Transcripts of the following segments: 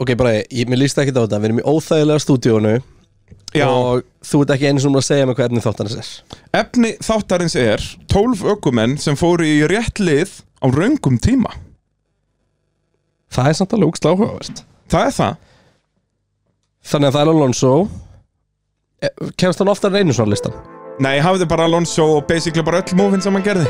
Ok, bara ég, mér líst ekki á þetta Við erum í óþægilega stúdíónu Já. Og þú ert ekki einu sem að segja mér hvað efni þáttanins er Efni þáttarins er 12 ökumenn sem fóru í rétt lið á raungum tíma Það er samt alveg úkslega áhugavert Það er það Þannig að það er Alonso Eh, Kemst hann oftar en einu svona listan Nei, hafði bara Alonso og basically bara öll mófin sem hann gerði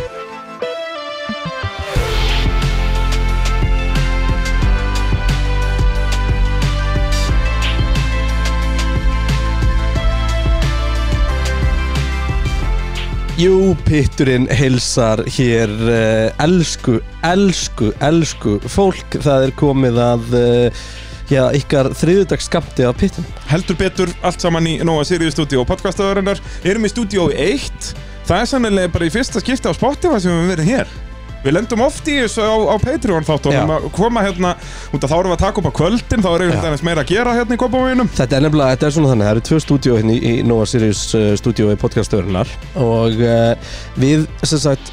Jú, pitturinn heilsar hér uh, elsku, elsku, elsku fólk Það er komið að uh, já, ykkar þriðudagskamti af pittin Heldur betur allt saman í Nóa Sirius stúdíó og podcastaðurinnar Erum í stúdíó 1 Það er sannilega bara í fyrsta skipti á Spotify sem við höfum verið hér Við lendum oft í þessu á, á Patreon þáttunum Já. að koma hérna út að þá erum við að taka upp á kvöldin þá er Já. eitthvað meira að gera hérna í kopavíunum Þetta er nefnilega, þetta er svona þannig, það eru tvö stúdíó hérna í, í Nova Sirius uh, stúdíó í podcastöðurinnar og uh, við, sem sagt,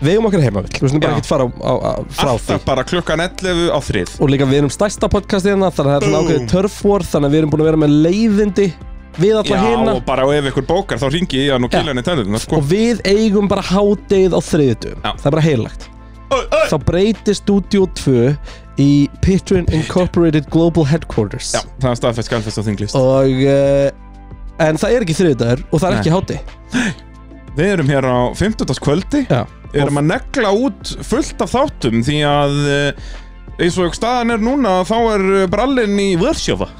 vegum okkar heima við, við skulum bara Já. ekkert fara á, á, á, frá því Alltaf bara klukkan 11 á þrið og líka við erum stærsta podcastið hérna, þannig að það er svona Boom. ákveðið turf war, þannig að við erum búin að vera með leiðindi við Já, alla hérna og bara ef ykkur bókar þá ringi ég hann og Já. kýla hann í tennirna sko. og við eigum bara hádegið á þriðutum, Já. það er bara heilagt. Ö, ö. Þá breytir Studio 2 í Patreon Incorporated Global Headquarters Já, það er staðfest, skælfest og þinglist og uh, en það er ekki þriðudagur og það er Nei. ekki hádegi. Við erum hér á 15. kvöldi Já. Erum að negla út fullt af þáttum Því að eh, eins og staðan er núna Þá er eh, brallinn í vörsjófa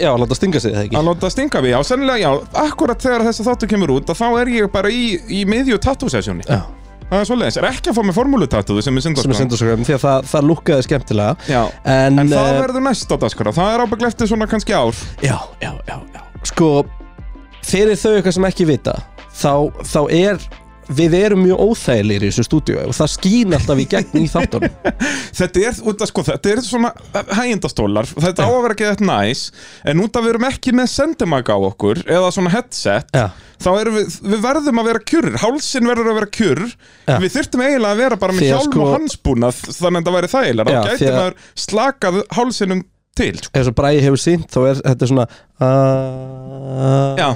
Já, láta stinga sig það ekki Að láta stinga við, já, sennilega, já Akkurat þegar þessi þáttu kemur út að Þá er ég bara í, í miðju tattoo-sessjóni Já, Það er svoleiðis, er ekki að fá með formúlutattoo Sem er sem er syndarskram syndaskram því að það, það lukkaði skemmtilega Já En, En það eh, verður næst á dagskara, það er ábyggt eftir svona kannski ár Já, já, já, já Sko, fyrir þau eitthvað sem ekki vita þá, þá er Við erum mjög óþægilegir í þessu stúdíu og það skín alltaf í gegn í þáttunum Þetta er, út af sko, þetta er svona eh, hægindastólar, þetta á að vera ekki þetta næs en út af við erum ekki með sendimag á okkur eða svona headset Já, þá erum við, við verðum að vera kjur hálsin verður að vera kjur Já. við þyrftum eiginlega að vera bara Því með að hjálm sko- og hansbúnað þannig að það væri þægilega, Já, þá því gæti að- maður slakað hálsinum til sko. eins og Bræði hefur sínt þá er þetta er svona uh, Já.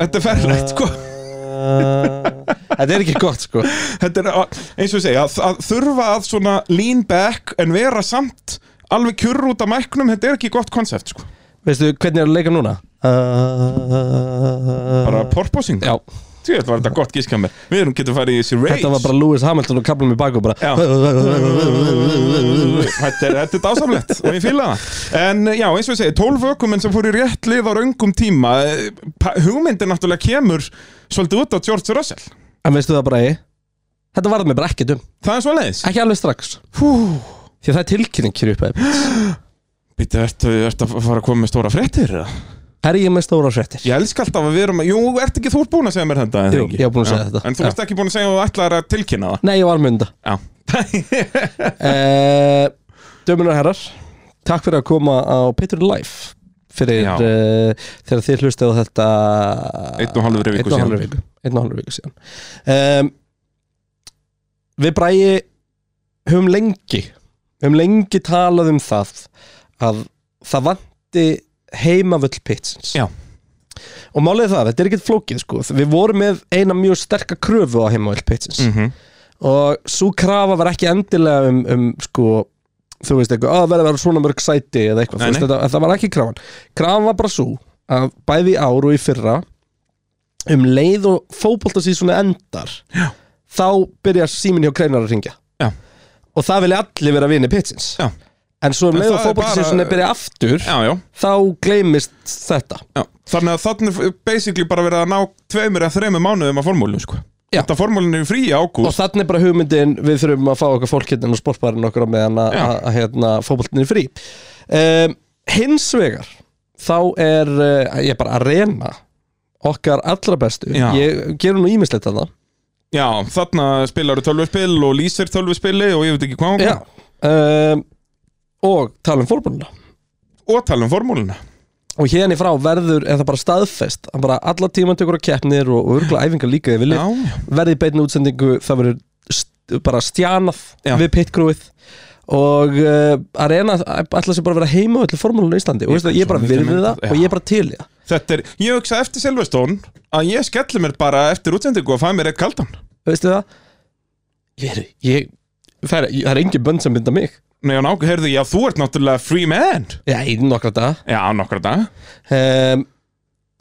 Þetta er ferlegt, sko. Þetta er ekki gott sko þetta er að- eins og ég segja, að, að þurfa að svona lean back en vera samt alveg kjur út af mæknum, þetta er ekki gott konsept sko. Veistu hvernig er að leika núna? Bara bara porposing, Já, því var þetta gott gíska mér við erum getum farið í þessi rage þetta var bara Lewis Hamilton og kaplum í baku bara Já. þetta er, þetta er dásamlegt og ég fýla það en já, eins og ég segi, 12 ökumenn sem fór í rétt lið á raungum tíma eh, pa- hugmyndin náttúrulega kemur svolítið út á George Russell En veistu það bara ég Þetta varð mér bara ekki dum það er svo leiðis Ekki alveg strax Því að það er tilkynning hér upp Býttu, ertu, ertu að fara að koma með stóra fréttir? eða? Er ég með stóra fréttir? Ég elska alltaf að við erum að, jú, ertu ekki þú ert búin að segja mér þetta? eða Jú, ekki? ég var búin að Já. segja þetta. En þú Já. ert ekki búin að segja að þú ætlar að tilkynna Nei, ég var mynda það? uh, Dömunar herrar Takk fyrir að koma á Patreon Live Fyrir Já. uh, þegar þið hlustið á þetta Einn og hálfri Einn viku og síðan. hálfri viku, Einn og hálfri viku síðan um, Við bræði höfum lengi höfum lengi talað um það að það vanti heimavöll pitsins Já. og málið er það, þetta er ekkert flókið sko. við vorum með eina mjög sterka kröfu á heimavöll pitsins Já. Mhm. og svo krafa var ekki endilega um, um sko þú veist eitthvað, að verða að vera svona mörg sæti eða eitthvað, Nei, þú veist, nei. þetta, það var ekki krafan krafan var bara svo að bæði í ár og í fyrra um leið og fótboltasísunni endar Já. þá byrjar síminn hjá kreinar að ringja Já. og það vilja allir vera vini pitsins Já. en svo um En leið og það er bara- fótboltasísunni byrja aftur Já, já, þá gleymist þetta já. Þannig að þannig er basically bara verið að ná tveimur eða þreimur mánuðum að formúlinu, sko. Já. Þetta formúlinu er frí í ágúst. og þannig er bara hugmyndin við þurfum að fá okkar fólk hérna og sportbærin okkur á meðan að- Já. að að, hérna, fótboltin er frí um, hins vegar þá er uh, ég er bara að reyna okkar allra bestu Já. ég gerum nú ímislegt að það Já, þarna spilaru tölvuspil og lýsir tölvuspili og ég veit ekki hvað Já. um, og tala um fótbolina og tala um formúluna og hérna í frá verður, er það bara staðfest að bara alla tímantökur og keppnir og örgulega æfingar líka þegar vilja Já, verði í beinni útsendingu það verður st bara stjanað Já. við pitgrúið og uh, Arena ætla sér bara að vera heima öllu formúlunum í Íslandi og veistu það, ég bara Svo mikið virði það mynd- og já. ég er bara til í það Þetta er, ég hugsa eftir Silvestón að ég skelli mér bara eftir útsendingu og fæ mér eitt kaldan veistu það ég, er- ég, það, er, ég, það er engin bönd sem binda mig Nei, og nákvæm, heyrðu, já, þú ert náttúrulega free man já, í nokkra daga Já, nokkra dag um,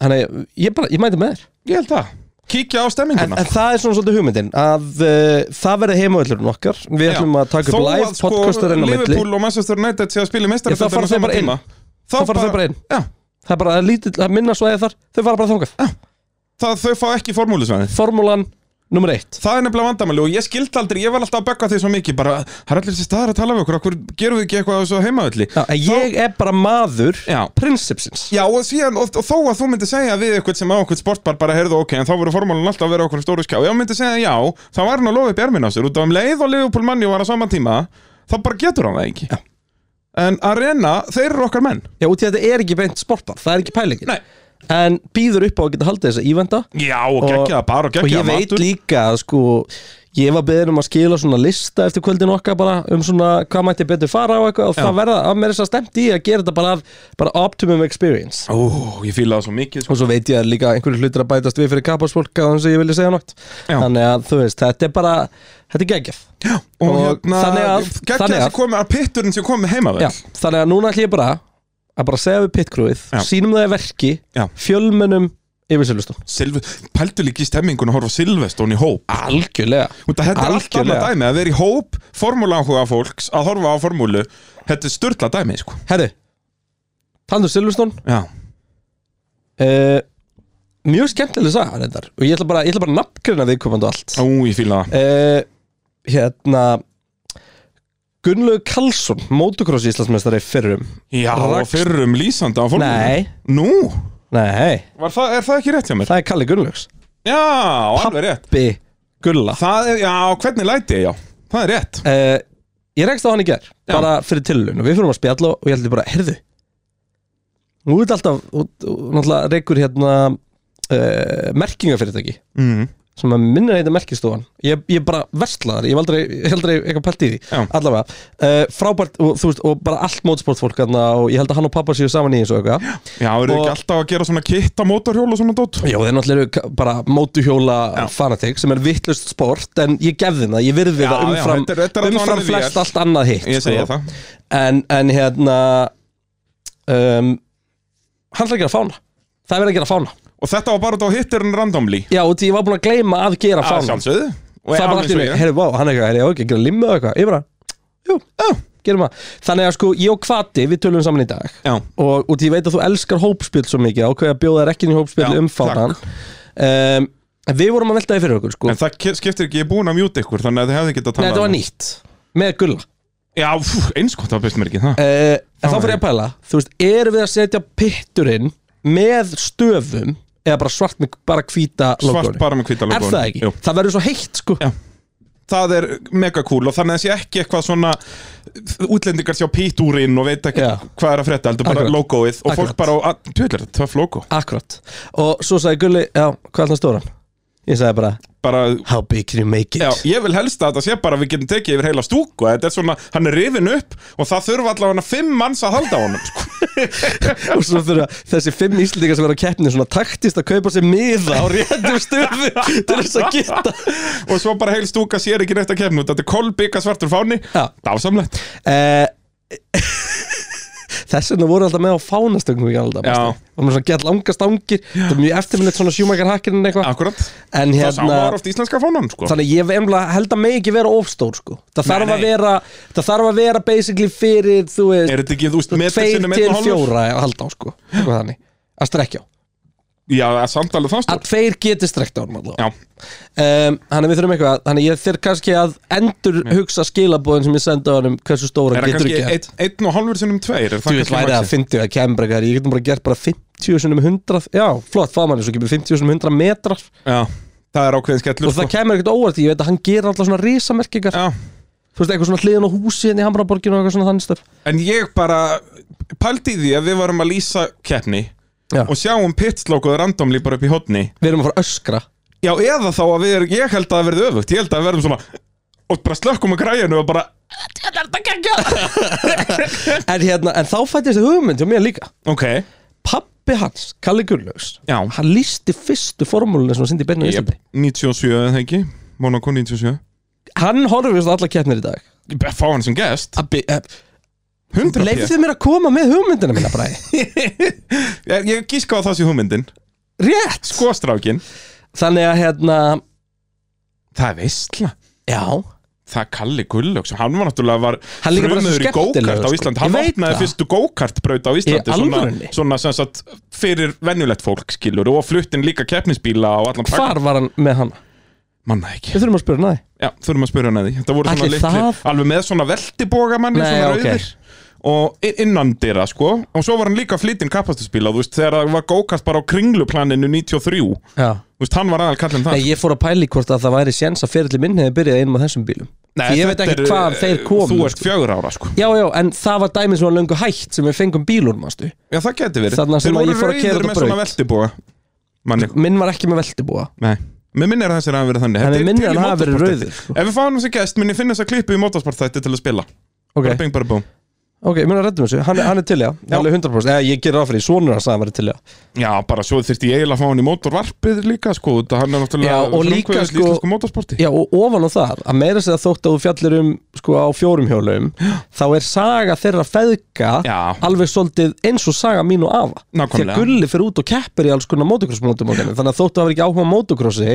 þannig að ég, bara, ég mæti með þér Ég held það Kíkja á en, stemminguna en það er svona svolítið hugmyndin að uh, það verði heimavöllurinn okkar við Já. ætlum að taka upp live sko, podcastarinn á milli Liverpool og Manchester United sé að spila Ég, þá fara mestaröldina þau bara inn. Þá þá fara þau bara inn Já, það er bara lítið, það er minna svæði þar þau fara bara þangað það, þau fá ekki formúlusvæði formúlan nummer eitt Það er nefnilega vandamæli og ég skildi aldrei, ég var alltaf að begga því svo mikið bara, það er allir þessi staðar að tala við okkur, okkur gerum við ekki eitthvað á þessu heimaðalli Já, en ég er bara maður Já. prinsipsins Já, og, síðan, og, og þó að þú myndir segja við eitthvað sem á eitthvað sportbar bara heyrðu ok, en þá voru formálun alltaf að vera okkur stóru skjá, já, myndi segja já, þá var hann að lofa upp erminn á sér, út af um leið og Liverpool manni var á sama tíma, þá bara getur hann það ekki Já. En Arena, þeir eru okkar menn Já, út í að þetta er ekki beint sportbar, það er ekki pælingin Nei. En býður upp á að geta haldið þessa ívenda Já, og geggjaða bara Og og ég geggjaða veit matur líka að sko Ég var beðin um að skila svona lista eftir kvöldin okkar bara um svona hvað mætti betur fara og eitthvað og það verða að mér þess að stemt í að gera þetta bara, að, bara optimum experience Ó, ég fíla það svo mikið sko. og svo veit ég að líka einhverju hlutir að bætast við fyrir kapasfólk á þannig að ég vilja segja nátt Já. þannig að þú veist, þetta er bara þetta er geggjaf Já, og, og hérna, þannig að- geggjaða þannig að- sem komið að pitturinn sem komið heimaveg Já, þannig að núna ætlum ég bara að bara segja við pitkrúið, Já. sínum það í verki Já. fjölmennum yfir Silveston Silv... Pældu líka í stemmingun að horfa á Silveston í hóp Algjörlega Út að Þetta er allt Algjörlega. annað dæmi að vera í hóp formúláhuga fólks að horfa á formúlu Þetta er störtla dæmi sko. Herri, talandu Silveston Já, uh, Mjög skemmtileg saga reyndar og ég ætla bara, ég ætla bara að nafngrina viðkomandi og allt ó, ég fíla það uh, Hérna Gunnlaug Karlsson motocross Íslandsmeistari fyrrum Já, Rakst- og fyrrum lýsandi á formúlu Nei, Nú, nei, var það, er það ekki rétt hjá mér? það er Kalli Gunnlaugs Já, alveg rétt Bi Gulla Það er, já, hvernig læti ég, já Það er rétt uh, Ég rekst á hann í ger Já. Bara fyrir tilun Og við fyrir að spjalla Og ég heldur bara Herðu Nú er þetta alltaf og- og Náttúrulega reykur hérna uh, Merkingafyrirtæki mm. Sem að minnir heita merkistofan Ég, ég bara versla þar Ég hef aldrei, ég hef aldrei eitthvað pælt í því Já. Allavega uh, Frábært og, þú veist, og bara allt mótsportfólk hérna, Og ég held að hann og pappa séu saman í eins og eitthvað Já, eru þið Og- ekki alltaf að gera svona kitta mótorhjól og svona dót? Já, þeir náttúrulega eru ka- bara mótuhjóla Já. fanatik sem er vittlust sport en ég gefði það, ég virði Já, það já, umfram, þetta er- þetta er allavega umfram við þér. flest allt annað hitt Ég segja sko. það en, en hérna um, hann ætla að gera fána það er verið að gera fána Og þetta var bara þá hittirinn randomly já, og því ég var búin að gleyma að gera Að fána sjálfsögðu Og það er alveg bara allt í eins og mig, ég. herri, vá, hann er eitthvað, herri, ég á ekki að gera limmu eða eitthvað ég bara, jú, já, gerum það þannig að sko, ég og Kvati, við tölum saman í dag Já, og, og því ég veit að þú elskar hópspil svo mikið ákveði að bjóða þær ekki inn í hópspil Já, um fánan um, en við vorum að velta því fyrir okkur sko. en það ke- skiptir ekki, ég er búin að mjúta ykkur Þannig að þið hefði getað Nei, talað þetta var um- nýtt, með gulla uh, Já, fú, eins gott, það byrst mér ekki það Eh, en þá var fyrir ég að pæla, þú veist, erum við að setja pitturinn með stöfum eða bara svart með bara hvíta Svart logóinu? bara með hvita Er logoinu það ekki? Jú. Það verður svo heitt sko Já. það er mega cool og þannig að það sé ekki eitthvað svona eh, útlendingar sjá pítúrin og veit ekki Já. hvað er að frétta, heldur bara Akkurat. logoið og Akkurat. fólk bara, á- að- tjóðlega, töff logo Akkurat Og svo sagði Gulli, já, hvað er það stóran? Ég sagði bara, bara, how big can you make it? já, ég vil helst að það sé bara að við getum tekið yfir heila stúku þetta er svona, hann er rifin upp og það þurfa allavega fimm manns að halda á honum sko. Og svo þurfa þessi fimm íslendingar sem verður á keppni svona taktist að kaupa sér miða á réttum stöfu til þess að geta og svo bara heil stúka sér ekki neitt að kemna þetta er kolbygga svartur fáni Já. dásamlegt Eh, Þess vegna voru alltaf með á fánastöngum í alltaf Já. Og með svona gett langa stangir Það er mjög eftirminnilegt svona sjúmækar hakinn en eitthvað akkurat, En það sá maður hérna oft íslenska fánan sko. Þannig ég emla, held að megi ekki vera ofstór sko. Það Nei, þarf að nei. vera Það þarf að vera basically fyrir Þú veist, er þetta ekki, þú veist, metr tveir sinni til metr hálfur fjóra að halda á sko. Eitthvað þannig Að strekkja á já, samtalið það Að tveir geti strekt á hann allavega Já, um, Þannig við þurfum eitthvað Þannig ég þurf kannski að endur hugsa skilabóðin sem ég sendi á hann um hversu stóra er það getur kannski ekki einn- einn og hálfur sinnum tveir er það Þú veist, kannski væri að maxið? 50 að kemur eitthvað Ég getum bara gert bara 50 sinum 100 Já, flott, fá manni svo kemur 50 sinum 100 metrar Já, það er ákveðin skellur Og það kemur ekkert óvart í, ég veit að hann gerir alltaf svona risamerkingar Sko, Já, Þú veist, eitthvað svona hliðin á húsi henni í Hamraborginu og eitthvað svona þannig stöf en ég bara pældi í því að við varum að lýsa keppni Já, og sjáum pitslókuð randomli bara upp í hotni við erum að fara að öskra Já, eða þá að við erum, ég held að það verði öfugt, ég held að við verðum svona og bara slökkum að græjanu og bara en, hérna, en þá fættist það hugmynd hjá mér líka Ok, pappi hans, Kalli Gullaugs já hann lísti fyrstu formúlunni sem hann sindi beinu í Jep, Íslandi 97 eða ekki Monaco 97 hann horfist á alla keppnir í dag Ég bara Fá hann sem gest Abbi, uh, 100 leifðu mér að koma með hugmyndina mína bræði Ég, ég gíska á það sé hugmyndin Sko, rétt sko. Skostrákin þannig að hérna, Það er veistla já Það er Kalli Gullöks Hann var náttúrulega var Hann líka bara svo frumöður í skemmtilegur, go-kart á sko. Íslandi Ég Hann veit opnaði það. fyrstu go-kart braut á Íslandi alvörunni? svona sem sagt fyrir venjulegt fólk skilur og fluttin líka keppnisbíla og allan pakkan. hvar var hann með hana? Manna ekki við þurfum að spyrja hann að því Já, þurfum að spyrja hann að því Þetta voru svona Ætli litli, það- alveg með svona veltiboga manni, Nei, svona ok. rauðir Og i- innan dyra, sko Og svo var hann líka flýtinn kapastusbíla, þú veist Þegar það var gókast bara á kringluplaninu 93 Þú já veist, hann var aðal kallinn það Nei, ég fór að pæli hvort að það væri séns að fyrirli minn hefði byrjað einum af þessum bílum Nei, Því ég veit þetta ekki er, hvað eh, þeir komu Þú ert fjögur ára, sko Já, já, en það var dæmið sem var löngu hægt sem við fengum bílur, mástu Já, það geti verið Þarna sem að Þeir voru ég fór að keyra rauðir þetta með svona braut. veltiboga Manni, Minn var ekki með veltibúa nei Mér minnir að þessir hafa verið þannig En Þetta við er minnir til í hann hafa verið Motorsportþætti. rauðir, sko. Ef við fáum þessi gæst, minn ég finna þess að klippu í motorsportþætti til að spila Ok, Bara bing, bara búm ok, mér er að reddum þessu Hann, hann er til, já, Já. alveg 100% Eða ég gerir áfrið, sonur hans að hann verið til, já Já, bara svo þyrfti ég eiginlega að fá hann í motorvarpið líka, sko Þetta hann er náttúrulega Já, og líka, frumkvöðull í sko- íslensku motorsporti Já, og ofan á það, að meira sér að þótt að þú fjallir um sko á fjórum hjólum þá er saga þeirra feðga Já. alveg svolítið eins og saga mín og afa Nákvæmlega. Þegar Gulli fyrir út og keppir í alls konar motocrossmótum og þannig að þótt að hafa ekki áhuga á motocrossi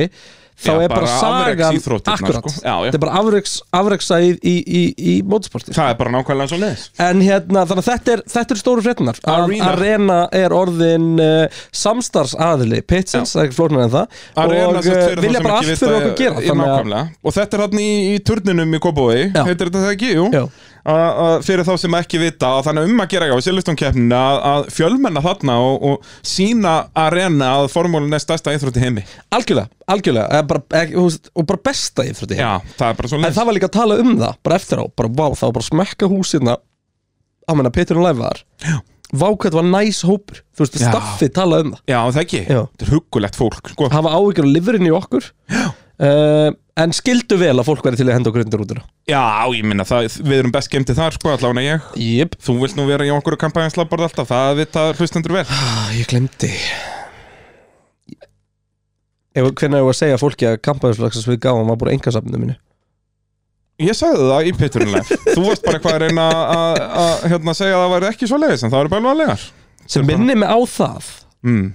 þá Já, er bara, bara sagan afreksíþróttirnar, akkurat, sko. Já, já. þetta er bara afreks, afreksa í, í, í, í motorsporti Það er bara nákvæmlega svo leiðis En hérna, þannig að þetta er, þetta er stóru fréttinar Arena. Arena. Arena er orðin uh, samstarfsaðili Pitsins, það er ekki flóknar en það Arena, og sem sagt, uh, fyrir þá vilja sem bara ekki allt vita fyrir okkur gera í- Nákvæmlega Og þetta er hann í, í turninum í Kópavói Já. Heitir þetta það ekki, jú Já. Að- að Fyrir þá sem ekki vita að Þannig að um að gera á Silvestonkeppnin að, að fjölmenna þarna og, og sína arena að formúlin er stærsta íþrótti heimi Algjörlega, algjörlega eða bara, ekki, þú veist, og bara besta íþrótti Já, það er bara svo en leiðis það var líka að tala um það, bara eftir á bara vá, það var bara að smekka húsina á menna Petur og Læf var vá hvað þetta var næs hópur, þú veist, Já. staffið talaði um það, Já, það ekki, Já. þetta er huggulegt fólk sko. hafa áhyggjur á liðurinn í okkur uh, en skildu vel að fólk væri til að henda okkur undir útina Já, ég minna, við erum best gemti þar, sko, allavega ég Jip, Þú vilt nú vera í okkur og kampanjanslabbarð alltaf, það vita hlustendur vel ah, ég glemdi Ef, Hvernig hefur að segja fólki að kampaðurslagsins við gáum var bara engasafninu mínu Ég sagði það í pitturunlega Þú varst bara hvað að reyna að- að hérna, segja að það væri ekki svo leiðis en það eru bara alvarlegar sem minni mig á það mm.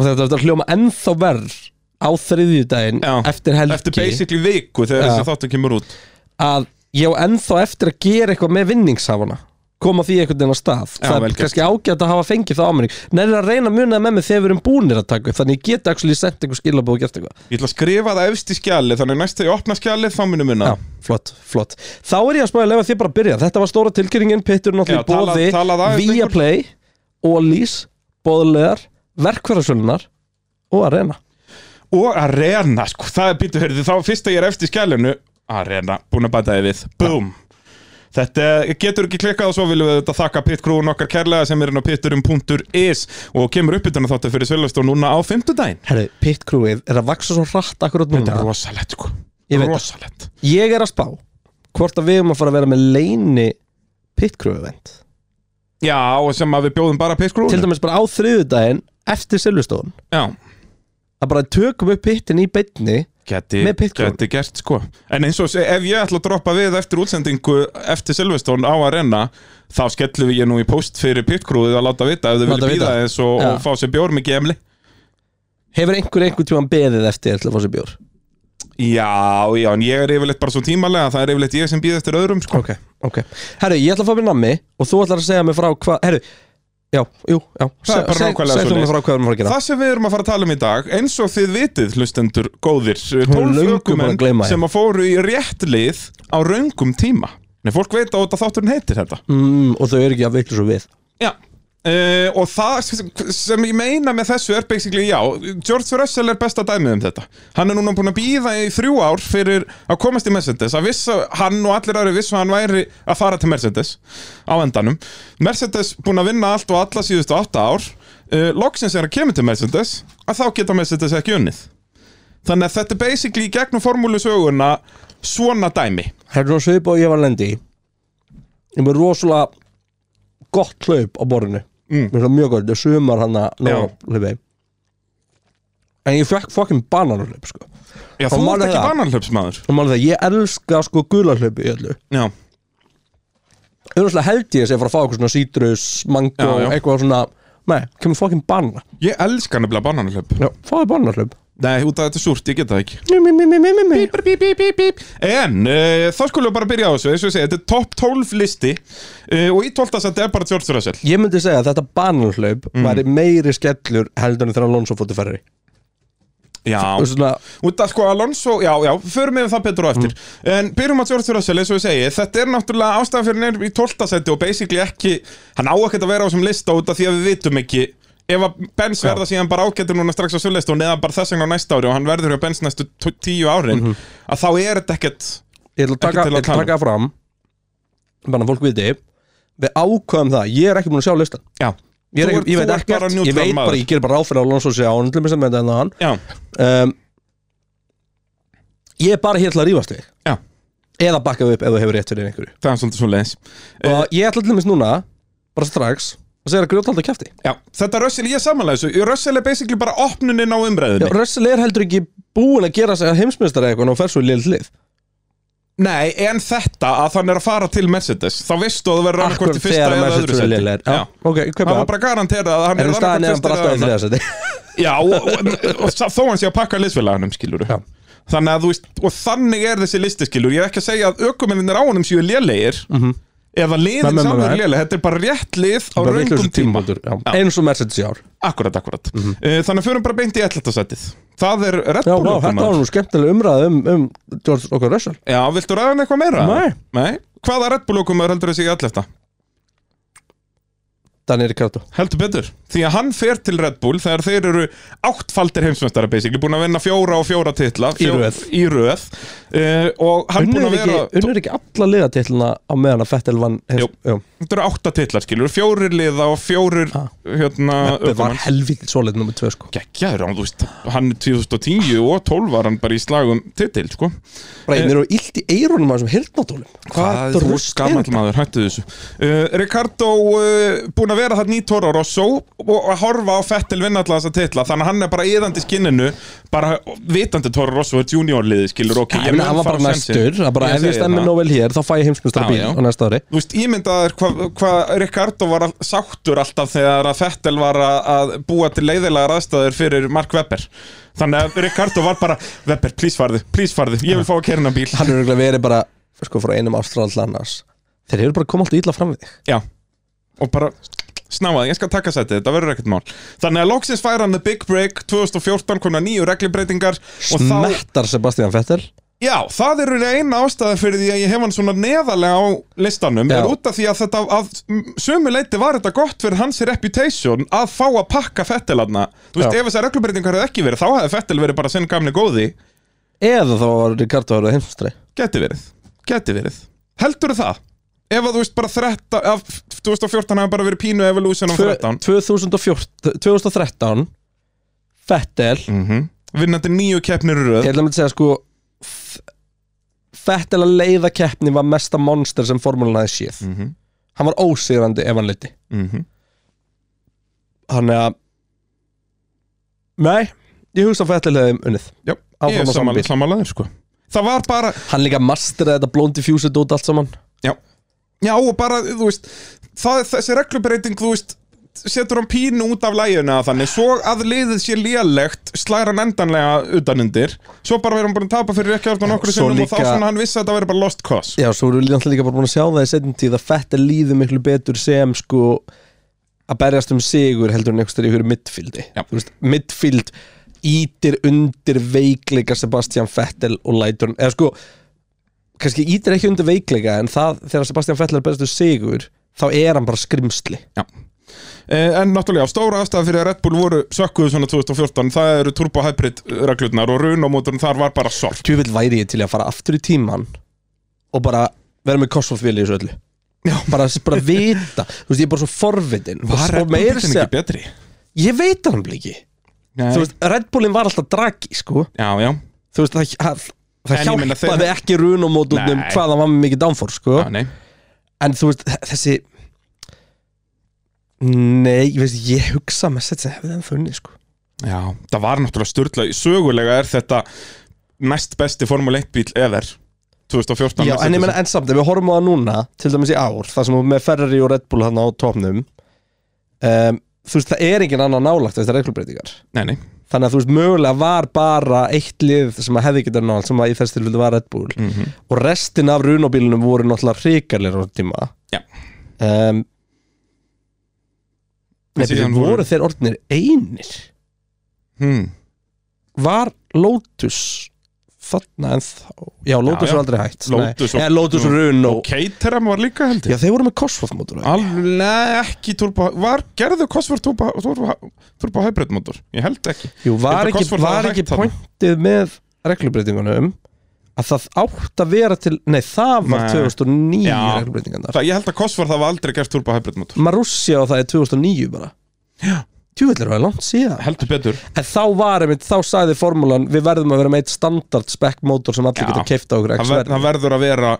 og þetta er að hljóma ennþá verð á þriðjudaginn Já. eftir helgi Eftir basically viku þegar Já. þessi þáttu kemur út að ég á ennþá eftir að gera eitthvað með vinningshafana koma því einhvern veginn á stað Já, það vel er gert. kannski ágætt að hafa fengið það ámenning nærður að reyna að muna það með mig þegar við erum búnir að taka upp þannig ég get actually sent einhver skilabóð og gert eitthvað Ég ætla að skrifa það efst í skjali þannig næst þegar ég opna skjalið þá munum minna já, flott, flott þá er ég að spáði að lefa því bara að byrja þetta var stóra tilkynningin, Pittur Já, tala- náttúrulega í tala það bóði aðeins lengur. Viaplay, Ólís, Bóðlegar verkfærasölunar og Arena Og arena, sko, það er býtu hörðu þá fyrst að ég er efst í skjalinu Arena, búin að bæta þið við, boom Þetta getur ekki klikkað og svo viljum við þetta þakka pitkrúin okkar kærlega sem er inn á pitturum.is og kemur uppbytuna þáttu fyrir Sölvestón núna á fimmtudaginn herru, Pit Crewið er að vaksa svo hratt akkurat Þetta er núna rosalegt, sko Ég veit það. Rosalegt ég er að spá hvort að við erum að fara að vera með leini Pit Crew event Já, og sem að við bjóðum bara til pitkrúinu dæmis bara á þriðudaginn eftir Silvestón Já, að bara tökum upp pittin í beinni geti, Með pit crew. geti gert sko En eins og se- ef ég ætla að droppa við eftir útsendingu eftir Silveston á Arena þá skellum við ég nú í post fyrir pitkrúið að láta vita ef þau Láta vilja býða vita. eins og, Já. og fá sér bjór með gemli hefur einhver einhver tíma beðið eftir til að fá sér bjór Já, já, en ég er yfirleitt bara svo tímalega það er yfirleitt ég sem býð eftir öðrum sko ok, ok herru, ég ætla að fá mér nammi og þú ætlar að segja mér frá hvað herru, já, jú, já Það er bara nákvæmlega segð þú svoleiðis. mér frá hvað við erum að fara að gera Það sem við erum að fara að tala um í dag, eins og þið vitið, hlustendur góðir, er 12 löngu búin að ökumenn gleyma því. sem að fóru í rétt lið á raungum tíma. Nei, fólk veit að þátturinn heitir þetta. mm, og þau eru ekki að veiklu svo við Já Uh, og það sem ég meina með þessu er basically, já, George Russell er besta dæmið um þetta hann er núna búin að býða í þrjú ár fyrir að komast í Mercedes að vissa, hann og allir aðri vissu að hann væri að fara til Mercedes á endanum Mercedes búin að vinna allt og alla síðustu átta ár uh, loksins er að kemur til Mercedes að þá geta Mercedes ekki unnið þannig að þetta er basically í gegnum formúlusöguna svona dæmi Það er svona svip og ég var að lendi í. Ég er með rosalega gott hlaup á borðinu Mm. Mér er það mjög gott, þetta er sumar hann að ná Já. hlaupi En ég fekk fucking bananarhlaup sko Já, Og þú málið ert ekki það- bananhlöpsmaður Og máli það, ég elska sko gula hlaupi í öllu Já, Öðvitað held ég að sé að fara að fá eitthvað svona sítrus, mango, Já, já. eitthvað svona Nei, kemur fucking banana ég elska nefnilega bananhlöp Já, fáðu bananarhlaup Nei, út af þetta er súrt, ég get það ekki Mí, mí, mí, mí, mí, mí, mí. Bíp, bíp, bíp, bíp, bíp. En uh, þá skulum við bara byrja á þessu eins og ég segi, þetta er topp 12 listi uh, og í 12. seti er bara George Russell Ég myndi segja að þetta bananarhlaup Mm. væri meiri skellur heldur en þegar Alonso fóttu ferri Já, Og svona, út af sko Alonso, já, já, förum við það betur á eftir En byrjum að George Russell, eins og ég segi Þetta er náttúrulega ástæðan fyrir hann er í 12. seti og basically ekki, hann á ekkert að vera á þessum lista út af því að við vitum ekki Ef að Benz verða síðan bara ágættur núna strax á Sullestón eða bara þess vegna á næsta ári og hann verður hjá Benz næstu tó- tíu árin að þá er þetta ekkert ég ætla að taka, Ekki til að ég ætla að tala. taka fram bara að fólk viti við ákvæðum það, ég er ekki búin að sjá listan Já, ég, er Þú ekki, ert- ég veit þú ert bara ekkert, ég neutral veit bara maður. ég ger bara áfyrir á Alonso sé án til mér sem með þetta hann já, um, ég er bara hér til að rífast þig já, eða bakka þig upp ef þú hefur rétt fyrir einhverju það er svolítið svo leiðis og ég ætla til dæmis núna, bara strax að segja að grjóthalda kæfti Já, þetta Russell, ég er samanlega þessu Russell er basically bara opnunin á umræðinni Russell er heldur ekki búin að gera sig að heimsmyndstara eitthvað og fer svo í lill lið Nei, en þetta að hann er að fara til Mercedes Þá veistu að það verður annarkvort í fyrsta eða öðru Mercedes er seti lill er Já, ok, ég kaupa Það var það bara garanterað að hann en um staðan er hann bara alltaf í annað. þriða seti Já, og, og, og, og þó hann sé að pakka liðsfélaganum, skilur Já. Þannig að þú veist, og þannig er þessi listi, skilur Ég er ekki að segja að ökumenninir á honum séu lélegir Mhm. -hmm. Eða Nei, liðin nei, saman nei. er léleg Þetta er bara rétt lið á Bara raungum vitlausu tíma tímapunktur, já. eins og Mercedes í ár Akkurat, akkurat mm Þannig að förum bara beint í 11. setið Það er Red Mhm. Já, vá, þetta Bull var ökumaður. nú skemmtilega umræð um, um George okkar Russell Já, viltu ræða hann eitthvað meira? Nei. Nei. Hvaða Red Bull okkur maður heldur þessi í allefta? Daniel Ricciardo Heldur betur. Því að hann fer til Red Bull þegar þeir eru áttfaldir heimsmeistara basically, búin að vinna fjóra og fjóra titla Í fjó- röð. Í röð. Uh, og hann búin Unnur að ekki, vera unnur ekki alla liðatillina á meðan að Fettel vann Jú. Þetta eru átta titlar, skilur, fjórir liða og fjórir Ha. hérna Það var helvítið svolítið nummer 2 sko geggjaður, hann, þú veist, hann er 2010 og 12 var hann bara í slagum titil, sko. Bræði, mér eru illt í eirunum að þessum hirtnatólum Hvað þú rúst er gamall þetta? maður, hættu þessu uh, Ricardo uh, búin að vera þarna í Toro Rosso og að horfa á Fettil vinna alltaf þessa titla þannig að hann er bara eðandi skinninu bara vitandi Toro Rosso er juniorliði skilur ok, Ég meina, hann var bara næstur Það bara, Ég ef ég segi stemmi það. nóg vel hér, þá fæ ég heimsmyndstara Já, bíl já. á næsta ári Þú veist, ímyndaður hvað hva Ricardo var all- sáttur alltaf þegar að Fettel var að, að búa til leiðilegar aðstæður fyrir Mark Webber Þannig að Ricardo var bara Webber, please farðu, please farðu, ég vil fá að kerna bíl Hann er örugglega verið bara, sko, frá einum ástral til annars Þeir eru bara komið alltaf illa fram við þig Já, og bara snáðað, ég skal taka sætið, þetta verður ekkert mál Þannig að loksins fær hann the big break 2014 komna nýju reglibreitingar og þá, Smettar Sebastian Fettel já, það eru eina ástæða fyrir því að ég hef hann svona neðarlega á listanum, Já. er út af því að þetta að sömu leiti var þetta gott fyrir hans reputation að fá að pakka fettilarna, þú veist, Já. ef þessar reglibreitingar hefði ekki verið, þá hefði fettil verið bara sinn gamni góði, Eða þá var Ricardo að vera heimsmyndstari geti verið geti verið, heldur það ef að þú veist bara 13 af 2014 hefði bara verið pínu evolution á 13 2014 2013 Fettel mm vinnandi nýju keppnir í röð Ég ætla að segja sko F- Fettel að leiða keppni var mesta monster sem formúlan hafði séð Mhm. Hann var ósýrandi ef hann liti mm Þannig að Nei, ég hugsa að Fettel hefði unnið Já, Áfram á ég er sama samanlega bíl. samanlega sko. það var bara, Hann líka masteraði þetta blónd diffused út allt saman já já og bara, þú veist það, þessi reglubreiting, þú veist setur hann pínu út af læguna þannig svo að liðið sé lélegt slæra hann endanlega utanundir svo bara verður hann búin að tapa fyrir ekki orðan okkur Svo sinnum og þá líka- svona hann vissi að það verður bara lost cause Já, svo erum við náttúrulega líka bara búin að sjá það í setjum tíð að Fettel líður miklu betur sem sko að berjast um sigur heldur en einhvers þegar ykkur midfildi Já. veist, midfild ítir undir veikleika Sebastian Fettel og lætur hann eða sko, kannski ítir ekki undir veikleika en það, þegar Sebastian Fettel er að berjast um sigur þá er hann bara skrimsli Eh, En náttúrulega, stóra aðstæða fyrir að Red Bull voru sökkuðu svona 2014, það eru turbo hybrid reglurnar og runamóturinn þar var bara sorg Tjúvill væri ég til að fara aftur í tíman og bara vera með kosmofíli í þessu öllu Já. bara, bara vita, þú veist, ég er bara svo forvitin Og Var svo Red Bull meira að bíllinn segja- ekki betri? Ég veit hann ekki Nei. þú veist, Red Bullin var alltaf dragi sko. Já, já, þú veist, það, það, það En ég meina, hjálpaði þeir- ekki runumótunum Nei. hvað það var með mikið downfor sko. Já, nei en þú veist, þessi nei, ég veist ég hugsa með þetta sem hefði hann funnið sko. Já, það var náttúrulega styrla Sögulega er þetta næst besti Formule 1 bíl ever 2014 Já, en, Mercedes. ég meina, en samt, ef við horfum á það núna til dæmis í ár, það sem þú ert með Ferrari og Red Bull hann á topnum um, þú veist, það er engin annar nálagt þessar reglubreitingar, Nei, nei, þannig að þú veist mögulega var bara eitt lið sem að hefði getur nált, sem að í þess til var Red Bull mm og restin af runobílunum voru náttúrulega hrikalir á þeim tíma Já. um, Nei, síðan betur, voru- voru þeir orðnir einir hmm. var Lotus þarna en þá já, Lotus já. var aldrei hægt nei. Lotus og- Eða, Lotus Runo Og Caterham var líka heldur já, þeir voru með Cosworth mótor Ah, Alveg ekki turbo Var, gerðu Cosworth turbo, turbo, turbo hybrid motor? Ég held ekki Jú, var Þetta ekki, Cosworth var var ekki hægt þarna. pointið með reglubreitingunum að það átt að vera til nei, það var Nei. 2009 Já. reglubreitingarnar það, Ég held að Cosworth hafa aldrei gert turbo hybrid motor Marussia og það er 2009 bara Já. Tjúvillir var langt síðan Heldur betur En þá var einmitt, þá sagði formúlan Við verðum að vera með eitt standard spec mótor sem allir Já. geta keift á okkur Það, X ver, verð það verður að vera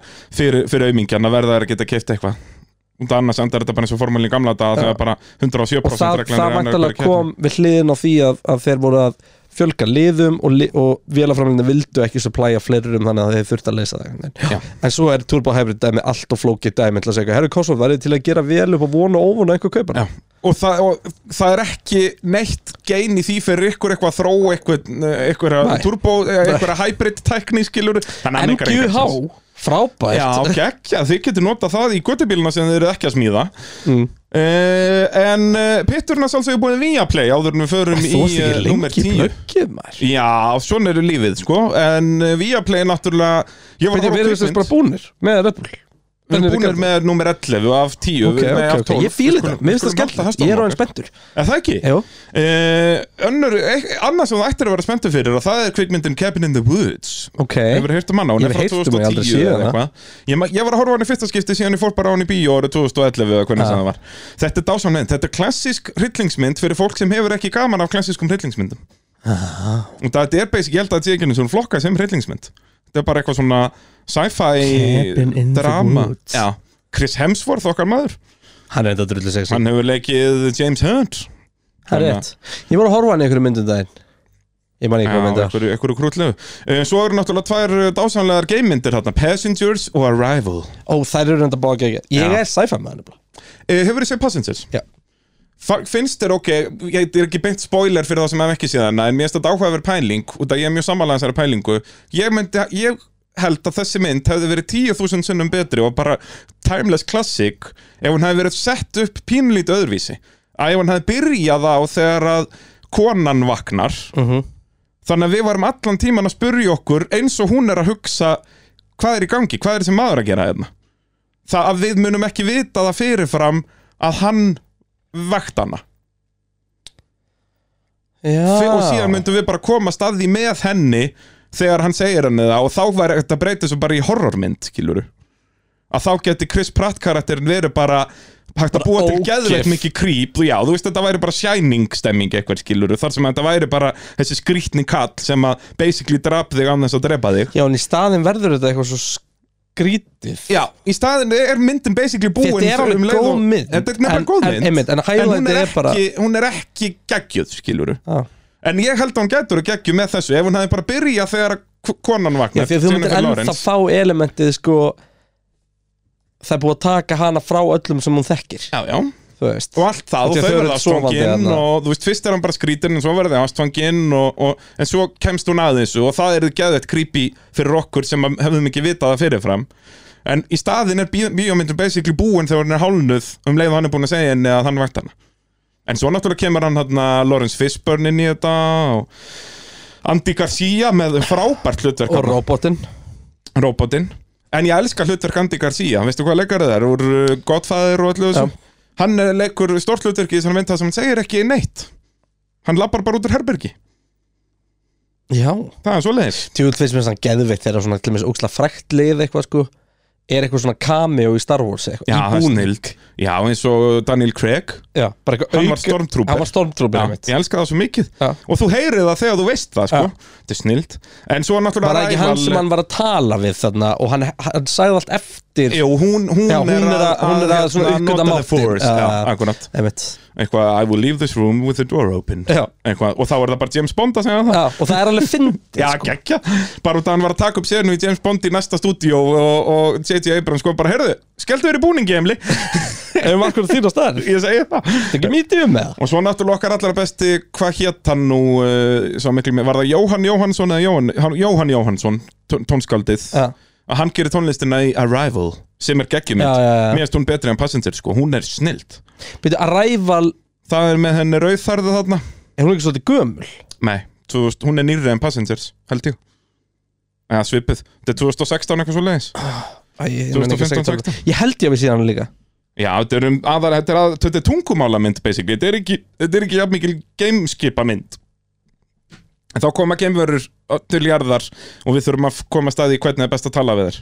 fyrir, fyrir aumingjan að verða að geta keift eitthvað Undan annars endar þetta bara eins og formúlinn í gamla daga þegar bara 107% og það, það reglan er önnur hverju vantalega keppni. kom við hliðin á því að, að þeir voru að fjölga liðum og, li, og vélaframlinni vildu ekki supplya fleirum þannig að þeir þurfti að leysa það einhvern veginn. Já. en svo er Turbo Hybrid dæmi allt og flókið dæmi til að segja, herru Kosovo, það er til að gera vel upp og vona og óvona einhver kaupana Já. Og, það, og það er ekki neitt gein í því fyrir ykkur eitthvað að þróa eitthvað, eitthvað Nei. turbo, eitthvað hybrid tækni skilur MGH, frábært Já, gekkja, þið getur notað það í göttubíluna sem þið eru ekki að smíða Mm. uh, En uh, pitturinn er alveg búin via play áður en við förum þú varst í ekki uh, nummer lengi 10 plöggið maður Já, svona eru lífið sko En uh, via play náttúrulega Ég var Við erum að horfa á þess kvikmynd bara búnir með Red Bull Við Hvernig erum er búinir gerðum? með nummer 11 af 10 Ok, nei, ok, af ok, 12. ég fýla Við skulum- þetta, mér finnst það við skulum halda skemmt hestunum Ég er á okkar. enn spenntur Er það ekki? Jú. Uh, önnur, eh, annað sem þú ættir að vera spenntu fyrir og það er kvikmyndin Cabin in the Woods Ok, Hefur heyrt um hana, hún Eh? Ég er hef heyrt um frá hana, ég hef aldrei 2010 séð eða hana. eitthvað. ég, ma- ég var að horfa á hana í fyrsta skipti síðan ég fór bara á hana í bíó árið 2011 eða Ah. hvernig sem það var Þetta er dásan mynd, þetta er klassísk hryllingsmynd fyrir fólk sem hefur ekki gaman af klassískum hryllingsmyndum Og það er basic, ég held að þetta sé ekki einu svona flokka sem hryllingsmynd Þetta er bara eitthvað svona Cabin sci-fi in the drama Woods. Já, Chris Hemsworth okkar maður hann er enda drullu sexy Hann hefur leikið James Hunt Það er rétt Ég var að horfa hann í einhverju myndum um daginn Ég man ekki hvað myndið var einhverju, einhverju krútlegu uh, Svo eru náttúrulega tvær uh, dásamlegar geimmyndir þarna, Passengers og Arrival uh, Ó, þær eru enda báða gegja Ég Já. er sci-fi með hann Hefur þið Eh, séð Passengers? Já. Fa- Finnst þér, ok, ég er ekki beint spoiler fyrir það sem hef ekki séð hana En mér finnst þetta áhugaverð pæling, út að ég er mjög samanlega þessari pælingu ég, myndi, ég held að þessi mynd hefði verið 10.000 sunnum betri og bara timeless classic Ef hún hefði verið sett upp pínlítið öðruvísi Að ef hún hefði byrjað á þegar að konan vaknar Þannig að við varum allan tíman að spurja okkur eins og hún er að hugsa hvað er í gangi, hvað er þessi maður að gera hérna Það að við munum ekki vita það fyrirfram að hann vekt hana Já Fe- og síðan myndum við bara koma staði með henni þegar hann segir henni það og þá væri þetta breytið svo bara í horrormynd skiluru að þá geti Chris Pratt karakterin verið bara hægt að Bara búa til ógeð. geðveikt mikið krýp já, þú veist þetta væri bara shining stemming eitthvað skiluru, þar sem þetta væri bara þessi skrýtni kall sem að basically drap þig án þess að drepa þig Já, en í staðin verður þetta eitthvað svo skrítið Já, í staðin er myndin basically búin Þetta er um alveg leið og- góð mynd Þetta er nefnilega En- góð en- mynd einmitt, en hún highlightið er, er ekki, bara- hún er ekki geggjöð, skiluru Já. En ég held að hún getur að geggju með þessu Ef hún hefði bara byrjað þegar k- konan Já, vaknar því að þú myndir Jennifer ennþá Lawrence. fá elementið sko Það er búið að taka hana frá öllum sem hún þekkir Já, já, Þú veist og allt það, Þetta og er þau þau verða eru sofandi hérna. ástfangin þarna. og þú veist, fyrst er hann bara skrítin en svo verði ástfangin og, og, en svo kemst hún að þessu og það er geðveitt creepy fyrir okkur sem að hefðum ekki vitað það fyrirfram en í staðin er bí- bíómyndin basically búin þegar hann er hálnuð um leið og hann er búin að segja henni að hann vakt hana en svo náttúrulega kemur hann hann Lawrence Fishburne inn í þetta og Andy Garcia með frábært hlutverk Og robotinn robotinn En ég elska hlutverk Andy Garcia, veistu hvað leikar það er úr uh, Godfather og öllu þessu Hann er leikur stórt hlutverk í þessum mynd það sem hann segir ekki neitt Hann labbar bara út úr herbergi, Já það er svo leiðis Tjúvill finnst mér sann geðveikt þegar svona til mér óksla frækt lið eitthvað sko er eitthvað svona cameo í Star Wars eitthvað, Já, í það er búning. snild Já, eins og Daniel Craig já, bara eitthvað Hann auka- var stormtrooper. hann var stormtrooper Já, einmitt. ég elska það svo mikið Já. Og þú heyrið það þegar þú veist það, sko Þetta er snild En svo er náttúrulega var það ekki hann Rival- sem hann var að tala við þarna og hann, hann sagði allt eftir Jú, hún, hún, Já, hún er er að- hún er að svona hérna, uppgöta nota the máttinn. force. Já. Já, akkurat einmitt Eitthvað, I will leave this room with the door open Já. Eitthvað, og þá er það bara James Bond að segja það já, og það er alveg fyndið Já, sko. geggja Bara út að hann var að taka upp sérinu í James Bond í næsta stúdíó og, og J.J. Abrams sko bara, heyrðu, skelltu þér í búningi, Emli ef maður hvernig þín á staðar Ég segi það það er ekki mítið um með Og svo náttúrulega okkar allra besti, hvað hétt hann nú, uh, svo miklu mér, var það Jóhann Jóhannsson eða Jóhann, hann, Jóhann Jóhannsson, tón- tónskaldið, Já. að hann gerir tónlistina í Arrival, sem er geggjumynd, Já, já, já. mér finnst hún betri en Passenger, sko, hún er snilt. það byrju að ræval, Það er með henni rauðþarðu þarna, er hún ekki svolítið gömul nei, 2000, hún er nýrri en Passengers, held ég. Já, svipið, þetta er 2016 eitthvað svo leiðis. Æ, ég, nenni ekki að segja 2015, þetta. ég held ég að við síðan líka Já, þetta er, um, aðar, þetta er, að, þetta er tungumálamynd basically, þetta er ekki, þetta er ekki jafn mikil gameskipamynd En þá koma gameverur til jarðar og við þurfum að f- koma að staði í hvernig er best að tala við þær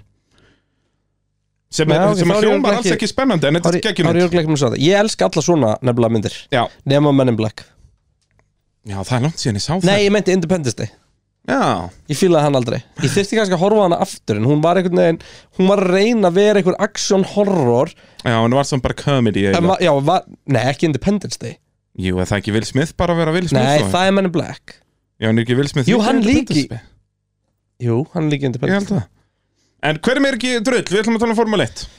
Sem, Já, er, ok, sem þá er ég að hljómar örugglega alls ekki- ekki spennandi en þetta Ári- er Ári geggjumynd Jörg Leikmann sagði það. ég elska alla svona nefnilega myndir já. nema Men in Black já, það er langt síðan ég sá nei, ég meinti Independence Day það Já, Ég fílaði hann aldrei Ég þyrfti kannski að horfa á hana aftur En hún var einhvern veginn Hún var að reyna að vera einhver action horror já, en var samt bara comedy En eiginlega. var, já, var, nei, ekki Independence Day Jú, er það ekki Will Smith bara að vera Will Smith Nei, þá? það er Men in Black Já, hann er ekki Will Smith Jú, líka hann í líki- Independence Day? Jú, hann er líka Ég Independence held það En hverjum er ekki drull, við ætlum að tala um Formule 1 Day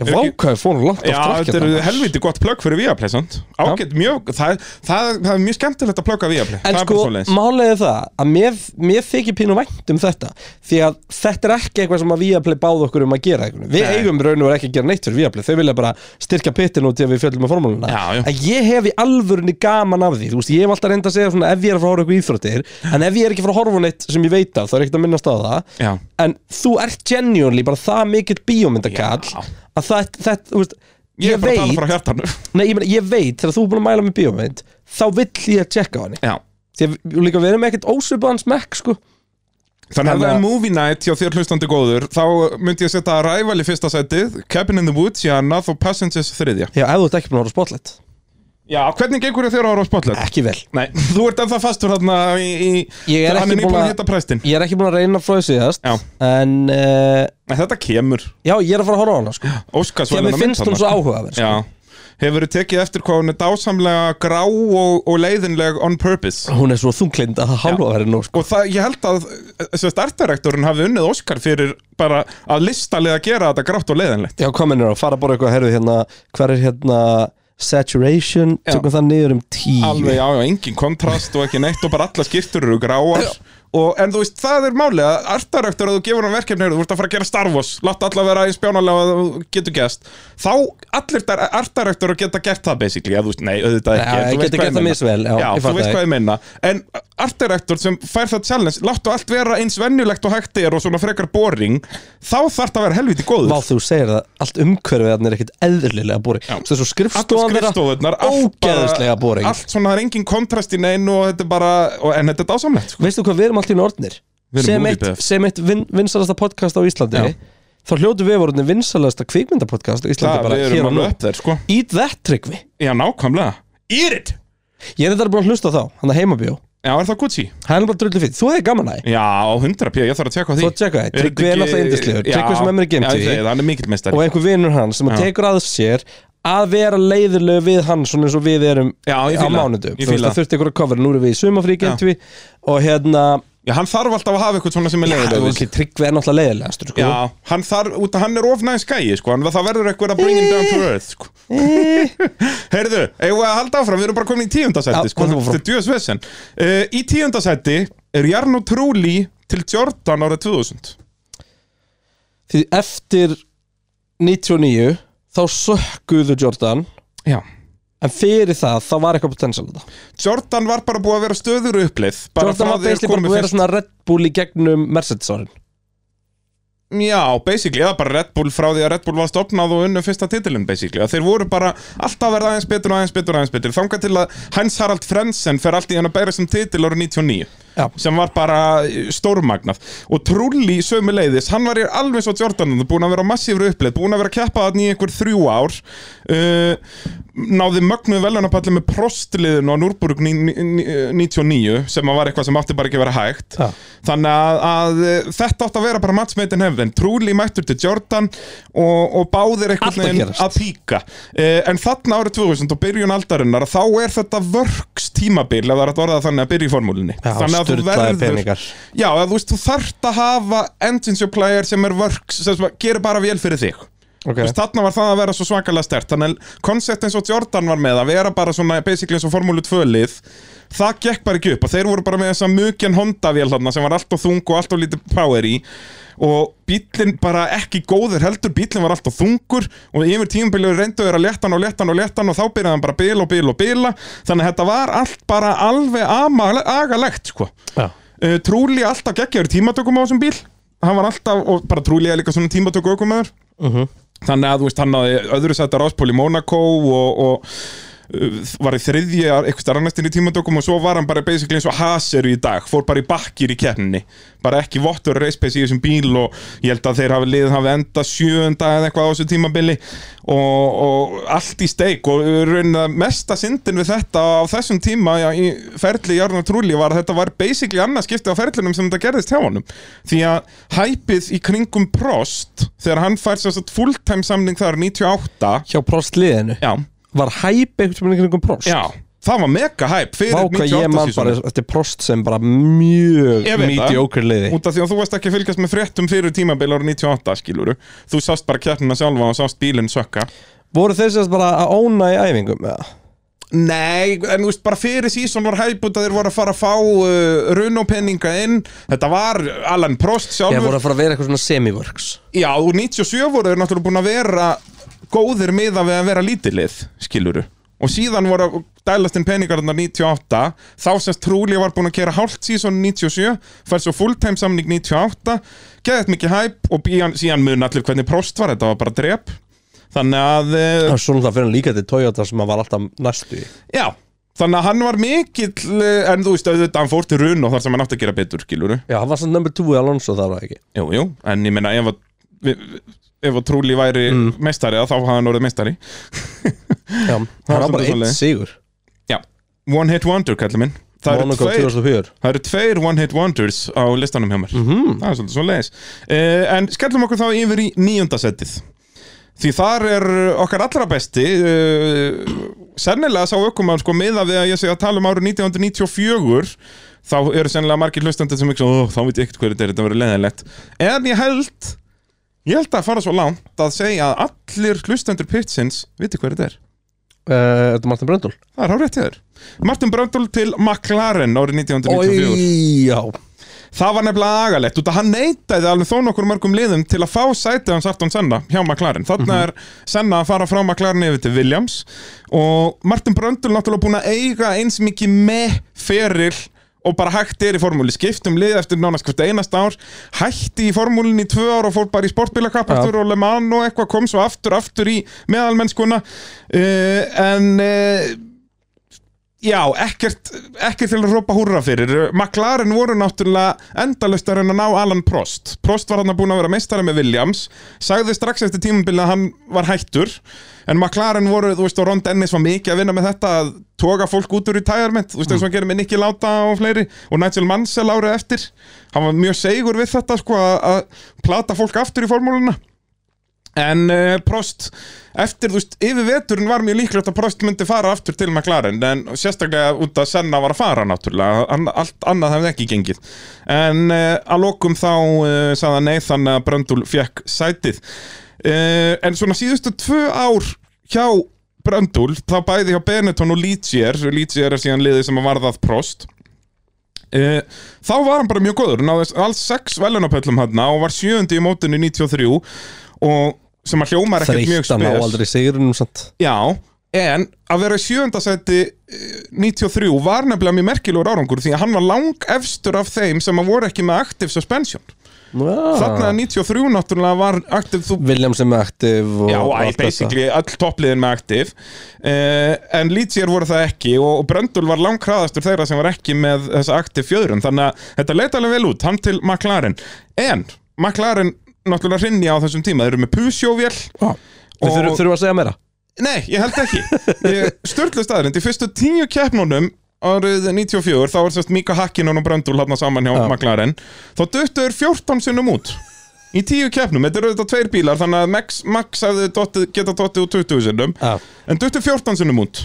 Ég vákaði fór hún langt Já, af þetta trakkið er helviti gott plögg fyrir Viaplay, sant? Ágætt mjög, það, það, það er mjög skemmtilegt að plögga Viaplay En það er sko, bara svoleiðis. málega það að mér, mér þykir pínu vænt um þetta því að þetta er ekki eitthvað sem að Viaplay báð okkur um að gera eitthvað. Við Nei. eigum raun og veru ekki að gera neitt fyrir Viaplay, þau vilja bara styrka pittin út í að við fjöllum að formúluna Já, já. En ég hef í alvörunni gaman af því, þú veist, ég hef alltaf reynda að segja svona ef ég er að fara að horfa á eitthvað íþróttir en ef ég er ekki að fara að horfa á neitt sem ég veit af þá er ekkert að minnast á það Já, en þú ert genuinely bara það mikill bíómyndakall Já. að það, það, þú veist ég Ég, er bara að tala veit, frá hjartanu nei, ég, meina, ég veit þegar þú er búin að mæla með bíómynd þá vill ég að tjekka á henni Já Því að við- líka við erum ekkert ósvipaðan smekk sko Þannig að Þannig það að- er movie night hjá þér hlustandi góður Þá myndi ég setja Rival í fyrsta sætið Cabin in the Woods í annað og Passengers þriðja Já, ef þú ert ekki búin að horfa á spotlight Já, hvernig gengur þér ára á spotlet? Ekki vel Nei, þú ert ennþá fastur þarna í, í Ég er Hann ekki er búin nýbúin að að hitta præstin Ég er ekki búin að reyna frá því síðast Já. En uh, Nei, þetta kemur já, ég er að fara að horfa á hana sko Því að Óskarsvæðan mér finnst hún svo áhugaverð sko. Já Hefur tekið eftir hvað hún er dásamlega grá og, og leiðinleg on purpose Hún er svo þunglind að það hálfa verið nú sko og það, ég held að eh, þessi startdirektorinn hafi unnið Óskar fyrir bara að listalega gera þetta grátt og leiðinlegt Já, hvað mennir á, fara bara eitthvað að herðu hérna Hver er hérna saturation Já. Tökum það niður um tíu alveg, já, já, engin kontrast og ekki neitt og bara alla skýrtur eru gráar og, en þú veist, það er málið að artdirektor að þú gefur hann verkefni, heyrðu, þú ert að fara að gera Star Wars látt alla vera eins bjánalega að þú getur gest þá allir artdirektor geta gert það basically, já, þú veist, nei, auðvitað Já, ekki en ég þú veist geti hvað gert það meina. misvel, já, já, ég þú fatta veist það. hvað ég meina en artdirektor sem fær það challenge láttu allt vera eins venjulegt og hægt er og svona frekar boring þá þarf það að vera helviti góður Vá, þú segir það, allt umhverfið þarna er ekkert eðlilega bóri Já. Svo Allar skrifstofan þeirra skrifstofunar allt bara- ógeðslega bóri Allt svona, það er engin kontrast í neinu og þetta er bara, og, en þetta er dásamlegt sko. veistu hvað við erum alltaf í nortnir Við erum sem movie eitt, buff. sem eitt vin, vinsalasta podcast á Íslandi Já. þá hljótu við vorum vinsalasta kvikmyndapodcast á Íslandi Það, bara við hér erum og nú alveg upp þér, sko Eat that tryggvi, Já, nákvæmlega Eat it! ég er þetta búin að hlusta á þá hann að heimabjó, Já, er það Gucci? hann er bara drullu fyrir þú hefði gaman að því, Já, á 100 pjö, ég þarf að tjekka á því þú tjekka það Er þetta tryggvi er ekki- alltaf indislegur, Já, tryggvi sem er mér í Já, ég gemti segi það, hann er mikill meistari og einhver vinnur hann sem að Já. tekur að sér að vera leiðilegu við hann svona eins og við erum Já, ég á fíla það, mánudum, ég þú veist fíla það þurfti ykkur að cover nú erum við í sumafrí gemti við og hérna, Ah, Já, hann þarf alltaf að hafa eitthvað svona sem er leiðilegur ok, tryggvi er náttúrulega leiðilegastur sko. Já, hann þarf, út að hann er of næs gæi, sko en Það verður eitthvað að bring him down to earth, sko Eh. Heyrðu, eigum við að halda áfram, við erum bara komin í Já, tíundasætti sko, höldum áfram. þetta er djöðsvesen uh, Í tíundasætti er Jarno Trúli til Jordan árið 2000 því eftir 99 þá sökkuðu Jordan Já en fyrir það þá var eitthvað potential þetta Jordan var bara búið að vera stöður upplið bara Jordan frá var því þeir basically bara komu að vera fyrst- svona Red Bull í gegnum Mercedes árin Já, basically, eða bara Red Bull frá því að Red Bull var stopnað og unnu fyrsta titilin basically, að þeir voru bara alltaf að verða aðeins betur og aðeins betur og aðeins betur, þangað til að Hans Harald Frensen fer allt í hann að bæra sem titil árið 99 Já. sem var bara stórmagnað og Trulli sömu leiðis, hann var í alveg svo Jordan búin að vera á massífri uppleið, búin að vera að keppa þarna í einhver þrjú ár uh, náði mögnuð velunapalli með prostliðinu á Núrburg 99 sem að var eitthvað sem átti bara ekki að vera hægt Já. þannig að, að eh, þetta átti að vera bara matchmeitin hefðin, Trulli mættur til Jordan og, og báðir Allt að einhvern veginn gerast. að píka eh, en þarna árið 2000 og byrjun aldarinnar þá er þetta vörks tímabil ef það er að orða það þannig að byrja í formúlinni Já, þannig að þú sturlaðir verður peningar. já, að þú veist, þú þarft að hafa engine supplier sem er vörks sem sem gerir bara vel fyrir þig okay. Þú veist, þarna var það að vera svo svakalega stert þannig að koncept eins og Jordan var með að vera bara svona basically eins og formúlu 2 lið það gekk bara ekki upp og þeir voru bara með þessa mjögjan Honda-vél þarna sem var allt og þung og allt og lítið power í og bíllinn bara ekki góður heldur bíllinn var allt og þungur og yfir tímabilið reyndu þeir að leta hann og leta hann og leta hann og þá byrjaði hann bara að bila og bila og bila þannig að þetta var allt bara alveg ama- agalegt sko Já. uh, Trúli alltaf geggjaður í tímatökum á þessum bíl hann var alltaf, og bara Trúli er líka svona tímatöku aukumæður þannig að þú veist hann að öðru sætti ráspól í Monaco og, og uh, var í þriðji eitthvað starfnæstin í tímatökum og svo var hann bara basically eins og haseru í dag fór bara í bakkir í keppninni bara ekki vottur reispeis í þessum bíl og ég held að þeir hafi liðið hafi enda sjöunda eða eitthvað á þessu tímabili og, og allt í steik og raunin að mesta syndin við þetta á þessum tíma já, í ferli Jarnar Trulli var að þetta var basically annað skipti á ferlinum sem þetta gerðist hjá honum því að hæpið í kringum Prost þegar hann fær sér satt fulltime samning þar 98 hjá prostliðinu já, var hæp einhvern veginn kringum prost já, það var mega hæp fyrir Váka ég 98 man bara eftir prost sem bara mjög Ég veit það. mediocre liði út af því að þú varst ekki að fylgjast með fréttum fyrir tímabil árið 98 skiluru þú sást bara kjarnina sjálfa og sást bílinn sökka Voru þeir sérst bara að óna í æfingum eða? Nei, en þú veist, bara fyrir sísón var hæp út að þeir voru að fara að fá uh, runopenninga inn Þetta var Alan Prost Ég sjálfur voru að fara að vera eitthvað svona semi-works Já, og 97 voru þeir náttúrulega búin að vera góðir miða við að vera lítilið, skiluru Og síðan voru að dælast inn peningarnar 98 Þá semst trúli var búin að kera hálft sísón 97 Fær svo fulltime samning 98 Geðið mikið hæp og bíjan, síðan mun allir hvernig Prost var Þetta var bara drep Þannig að uh, Það er svona það fyrir hann líka til Toyota sem hann var alltaf næstu í Já, þannig að hann var mikill eh, En þú veist, auðvitað hann fór til run Og þar sem hann átti að gera betur, skiluru Já, hann var samt number 2 í Alonso þar var það ekki Jú, jú, en ég meina ef að vi- Ef að trúli væri meistari að Þá hafði hann orðið meistari Já, hann var var bara svolítið einn svoleiðis. sigur Já, one hit wonder, kallið minn Það eru Monaco tveir 2004 Það eru tveir One Hit Wonders á listanum hjá mér Það er svolítið svo leiðis En skellum okkur þá yfir í níunda setið Því þar er okkar allra besti uh, Sennilega sá ökumann sko miða við að ég segja að tala um árið 1994 Þá eru sennilega margir hlustandi sem ekki Þá veit ég ekkert hverju þetta er, þetta verður leiðilegt En ég held Ég held að fara svo langt að segja að allir hlustendur pitsins Viti hverju þetta er Eh, Þetta er Martin Bröndul Það er hárétt hjá þér Martin Bröndul til McLaren árið 1994 Oj, já Það var nefnilega agalegt út að hann neytaði alveg þó nokkur mörgum liðum til að fá sætið hans aftan Senna hjá McLaren. Þarna er Senna að fara frá McLaren yfir til Williams og Martin Bröndul náttúrulega búin að eiga eins mikið með feril og bara hægt er í formúli, skiptum lið eftir nánast hvert einast ár, hætti í formúlinni í tvö ár og fór bara í sportbílakappastur og Le Mans og eitthvað kom svo aftur aftur í meðalmennskuna uh, en uh, Já, ekkert, ekkert til að rópa húrra fyrir McLaren voru náttúrulega endalaust að reyna að ná Alan Prost Prost var hann að búin að vera meistari með Williams sagði strax eftir tímabilið að hann var hættur en McLaren voru, þú veist, og Ron Dennis var mikið að vinna með þetta að toga fólk út úr retirement, þú veist, eins og hann gerir með Nicky Lauda og fleiri og Nigel Mansell árið eftir hann var mjög segur við þetta, sko, að- að plata fólk aftur í formúluna En uh, Prost, eftir þú veist, yfir veturinn var mjög líklegt að Prost myndi fara aftur til McLaren en sérstaklega út að Senna var að fara náttúrulega, An allt annað hefði ekki gengið en uh, að lokum þá uh, sagða nei þannig að Bröndul fekk sætið uh, en svona síðustu tvö ár hjá Bröndul, þá bæði hjá Benetton og Ligier, Ligier er síðan liðið sem að varðað Prost Uh, þá var hann bara mjög góður náði alls sex velunapöllum hann og var sjöundi í mótinu 93 og sem að hljómar ekkert mjög Þreytt hann á spes aldrei sigurinn samt Já, en að vera í eh, sjöundasæti 93 var nefnilega mjög merkilegur árangur því að hann var lang efstur af þeim sem að voru ekki með active suspension Ah. Þarna Ná, 93 náttúrulega var aktiv þú Williams er með aktiv og Já, og æ, allt þetta. basically all toppliðin með aktiv uh, En Lítsjér voru það ekki Og, og Bröndul var langkraðastur þeirra sem var ekki með þessa aktiv fjöðrun Þannig að þetta leit alveg vel út, hann til McLaren En McLaren náttúrulega rinja á þessum tíma Þeir eru með Pusjóvél Já. Við þurfum, Og- þurfum að segja meira Nei, ég held ekki Störtlu staðrind, í fyrstu tíu keppnunum árið 94, þá er sérst Mika Hakkinen og Bröndul hann saman hjá Já. McLaren þá duttu þeir 14 sinnum út í tíu keppnum, þetta eru auðvitað tveir bílar þannig að Max, Max hefði dottið, geta dottið úr 20 sinnum, Já. en duttu 14 sinnum út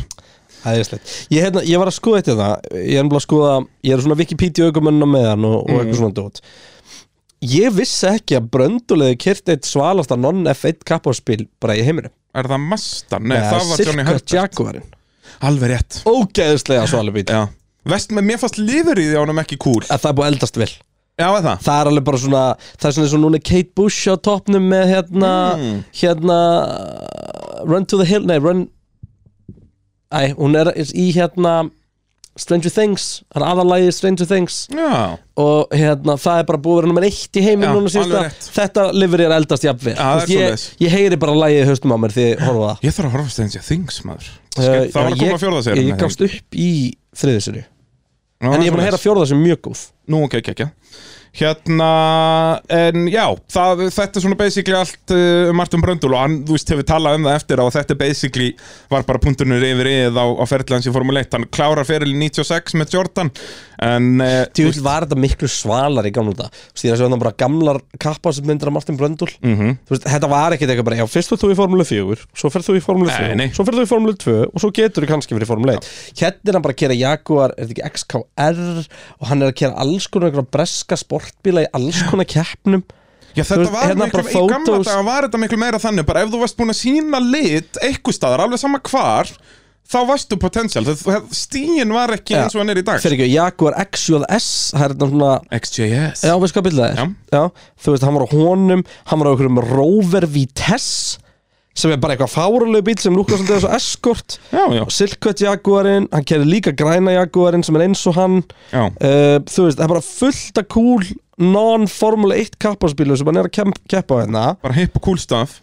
Æðislegt. Ég, hérna, ég var að skoða þetta Ég er nefnilega að skoða Ég er svona Wikipedia aukumönnum með hann og, og eitthvað Mm. svona dót Ég vissi ekki að Bröndulegði kyrti eitt svalasta non-F1 kapparspil bara í heiminum Er það Mustang? Nei, það var Johnny Sirka Herbert Jaguarinn Alveg rétt Ógeðislega svalabít Já. Vest með mér fast lifur í því ánum ekki cool að það er búið að eldast vel Já, er það? Það er alveg bara svona Það er svona eins og núna er Kate Bush á toppnum með hérna Mm. Hérna uh, Run to the Hill Nei, Run Æ, hún er í hérna Stranger Things Það er aðalagið Stranger Things Já, og hérna, það er bara búið að vera nummer eitt í Já, heiminn núna alveg síðast rétt. þetta lifir ég eldast jafnvel Já, það er Þú ég, svoleiðis. ég heyri bara lægið í höstum á mér því ég horfa á það ég þarf að horfa stendja Things, maður Uh, Það var að já, koma fjórða sér ég, ég gafst upp í þriðisinu en ég er búin að heyra fjórða sem mjög góð Nú, ok, ok, ok Hérna, en já, það, þetta er svona basically allt uh, um Martin Bröndul og hann, þú veist, hefur talað um það eftir á að þetta basically var bara punktunur yfir yfir á, á ferðlans í Formule 1 hann klárar feril í 96 með Jordan en uh, Djúl var þetta miklu svalar í gamla þetta Þú veist, ég er að segja bara gamlar kappa sem myndir af Martin Bröndul Mhm. Þú veist, þetta var ekkert eitthvað bara Já, fyrst fyrir þú í Formule 4, svo fyrir þú í Formule Nei, 3 nei. Svo fyrir þú í Formule 2 og svo getur þú kannski fyrir Formule 1 Hérna er hann bara að kera Jaguar, er þetta ekki XKR Og hann er að kera alls konar einhverja breska sportbíla í alls konar keppnum já, þú þetta veist, var hérna miklu, bara í gamla photos. daga var þetta miklu meira þannig bara ef þú varst búin að sína lit eitthvað staðar, alveg sama hvar þá varstu potensial, stíin var ekki Já. eins og hann er í dag Fyrir ekki, Jaguar XJS, það er þetta svona XJS Já, veist hvað bíl það er? Já. Þú veist, hann var á honum, hann var á einhverjum Rover Vitesse sem er bara eitthvað fáralegu bíl sem lúkast svolítið þessu Escort já, já, Silkvett Jaguarinn, hann kerir líka græna Jaguarinn sem er eins og hann já. uh, Þú veist, það er bara fullt að cool non-formule 1 kapparspílu sem hann er að kemp, keppa á hérna bara hip og cool stuff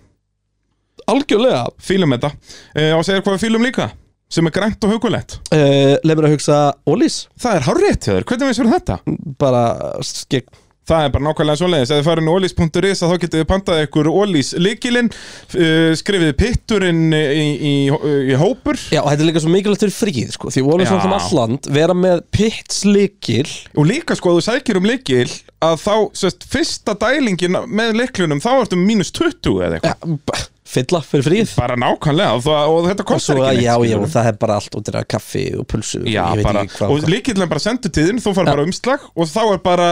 Algjörlega fílum þetta uh, og segir hvað við fílum líka sem er grænt og hugulegt uh, Leif mér að hugsa, Ólís, það er hárrétt hjá þér, hvernig veist fyrir þetta? bara skik Það er bara nákvæmlega svoleiðis, ef þið farin ólís.is að þá getið þið pantað ykkur ólís likilinn uh, skrifið pitturinn í, í, í, í hópur Já, og þetta er líka svo mikilvægt fyrir fríð, sko Því Ólís Já. er alltaf alland, vera með pitslikil og líka sko að þú sækir um likil að þá, sérst, fyrsta dælingin með liklunum þá ertu mínus 20 eða eitthvað ja, b- fylla fyrir fríð bara nákvæmlega og, það, og þetta og svo kostar að ekki já, já, skilurðu. það er bara allt út í það kaffi og pulsu og Já, ég veit bara, ekki hvað, og hvað. líkillin bara sendur til þín, þú fær bara umslag og þá er bara,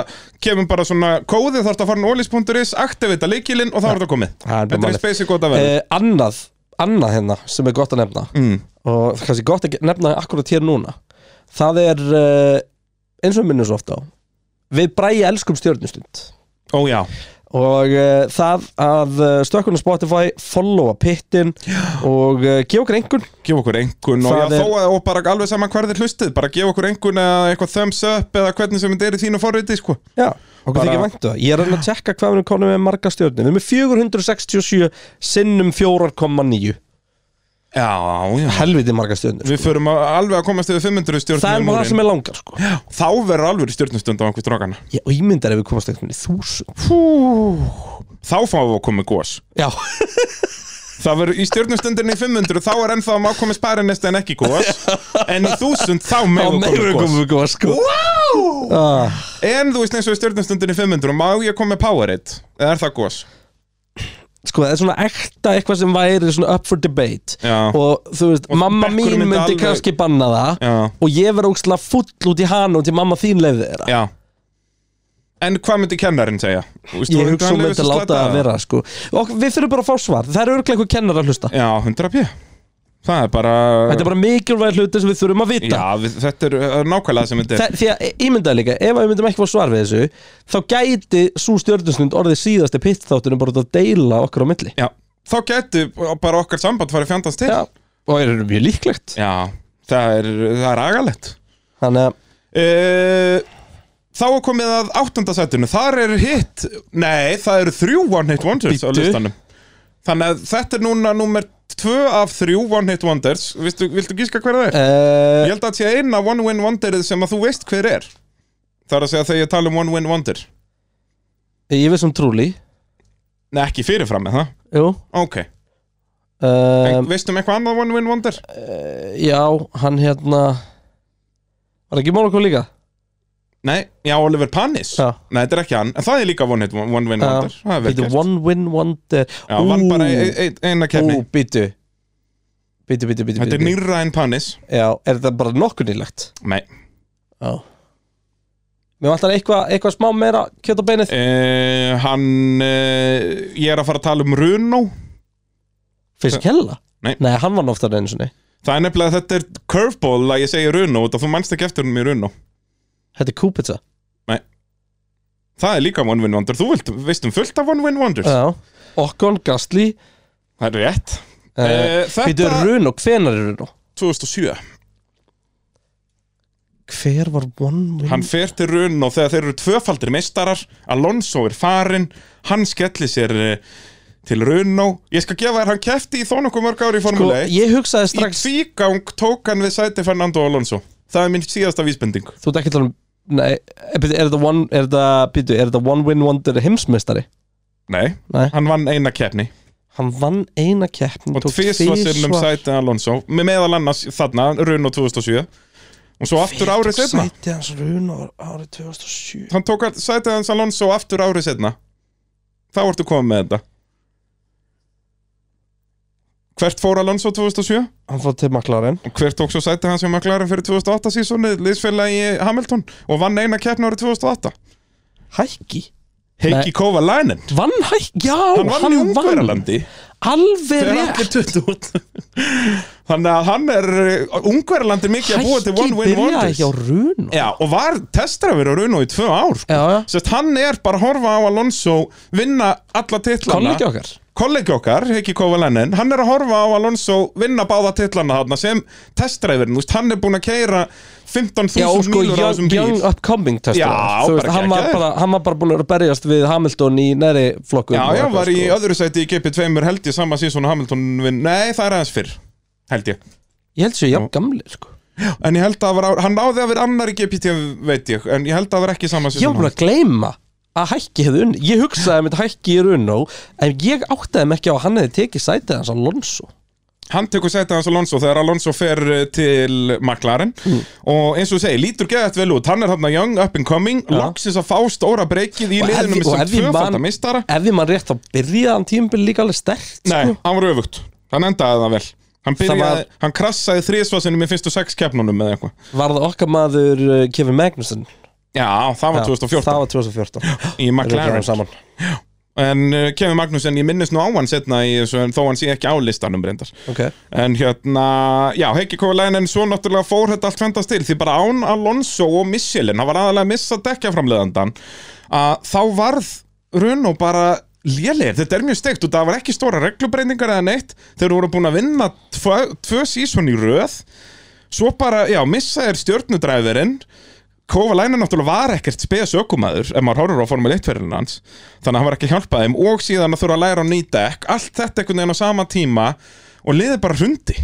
kemur bara svona kóði þarf að fara nólis.is, aktivita líkillin og þá er þetta komið. Það er bara Þetta er málið. eins basic gott að vera. Eh, annað, annað hérna sem er gott að nefna mm. og það er kannski gott að ge- nefna akkurat hér núna það er eh, eins og við minnum svo ofta á við bræði elskum stjörnustund Ó já, og uh, það að uh, stökkunum Spotify followa pittin og uh, gefa okkur einhvern gef okkur engun og, Það já, er- þó, að- og bara alveg sama hver þið hlustið, bara gef okkur engun eða eitthvað thumbs up eða hvernig sem þetta er í þínu forriti, sko. já, okkur Bara- bara... þykir væntu það ég er að reyna að tjekka hvað við erum konum með marga stjörnum við erum með 467 sinnum 4,9 Já, já. helviti marga stjörnur Við förum að, alveg að komast yfir 500 stjórnum það er bara það sem er langar sko. Þá verður alveg stjórnustund á einhver strókana. ég ímyndar ef við komast eitthvað í þúsund Hú, þá fáum við að koma gos. já, Það verður í stjórnustundinni í 500 þá er ennþá að koma spærinest en ekki gos en í 1000 þá á meður meiru komið gos komum við góða sko wow! ah, En þú veist eins og í stjórnustundinni í 500 má ég koma með Powerade eða er það gos? sko það er svona ekta eitthvað sem væri svona up for debate Já. og þú veist, Og mamma mín bekkurinn myndi myndi alveg- kannski banna það Já, og ég verði ógstlega full út í hana og til mamma þín leiði þeirra já En hvað myndi kennarinn segja? Þú Veist, ég þú hugsa hann hún leyfist myndi láta sletta það að vera sko. og við þurfum bara að fá svar, það er örglega eitthvað kennar að hlusta Já, 100 p Það er bara, þetta er bara mikilvæg hluti sem við þurfum að vita Já, við, þetta er uh, nákvæmlega sem þetta er Þa, því að ímyndaði líka, ef að við myndum ekki fá svar við þessu þá gæti svo stjörnusnund orðið síðasti pitt þáttunum bara út að deila okkur á milli Já, þá getur bara okkar samband farið fjandans til Já, og er þetta mjög líklegt Já, það er, það er agalegt Þannig að Uh, E, Þá er komið að áttundasættinu, þar eru hitt, nei, það eru þrjú One Hit Wonders á Bíddu. listanum Þannig að þetta er núna númer tvö af þrjú One Hit Wonders, Vistu, viltu gíska hver það er? uh, Ég held að það sé eina One Win Wonderið sem að þú veist hver er Það er að segja þegar ég tala um One Win Wonder Ég veist um trúli Nei, ekki fyrirfram með það, Jú ok um, um, Veistum eitthvað annað One Win Wonder? Já, hann hérna Var ekki Mónakó líka? Nei, já, Oliver Panis Já. Nei, þetta er ekki hann, en það er líka One, hit, one Win Wonder Það er vel Býtu, gert. One Win Wonder Já, vann bara ein, ein, eina kefni Ú, býtu Býtu, býtu, býtu Þetta er nýrra en Panis Já, er þetta bara nokkuð nýlegt? Nei Já Mér vantar eitthvað eitthva smá meira kjöt á beinið Uh, hann, uh, ég er að fara að tala um Runo Fyrst kella? Nei. Nei, hann var oftar enn svona Það er nefnilega að þetta er curveball að ég segi Runo og þú manst ekki eftir hennum í Runo Þetta er Kúpitsa Það er líka One Win Wonder, þú vilt, veist um fullt af One Win Wonders Já Okkon, Gastli Það er rétt uh, uh, Býtu, Þetta, Runo, hvenar er Runo? 2007 Hver var One Win? Hann fer til Runo þegar þeir eru tvöfaldir meistarar Alonso er farinn Hann skellir sér uh, til Runo Ég skal gefa þér, hann kefti í þó nokkuð mörg ári í Sko, Formule 1 ég hugsaði Í strax tvígang tók hann við sæti Fernando Alonso Það er minn síðasta vísbending Þú ert ekki að tala um Nei, er bíddu, er þetta one, er þetta, býtu, er þetta one win wonder heimsmeistari? Nei, Nei. hann vann eina keppni Hann vann eina keppni og tvisva sinnum sæti Alonso með meðal annars þarna, Runo 2007 og svo aftur árið setna Sæti hans runa árið 2007 hann tók all- sæti hans Alonso aftur árið setna þá ertu komið með þetta hvert fór Alonso 2007 Hann fór til maklarinn og hvert tók svo sæti hans hjá McLaren fyrir 2008 sísoni, liðsfélagi Hamilton og vann eina keppni árið 2008 Hækki Nei. Heikki Kovalainen Vann Hækki, já hann vann í Ungverjalandi Alveg þegar rétt allir tuttu út þannig að hann er eh, Ungverjalandi er mikið að búa til Hækki One Win byrjaði Wonders hjá runa Já, og var testrafir á Runo í tvö ár sko. Já, já. Sest, hann er bara að horfa á Alonso vinna alla titlana Kollegi okkar Kollegi okkar, Heikki Kovalainen hann er að horfa á Alonso vinna báða titlana þarna sem testrafirinn hann er búin að keira Já, 15.000 sko, mílur á young, þessum bíl young upcoming testur Já, Þú veist, bara hann var geggjaður. bara, hann var bara búin að berjast við Hamilton í næri flokkum Já, og já, eitthvað, var í sko. öðru sæti í GP2 held ég sama síðan Hamilton vinn Nei, það er aðeins fyrr, held ég Ég held sér, já, gamli, sko En ég held að það var, á- hann náði að vera annar í GPT, veit ég, en ég held að það var ekki saman Ég var búin að gleyma að hækki hefði unni Ég hugsaði með hækki í runn En ég áttaði mig ekki á að hann hefði tekið sætið hans Alonso Hann tekur sætið hans Alonso þegar Alonso fer eh, til McLaren Mm. og eins og ég segi, lítur geðað vel út, hann er hann young, up and coming, Já. loksins að fá stóra breykið í Og ef ég- liðinu með og sem ef ég man- tvöfaldar mistara. Ef ég mann rétt þá byrjaði hann tímabil líka alveg stert Nei, hann var öfugt, hann endaði það vel. Hann Það var- byrjaði, hann krassaði þrísvasinum í fyrstu sex keppnunum eða eitthvað. Var það okkar maður uh, Kevin Magnussen Já, það var 2014 Það var 2014 Við í erum McLaren. saman. En uh, Kevin Magnussen, ég minnist nú á hann setna í þessu, en þó hann sé ekki á listanum reyndar. Okay. En hérna, já, Heikki Kovalainen svo náttúrulega fór þetta allt fendast til því bara án Alonso og Michelin hann var aðalega að missa dekja framleðandan að þá varð Runo bara lélegir, þetta er mjög steikt og það var ekki stóra reglubreiningar eða neitt þeir voru búin að vinna tvö, tvö sísón í röð svo bara, já, missa er stjörnudræðurinn Kovalainen náttúrulega var ekkert spes ökumæður ef maður horfur á Formule 1 ferðin hans þannig að hann var ekki að hjálpa þeim og síðan að þurfa að læra á ný dekk allt þetta einhvern veginn á sama tíma og liðið bara hrundi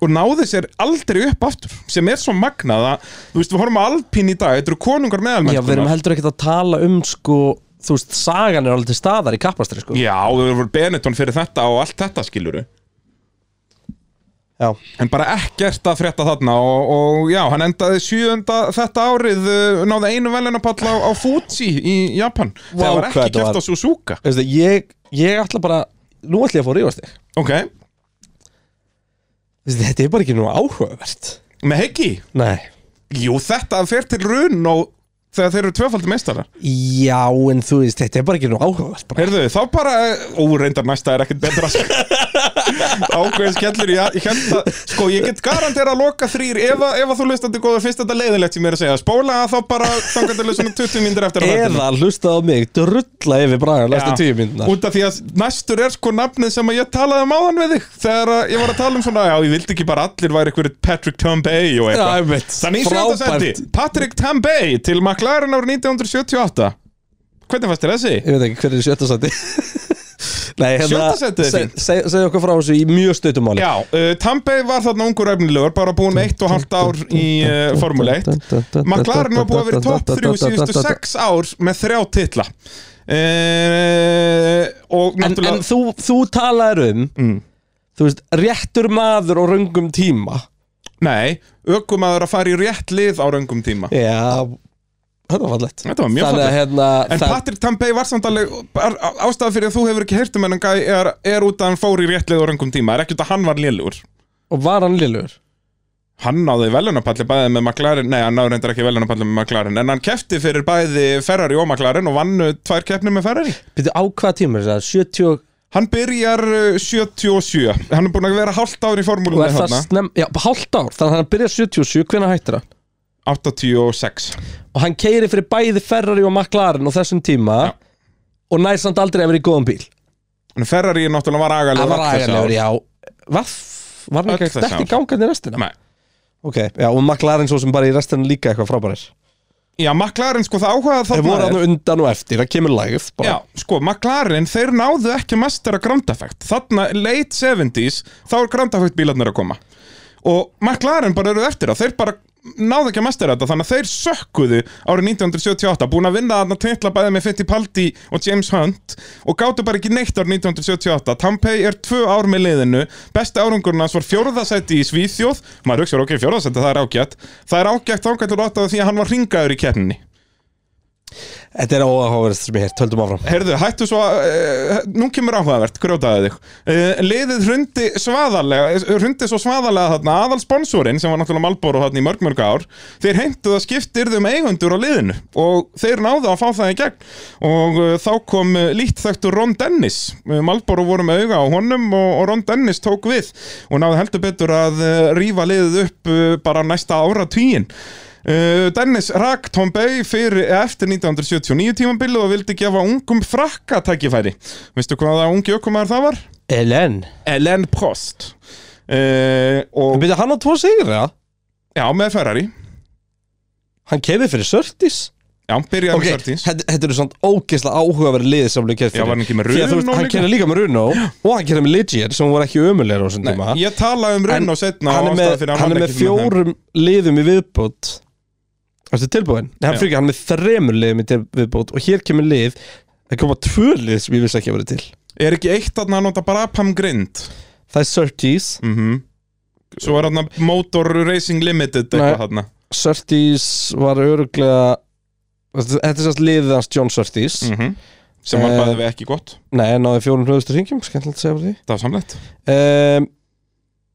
og náði sér aldrei upp aftur sem er svo magnað að þú veist við horfum á Alpín í dag, þetta eru konungar Já, við erum meðalmenntunar heldur ekkert að tala um sko Þú veist, sagan er alveg til staðar í kappastri sko Já, við vorum Benetton fyrir þetta og allt þetta skiluru Já. En bara ekkert að frétta þarna og, og já, hann endaði sjöunda þetta árið uh, náði einu velunapall á, á Fuji í Japan Vá, þegar var hvað ekki þetta kæft var- á Suzuka Veistu, ég, ég ætla bara Nú ætla ég að fá að rífast þig Ok, Veistu, Þetta er bara ekki nú áhugavert með Heikki Nei Jú, þetta fer til run og þegar þeir eru tvöfaldi meistarar Já, en þú veist, þetta er bara ekki nú áhugavert bara. Heyrðu, þá bara, ó, reyndar næsta er ekkert betra sko. ákveðin skellur ég, ég held að, sko ég get garantera að loka þrýr ef, að- ef að þú lustandi góður finnst þetta leiðilegt sem ég er að segja spóla það þá bara þangandilega svona 20 mínútur eftir að þættinum. Eða hlustaðu á mig, drulla yfir braga næstu Já. tíu myndina út af því að næstur er sko nafnið sem að ég talaði um áðan við þig þegar að ég var að tala um svona já ég vildi ekki bara allir væri einhverju Patrick Tambay Já, og eitthvað einmitt. þannig í sjönda Frábært. sendi Patrick Tambay til McLaren árið 1978 hvernig fannst þér þessi? Ég veit ekki hver er í sjötta sæti Nei, hérna Sjötta sætið er se- fínt. se- Segðu okkur frá þessu í mjög stötumáli Já, uh, Tambay var þarna ungur efnilegur bara búin með eitt og halvt ár í uh, Formule 1 McLaren var búið að vera í topp 3 síðustu 6 ár með þrjá titla uh, og En, en náttúrulega Mm. þú, þú talaðir um Þú veist, réttur maður á röngum tíma nei, aukumæður að fara í rétt lið á raungum tíma Já, þetta var fallegt Þetta var mjög Þannig að fallegt. hérna En það- Patrick Tambay var samt alveg ástæða fyrir að þú hefur ekki heyrt um hennan gæ er, er út að hann fór í rétt lið á raungum tíma er ekki út að hann var lélugur Og var hann lillur? Hann náði velunapalli bæði með McLaren Nei, hann náði reyndar ekki velunapalli með McLaren En hann kefti fyrir bæði Ferrari og McLaren Og vann uh, tvær keppnir með Ferrari Býttu á hvaða tíma er það? 70 og- Hann byrjar uh, 77 Hann er búinn að vera hálft ár í og er formúlunni það þarna snem, já, hálft ár, þannig að hann byrjar 77, hvenær hættir hann? 86 Og hann keiri fyrir bæði Ferrari og McLaren á þessum tíma Já. og næst samt aldrei að vera í góðum bíl En Ferrari náttúrulega var agalegur Það var öll þessi aðeinlegur, ár. já Var, var hann Öll ekki þessi ekki ár. gangandi restina? Nei. Ok, já, og McLaren svo sem bara í restina líka eitthvað frábærir Já, McLaren sko það áhugaða Þeir þarna voru er- hann undan og eftir, það kemur lagið bara. Já, sko, McLaren, þeir náðu ekki að mastera Grand Effect Þarna, late 70s, þá er Grand Effect bílarnir að koma Og McLaren bara eru eftir það, þeir bara náðu ekki að mastera þetta Þannig að þeir sökkuðu árið 1978 Búin að vinna þarna titla bæði með Fittipaldi og James Hunt Og gátu bara ekki neitt árið 1978 Tampei er tvö ár með liðinu Besti árangurinn hans var fjórðasætti í Svíþjóð Maður hugsar, ok, fjórðasætti, það er ágætt Það er ágætt þangað til áttaðu því að hann var ringaður í keppninni Þetta er óháverðist sem ég hér, töldum áfram Herðu, hættu svo að, uh, nú kemur áhugavert, grjótaði þig. Uh, liðið hrundi svaðarlega, hrundi svo svaðarlega þarna, aðal sponsorinn sem var náttúrulega Malboro þarna í mörg mörg ár, þeir heimtuð að skiptirðu um eigundur á liðinu og þeir náðu að fá það í gegn. Og uh, þá kom uh, lítt þekktur Ron Dennis, uh, Malboro voru með auga á honum og, og Ron Dennis tók við og náðu heldur betur að uh, rífa liðið upp uh, bara næsta ára tíin. Uh, Dennis rak Tom Bay fyrir eh, eftir 1979 tímabilið og vildi gefa ungum frakka tækifæri Veistu hvaða ungi ökumæður það var? Elen Ellen Prost uh, og, Býttu hann á tvo sigur, já? Já, með Ferrari Hann keiri fyrir Sörtis Já, Ok, byrjaði okay. með þetta Sörtins þetta eru svona ógeðslega áhugaverið lið sem við keftir Já, var hann ekki með Renault Hann líka? kæra líka með Runo og hann kæra með Ligier sem voru ekki ömulegur á þessum tíma Ég tala um En Renault og setna Hann er með, hann er með fjórum liðum í viðbót Þetta er tilbúin Nei, hann Já. fyrir ekki, hann er með þremur liðum í til- viðbót og hér kemur lið Það koma tvö lið sem ég vissi ekki að vera til Er ekki eitt þarna að nota bara Pam Grind Það er Surtees mm Svo er þarna Motor Racing Limited Nei. eitthvað þarna Surtees var öruglega Þetta er sérst liðið hans John Surtees mm Sem var Eh. bæði við ekki gott Nei, hann náði fjórum hlöðustu ringjum, skemmtilegt að segja fyrir því Það var samlegt um,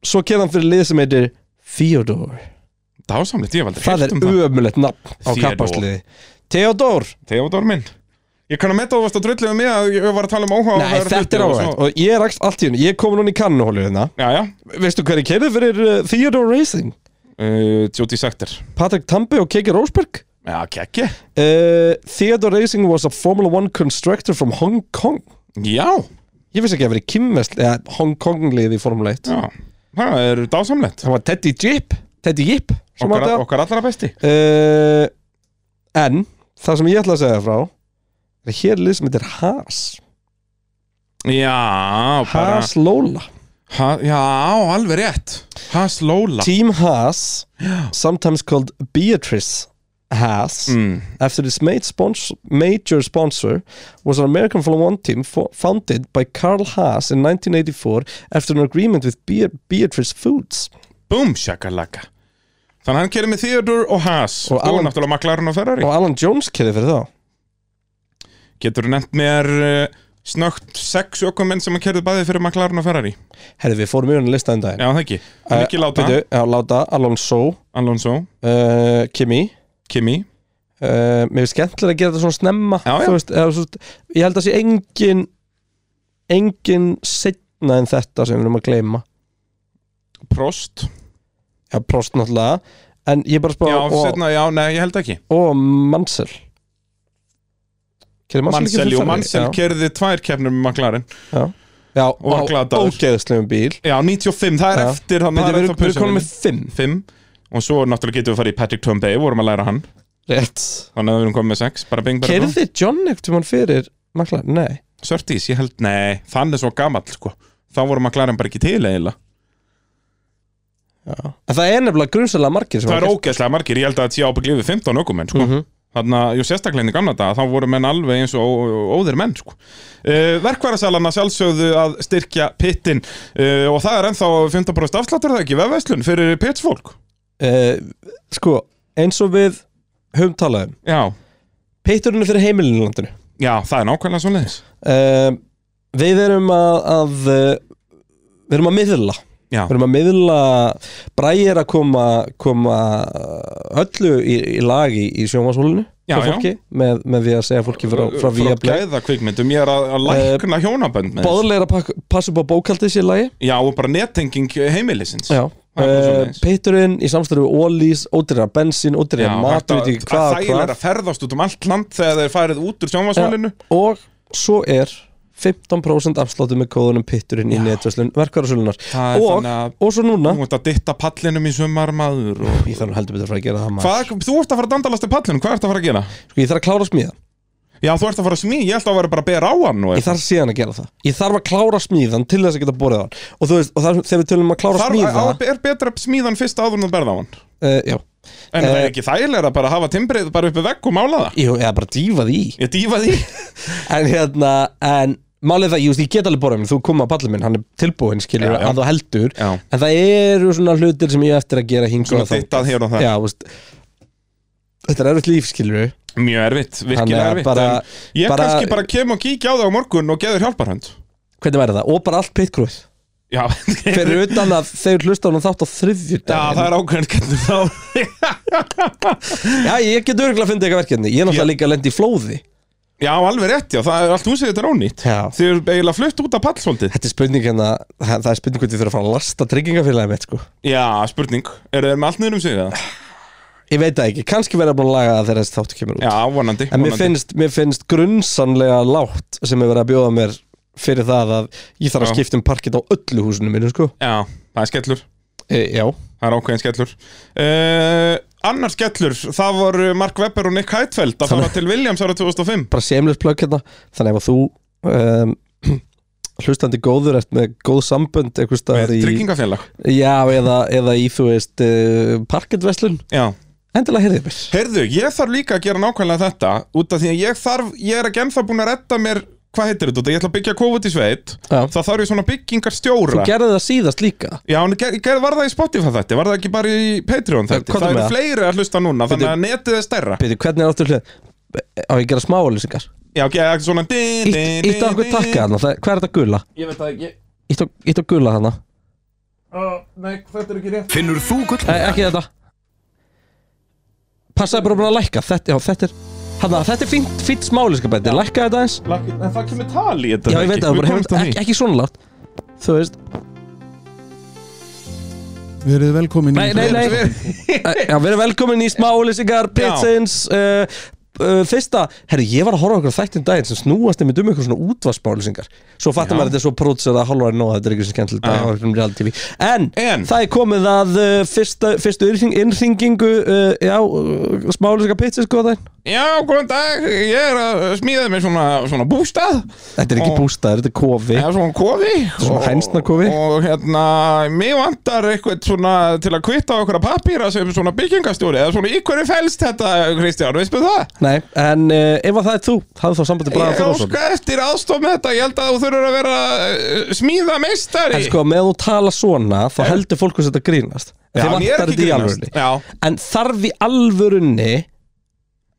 Svo kemur hann fyrir lið sem heitir Theodore Það var samlegt, ég valdi Það er ömulegt nafn á Theodore. kappasliði Theodore, Theodor minn Ég kann að metta að þú varst að drullið með mig að ég var að tala um óhuga nei þetta er áhægt Og ég rakst allt í henni, ég kom núna í kannuhólu hérna Já, já, Veistu hverju kemur fyrir uh, Theodore Racing? uh, Jóti Sækter Patrick Tambi og Kiki Rósberg Já, kekki uh, Theodore Racing was a Formula 1 constructor from Hong Kong Já, Ég vissi ekki að vera í Kimmest eða Hong Kong liði í Formula 1 já Það er dásamlegt Það var Teddy Jip Teddy Jip sem okkar, átti það. okkar allra besti uh, En það sem ég ætla að segja frá er hér lið sem heitir Haas Já, bara Haas Lola ha, Já, alveg rétt Has Lola Team Haas sometimes called Beatrice Haas mm. after its main sponsor, major sponsor was an American Formula 1 team fo founded by Carl Haas in 1984 after an agreement with Be Beatrice Foods Boom, shakalaka Þannig að hann kerir með Theodor og Haas Og Og, Alan- náttúrulega McLaren og Ferrari og Alan Jones kæði fyrir þá Getur nefnt mér uh, snögt sex ökumenn sem hann kerði bæði fyrir McLaren og Ferrari Herði við fórum í hann að lista en daginn Já, það ekki Mikki Láta, Bíddu, já, Láta, Alonso, Alonso, uh, Kimi Kimi Uh, mér finnst skemmtilega að gera þetta svona snemma Já, já. Þú Veist, eða, svo, ég held að sé engin engin setni annað en þetta sem við erum að gleyma Prost Já, Prost náttúrulega En ég er bara að spá Já, og, setna, já, nei, ég held ekki og Mansell Keri Mansell, jú, Mansell kerði tvær keppnur með McLaren Já, var og glataður. ógeðslegum bíl Já, 95, það er Já. eftir Við þannig að það er erum eftir við konum pulsunum. með fimm Fimm Og svo náttúrulega getum við farið í Patrick Tumbay, vorum að læra hann Rétt Þannig að við erum komið með sex, bara bing, bara Kerði John ekkert um hann fyrir Maklar, nei Sörtís, ég held, nei, þannig svo gamall, sko Þá vorum McLaren bara ekki til eiginlega Já. En það er nefnilega grunnsælega margir sem Það er hafa ógeðslega margir, ég held að þetta sé ábyggli yfir 15 ökumenn, sko Mhm. Þannig að, jú, sérstaklega í gamla daga, þá voru menn alveg eins og ó- óðir menn, sko uh, Verkværasalana sjálfsögðu að styrkja pittin uh, Og það er ennþá 15% afsláttur er það ekki, vefveislun, fyrir pitsfólk gert. Eh, Sko, eins og við höfum talað um Já, Pitturinn er fyrir heimilinu í landinu já, það er nákvæmlega svo leiðis Eh, Við erum að, að eh, Við erum að miðla Já, Við erum að miðla Bræðir að koma, koma öllu í, í lag í, í sjónvashólinu Já, já. með, með því að segja fólki frá, frá Eh, Viaplay gæða kvikmyndum, ég er að, að lækna hjónabönd með þessu. Báðlega að passa upp á bókaldið sér lagi Já, og bara nettenging heimilisins Já Það er bara svoleiðis. Pitturinn í samstarfu Ólís, ódýrar bensín, Já, ódýrar mat hægt við veit að, að ekki hvað, þægilega hvað. er að ferðast út um allt land þegar þeir færið út úr sjónvarsvölinu Og svo er 15% afsláttu með kóðunum pitturinn í Já. netverslun verkvarasölunar Það er og, þannig að- og svo núna Þú ert að ditta pallinum í sumar maður og... Ég þarf nú heldur betur að fara að gera það maður Hvað, Þú ert að fara að dandalast í pallinum, hvað ert að fara að gera? Sko ég þarf að klára smíðan Já, þú ert að fara að smí, ég held að vera bara að bera á hann og Ég þarf síðan að gera það Ég þarf að klára smíðan til þess að geta borðið á hann Og þú veist, og það, þegar við tölum um að klára Þar, smíða á, er betra að smíðan fyrst áður en að berða á hann uh, Já, En Eh. það er ekki þægilega bara að hafa timbrið bara uppi vegg og mála það Jú, eða bara dýfa því Ég dýfa því En hérna, en málið er það, ég, veist, ég get alveg borðið á minn Þú kom að pallið minn, hann er tilbúinn skilur Já, já. að þú heldur Já. En það eru svona hlutir sem ég á eftir að gera hingu Svona dittað hér og það Já, þú veist Þetta er erfitt líf, skilur við Mjög erfitt, virkilega Þannig að erfitt bara- en Ég bara- kannski bara kem og kíkja á það á morgun og geður hjálparhönd Hvernig væri það? Og bara allt pitgrúð Já, Fyrir utan að þeir hlusta hann þátt á þriðjur Já, það er ákveðin getur þá Já, ég get örgulega að fyndi eitthvað verkefni Ég er náttúrulega líka að lendi í flóði Já, alveg rétt, já, það er allt húsið þetta er ónýtt Já. Þið eru eiginlega flutt út af pallsóldið Þetta er spurning hérna Það það er spurning hvernig þurfa að fara að lasta tryggingafélagið mitt sko Já, spurning, eru þeir með allt niður um sig það? Ég veit það ekki, kannski verða búin að laga það þegar þessi þáttu kemur út Já, vonandi, En mér vonandi. finnst, mér finnst grunnsanlega látt sem hefur verið að bjóða mér fyrir það að ég þarf að Já. skipta um parkið á öllu húsinu mínu sko Já, það er skellur, e, Já, það er ákveðin skellur uh, Annar skellur, það voru Mark Webber og Nick Heitfeld að fara til Williams ára 2005 bara semlis plögg hérna Þannig ef að þú um, hlustandi góður ert með góð sambönd einhvers staðar Með í tryggingafélag Já, eða, eða í þú veist uh, parketveslun Já Endilega heyrðið mér Heyrðu, ég þarf líka að gera nákvæmlega þetta út af því að ég þarf, ég er ekki ennþá búin að redda mér hvað heitir þetta, út af? ég ætla að byggja kofut í sveit Já. þá þarf ég svona byggingarstjóra Þú gerði það síðast líka Já, en ger, ger, var það í Spotify þetta, var það ekki bara í Patreon þetta Hvað Það er eru með það? fleiri að hlusta núna, þannig að netið er stærra Býtu, hvernig er áttur hlið? Á ég að gera smá auðlýsingar Já, ok, það er svona din, din, Ítt á okkur takka hana, það, hvað er þetta gula? Ég veit það ekki Ítt á gula hana uh, Nei, þetta er ekki rétt Finnur þú gull? Nei, ekki þetta Passaði bara að búin að lækka Þetta, já, þetta er hana, Þetta er fínt, fínt smálískabæti, lækka þetta eins Lakki, En það kemur tal í þetta Já, ég veit það, bara hefur það ekki, ekki svona látt Þú veist, Verið velkomin Nei, nei, nei. Eh, já, við erum velkomin í smá auðlýsingar Pitsins uh, uh, Fyrsta, herri, ég var að horfa okkur þættin daginn sem snúast einmitt um eitthvað svona útvarsmálýsingar Svo fattum maður að þetta er svo prótsað að hálfa er nóg Þetta er ekki sem skemmtilegt að hafa um reality TV En, En. það er komið að uh, fyrsta, fyrstu innhring- innhringingu uh, Já, uh, smá auðlýsingar Pitsins, góða daginn Já, góðan dag, ég er að smíða mér svona, svona bústað Þetta er ekki Og- bústaður, þetta er kofi Já, svona kofi Svona og- hænsnakofi. Og hérna, mig vantar eitthvað svona til að kvitta okkur að papíra sem svona byggingastjóri Eða svona í hverju fælst þetta, Kristján, veistu það? Nei, en uh, ef að það er þú, hafðu þá sambandi Braga Ég Þorásson óska eftir aðstof með þetta, ég held að þú þurfur að vera eh, smíða meistari En sko, með þú tala svona, þá heldur fólk að þetta grínast Já, Þeir en ég er vantar ekki þetta í grínast. alvörunni Já. En þarf í alvörunni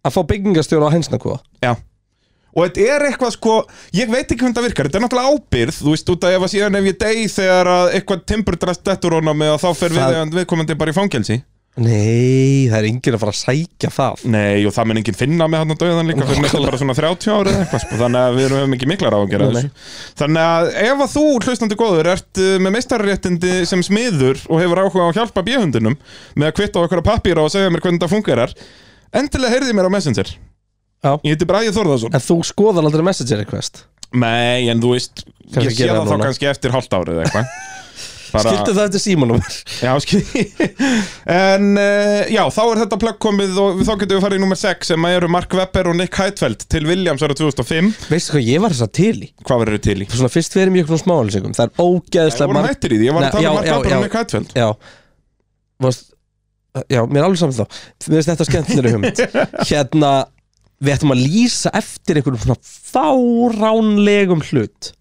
að fá byggingastjóra á hensnakúa Já Og þetta er eitthvað sko, ég veit ekki hvernig það virkar, þetta er náttúrulega ábyrð, þú veist, út að ef að síðan ef ég dey þegar að eitthvað timburdrast dettur honum eða þá fer Það- við, viðkomandi bara í fangelsi. Nei, það er enginn að fara að sækja það Nei, og það mun enginn finna með hann að dauðan líka fyrir næstu bara svona 30 ára eða eitthvað sko, þannig að við erum ekki miklar á að gera Nei, nei. þessu Þannig að ef að þú, hlustandi góður, ert uh, með meistarréttindi sem smiður og hefur áhuga á að hjálpa bjöhundunum með að kvitta á okkur á pappíra og segja mér hvernig það fungerar endilega heyrði mér á Messenger Já. Ég heiti Bræði Þórðarsson En þú skoðar aldrei messenger request Nei, en þú veist, Kannski ég sé gera það núna. þá kannski eftir hálft árið eða eitthvað Bara- Skildu það eftir símanum Já, skil En uh, já, þá er þetta plögg komið og þá getum við farið í nummer 6 sem að eru Mark Webber og Nick Heidfeld til Williams ára 2005 Veistu hvað ég var þess að til í? Hvað verður þið til í? Svona fyrst verið mjög svona smáhalsingum Það er Það ógeðslega voru marg- hættir í því, ég var Nei, að tala já, um Mark já, Webber já. og Nick Heidfeld Já Varst, Já, mér er alveg saman þá Mér finnst þetta skemmtilega hugmynd Hérna, við ættum að lýsa eftir einhverjum svona fáránlegum hlut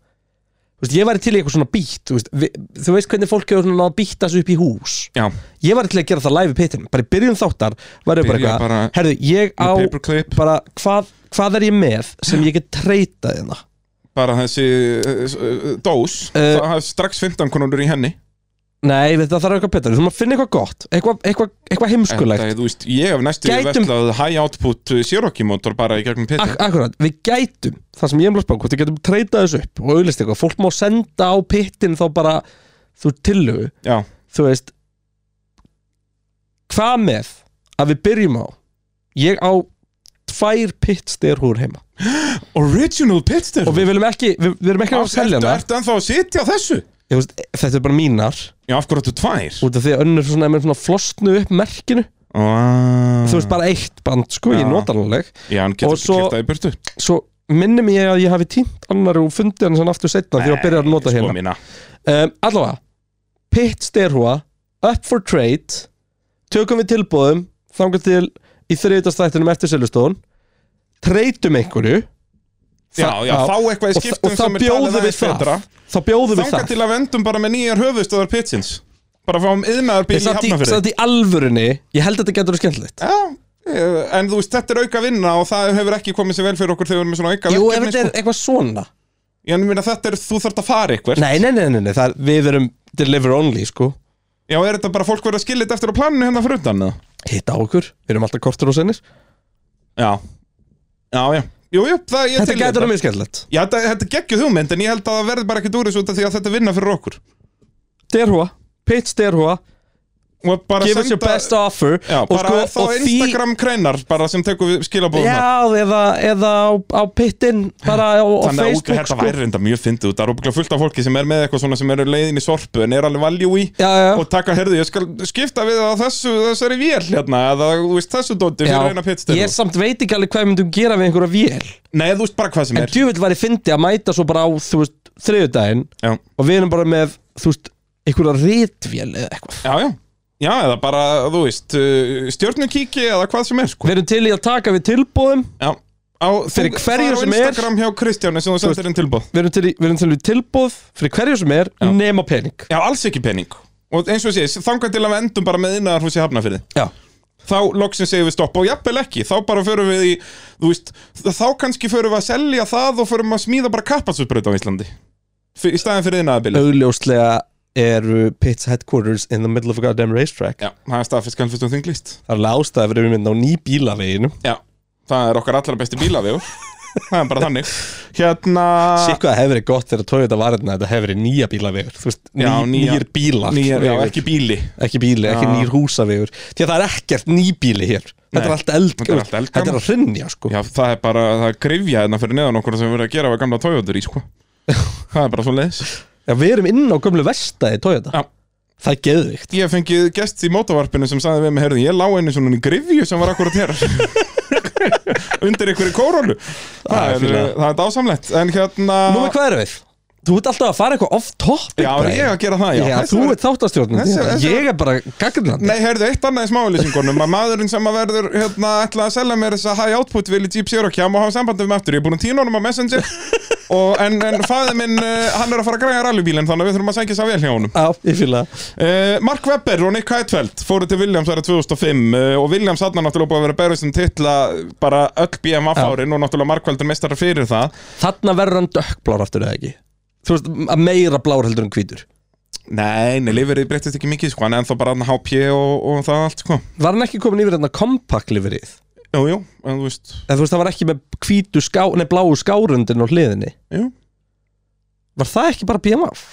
Þú veist, ég væri til í eitthvað svona bít Þú veist, við, þú veist hvernig fólk hefur svona að býta þessu upp í hús Já, Ég væri til í að gera það live í pitinu Bara í byrjun þáttar væri bara Byrja eitthvað bara- Herðu, ég á með paperclip, bara hvað, hvað er ég með sem ég get treytað hérna bara þessi uh, uh, dós Eh. Það hafði strax 15 konundur í henni Nei, við- það þarf eitthvað betur, þú þurfum að finna eitthvað gott Eitthvað, eitthvað, eitthvað heimskulegt Þetta, eh, þú veist, ég hef næstu Gætum- verðlað high output eh, Cherokee motor bara í gegnum Ak pittin Akkurat, við gætum það sem ég hef blásbákvort, við gætum treytað þessu upp og auðlist eitthvað, fólk má senda á pittin þá bara, þú tillögu Já, þú veist hvað með að við byrjum á ég á tvær pittstyr húr heima original pittin og við viljum ekki, við, við erum ekki að selja Ertu hana ertu ennþá að sitja á þessu? Ég veist, þetta er bara mínar Já, af hverju áttu tvær? út af því að önnur svona, er með svona flostnu upp merkinu þú veist bara eitt band sko, ég Mm. Já. nota hann alveg Já, hann getur Og ekki svo- kiptað í burtu svo minnum ég að ég hafi tínt annar og fundið hann sem aftur setna því að byrja að nota Nei, hérna sko mína. um, Allavega Pitt styrhúa, up for trade Tökum við tilbúðum Þangar til í þriðutastættinum eftir Silvestón Treytum einhverju Já, Þa- já, fá eitthvað í og þa- skiptum Og þá sem er bjóðum talið við aðeins það betra Þá bjóðum við Þanga það til að vendum bara með nýjar höfuðstöðar pitsins Bara fáum yðnaðar bíl í Satt í, hafnafyrir satt í alvörunni Ég held að þetta getur skemmtilegt Já, eh, en þú veist, þetta er auka vinna og það hefur ekki komið sér vel fyrir okkur þegar við erum með sko. svona auka Jú, ef verkefni, þetta er eitthvað svona sko. Ég meina, þetta er, þú þarft að fara eitthvað Nei, nei, nei, nei, nei það, er- við erum deliver only, sko Já, er þetta bara fólk verið að skilja þetta eftir á planinu hérna fyrir utan eða? Hitta á okkur, við erum alltaf kortur og sennir Já, já, já Jú, jú, það ég Þetta til í getur að mjög skemmtilegt Já, þetta, þetta er geggjuð hugmynd, en ég held að það verði bara ekki dúr þessu út af því að þetta er vinna fyrir okkur Derhúa, pitch derhúa Og bara Give us your senda- best offer Já, og bara sko, þá og því- Instagram kreinar bara sem tekur við skilabóðum Já, eða, eða á, á pittin bara á, á Þannig að Facebook sko. útgæða þetta væri reynda mjög fyndið út Það er óbygglega fullt af fólki sem er með eitthvað svona sem eru leiðin í sorpu en er alveg valjú í Já, já, og taka, herðu, ég skal skipta við það þessu, þessari vél hérna eða þú veist þessu dóttu fyrir reyna já. pittstil Ég samt veit ekki alveg hvað við myndum gera við einhverja vél Nei, þú veist bara hvað sem En er djúvill var ég fyndi að mæta svo bara á þú veist, þriðudaginn Já, og við erum bara með, þú veist, einhverja rítvél eða eitthvað já, já, já eða bara, þú veist, uh, stjörnukíki eða hvað sem er sko. Við erum til í að taka við tilbúðum Já, á, Fyrir þú- hverju það á sem er. Instagram hjá Kristjáni sem þú sendir inn tilbúð Við erum til í, við erum til í tilbúð fyrir hverju sem er Já. nema pening Já, alls ekki pening Og eins og ég sé, þangar til að við endum bara með innar húsi hafnafyrði Já, þá loksins segjum við stopp og jafnvel ekki þá bara förum við í, þú veist þá kannski förum við að selja það og förum að smíða bara kappatsutbraut á Íslandi F í staðin fyrir innæðabili augljóslega eru Pitt's headquarters in the middle of a goddamn racetrack Já, það er staðfist kannfust og þinglist Það er alveg ástæða fyrir við myndum á ný bílaveginum Já, það er okkar allra besti bílavegur það er bara þannig Hérna Sitt hvað það hefur verið gott þegar Toyota var hérna þetta hefur verið nýja bílavegur þú veist, ný, Já, nýja- nýjir bílar Nýjar, já, vegur. ekki bíli ekki bíli, ekki Já. nýjir húsavegur því að það er ekkert nýbíli hér þetta Nei, er allt eldgamalt þetta er allt eldgamalt. þetta er að hrynja sko Já, það er bara, það er grifja hérna fyrir neðan okkur sem við erum að gera á gamla tójóður í, sko Það er bara svo leiðis Já, við erum inn á gömlu vestaði Toyota Já. það er geðvikt Ég hef fengið gest í mótavarpinu sem sagði við mig, heyrðu, ég lá einu svona grifju sem var akkurat hér undir einhverju kórólu Það er það er, fíla. það er dásamlegt en hérna Númer hvað erum við? Þú ert alltaf að fara eitthvað off topic Já, er Bragi. ég að gera það, já, Já, Þessi þú var- ert þáttastjórnum Þessi- þessi Ég er bara gagnandi Nei, heyrðu, eitt annað í smáulýsingunum að maðurinn sem að verður, hérna, ætla að selja mér þess að high output vil í Jeep Cherokee hann má hafa sambandið með aftur, ég er búin að tína honum á Messenger og, en, en fæði minn eh, hann er að fara að græja rallybílinn, þannig að við þurfum að sækja þess vel hjá honum Já, ég fýla Uh, Mark Webber og Nick Heidfeld fóru til Williams ára 2005 uh, og Williams hann náttúrulega búið að vera berðist um titla bara öll BMF Já. árin og náttúrulega Markveldur mestara fyrir það Þarna verður hann dökkblár aftur eða ekki Þú veist, að meira blár heldur en hvítur Nei, nei, liverið breyttist ekki mikið sko, hann er ennþá bara hann HP og, og það allt sko. Var hann ekki komin yfir þarna compact liverið? Jú, jú, en þú veist, En þú veist, það var ekki með hvítu ská, nei, bláu skárundin á hliðinni jú, Var það ekki bara BMF?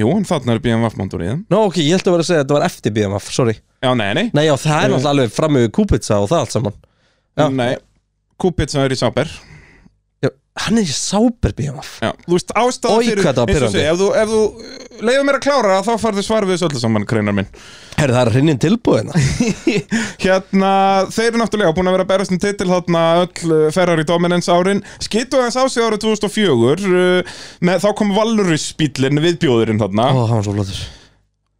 jú, en þarna er BMW mándur í þeim. Nó, ok, ég held að vera að segja að þetta var eftir BMF, sorry Já, nei, nei, Nei, já, það er Nei. náttúrulega alveg fram yfir Kupitsa og það allt saman Já. nei, Kupica er í Sáber. já, Hann er í sáber BMF Já, þú veist, ástæða Oj, hvað það var eins og pirrandi. segja, ef þú, ef þú leiður mér að klára þá farðu svar við þessu öllu saman, kreinar minn. Herðu, það er hrinnin tilbúðina Hérna, þeir eru náttúrulega búin að vera að berast um titil þarna öll uh, Ferrari Dominance árin Skittu aðeins á sig árið 2004 uh, með, Þá kom Valurus bílinn við bjóðurinn þarna Ó, hann var svo flottur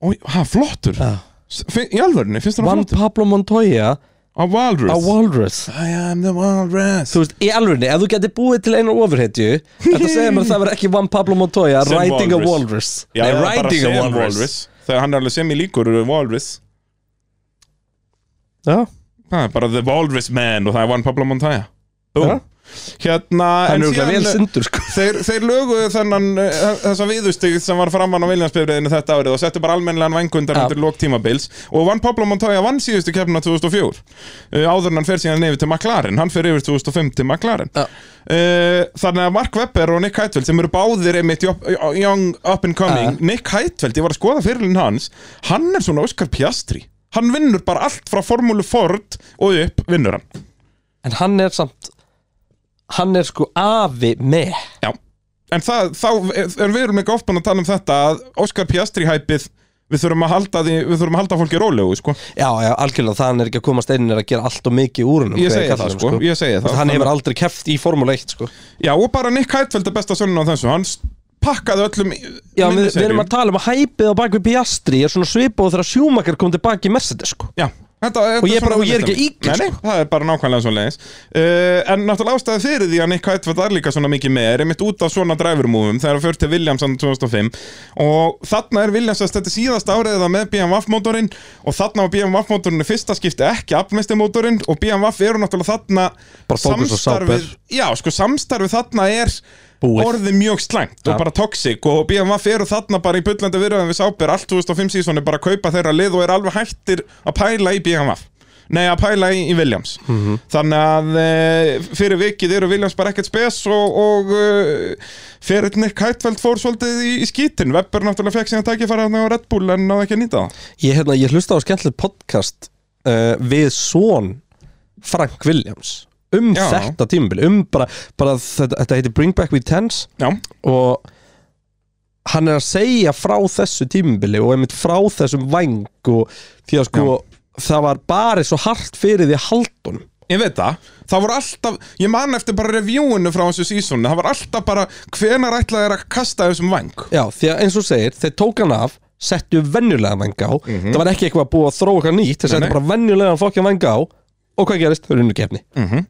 Ó, ha, flottur Já. S- fi- Í alvörni, finnst það Juan flottur? Pablo Montoya Á Valurus á Walrus I am the Walrus Þú veist, í alvegni, ef þú getur búið til einar ofurhetju Þetta segir mér að það verður ekki Juan Pablo Montoya Sem Riding a walrus. Walrus Já, Nei, eða bara Riding a sem Walrus Þegar hann er alveg sem í líkur eh, Walrus Já, Það er bara The Walrus Man og það er Juan Pablo Montoya Já. Búm Hérna, hann en er auðvitað síðan- vel sindur sko Þeir, þeir löguðu þennan eh, þessa viðustig sem var framann á Viljansbyrðinu þetta árið og settu bara almennilegan vangundar Já. undir lók tímabils og vann Pablo Montoya vann síðustu keppna 2004 uh, áður en hann fer síðan nefn til McLaren hann fer yfir 2005 til McLaren Já. uh, þannig að Mark Webber og Nick Heitfeld sem eru báðir einmitt í up- young up and coming Nick Heitfeld, ég var að skoða fyrirlin hans hann er svona Oscar Piastri hann vinnur bara allt frá formúlu Ford og upp vinnur hann En hann er samt Hann er sko afi með Já, en það, þá er við erum ekki oftan að tala um þetta að Óskar Piastri hæpið við þurfum að halda, því, við þurfum að halda fólki rólegu sko. Já, já, algjörlega, það hann er ekki að koma steinir að gera allt og mikið úr hennum ég segi það sko. ég segi það Hann hefur aldrei keft í Formule 1 sko Já, og bara Nick Heitfeld er besta sönnun á þessu hann s- pakkaði öllum í- Já, við, við erum miniseríum. að tala um að hæpið á bakvið Piastri er svona svipað og þegar Schumacher kom tilbaki í Mercedes sko Já, þetta, þetta Og ég svona bara- og ég er ekki myndin. að ýkja, Nei, nei, það er bara nákvæmlega svo leiðis En náttúrulega ástæði fyrir því að Nick Heitfeld er líka svona mikið með er einmitt út af svona drivermúfum þegar það fyrir til Williams hann 2005 og þarna er Williams að þetta er síðasta áriða með BMW mótorinn og þarna var BMW mótorinn í fyrsta skipti ekki apmesti mótorinn og BMW eru náttúrulega þarna Bara fókus á Sauber. Já, sko samstarfið þarna er Búið. orðið mjög slæmt Ja. og bara toxic og BMW eru þarna bara í bullandi virðan við Sáber allt 2005 sísoni bara að kaupa þeirra lið og er alveg hættir að pæla í BMW Nei, að pæla í, í Williams Þannig að e, fyrir vikið eru Williams bara ekkert spes og, og e, fyrir Nick Heitfeld fór svolítið í, í skítin Webber náttúrulega fekk síðan tækifæra þarna á Red Bull en náði ekki að nýta það Ég, hérna, ég hlusta á skemmtilegt podcast uh, við son Frank Williams um Já. þetta tímabili um bara, bara þetta, þetta heitir Bring Back With Tens Já, og hann er að segja frá þessu tímabili og einmitt frá þessum væng og því að sko það var bara svo hart fyrir því haldun Ég veit það, það voru alltaf, ég man eftir bara reviewinu frá þessu sísónu, það voru alltaf bara hvenar ætlaði þeir að kasta þessum vang Já, því að eins og þú segir, þeir tók hann af settu venjulega væng á það var ekki eitthvað að búa að þróa eitthvað nýtt þeir Mhm. Nei, settu nei. bara venjulega fokkja væng á og hvað gerist, þau eru unnu kefni Mhm.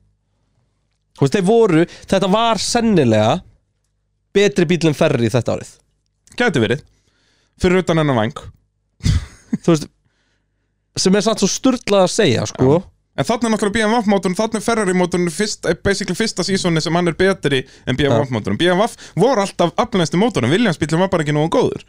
Þú veist, þeir voru, þetta var sennilega betri bíl en ferri þetta árið Gæti verið, fyrir utan hennar vang Þú veist, sem er samt svo sturlað að segja, sko En þannig er náttúrulega BMW mótorn, þannig er Ferrari mótorn fyrst, eh, basically fyrsta sísónu sem hann er betri en BMW ja. mótorn BMW voru alltaf aflæðstu mótorn, Williams bílum var bara ekki nógu góður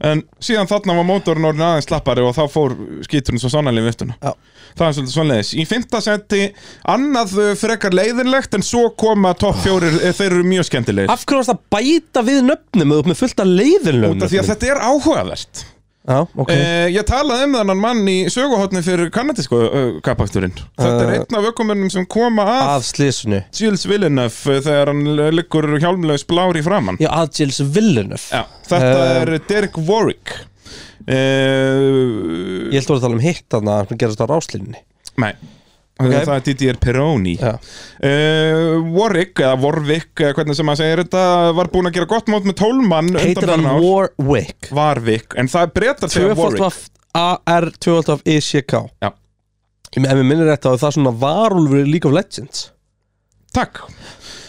En síðan þarna var mótorn orðin aðeins slappari og þá fór skíturinn svo sannalið vittuna Já. Það er svolítið svoleiðis Í fymta seti annað eh, frekar leiðinlegt en svo koma topp fjórir, eh, þeir eru mjög skemmtilegir Af hverju varst að bæta við nöfnum eða upp með fullt að leiðinlegum Út af því að nöfnum? þetta er áhugavert Já, ok Eh, ég talaði um þannan mann í söguhotni fyrir kanadísku uh, kapakturinn Þetta er Eh. Ah. einn af ökumönnum sem koma að Að slísunu Jules Villeneuve eh, þegar hann liggur hjálmlaus blár í framann Já, að Gilles Villeneuve Já, þetta Eh. er Derek Warwick uh, Ég held að voru að tala um hitt þarna sem gerist á ráslínni Nei Það er Didier Peroni Já. uh, Warwick, eða Warwick eða hvernig sem maður segir þetta, var búinn að gera gott mót með tólmann Heitir hann Warwick Warwick, en það er breytar segja Tvöfald Warwick af AR, tvöfald af ICK Já. Ég með mér minnir þetta að það er svona varúlfur í League of Legends Takk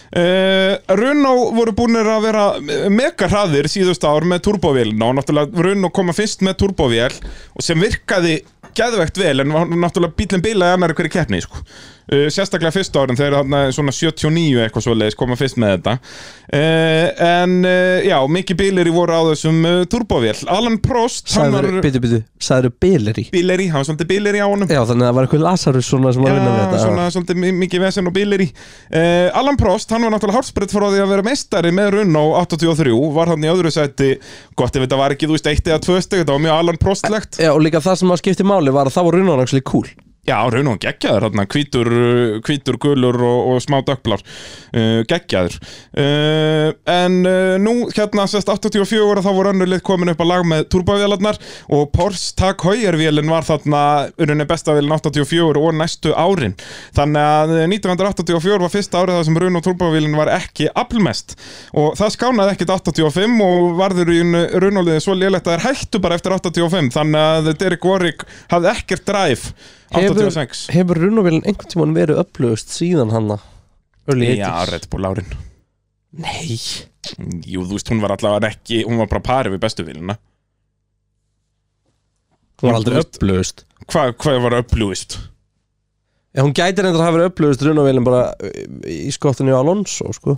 Uh, Runó voru búinir að vera mega hraðir síðust ár með turbovélina og náttúrulega Runó koma fyrst með turbovél og sem virkaði geðvegt vel en hann- náttúrulega bílinn bilaði annar hverju keppni sko. uh, sérstaklega fyrst árin þegar hann svona 79 eitthvað svoleiðis koma fyrst með þetta uh, en uh, já, mikið bílir í voru á þessum uh, turbovél Alan Prost, hann var Sæður, byttu, byttu, sæður bilir í bílir í, hann var svolítið bílir í á honum Já, þannig að það var eitthvað Lazarus svona sem var að vinna með þetta svona svolítið mi- mikið vesen og bílir í uh, Alan Prost, hann var náttúrulega hálfsbreytt frá því að vera meistari með Runó 83 var hann í öðru sæti, gott ef þetta var ekki þú veist eitt eða tvö steg, þetta var mjög Alan Prostlegt Já, og líka það sem að skipti máli var að það voru unnvonaks líka cool Já, Runó geggjaður hann, hvítur, uh, hvítur gulur og, og smá dökblar uh, geggjaður uh, en uh, nú hérna sest 84 þá voru önnur lið komin upp að lag með turbovélarnar og Porsche Tag Heuer-vélin var þarna urinni besta vélin 84 og næstu árin þannig að eh, 1984 var fyrsta árið það sem Runó turbovélin var ekki aflmest og það skánaði ekkit 85 og varður í Runóliði svo lélegt að þeir hættu bara eftir 85 þannig að Derek Warwick hafði ekkert drive 86 hefur runnavílinn einhvern tímann verið upplöfust síðan hanna Early 80s Já, Red Bull árin Nei Jú, þú veist, hún var allavega ekki Hún var bara parið við bestu vilina Hún var aldrei upplöfust Hvað hva var upplúist? Já, hún gæti reyndar að hafa verið upplöfust runnavílinn bara uh, í skottinu á Alonso, sko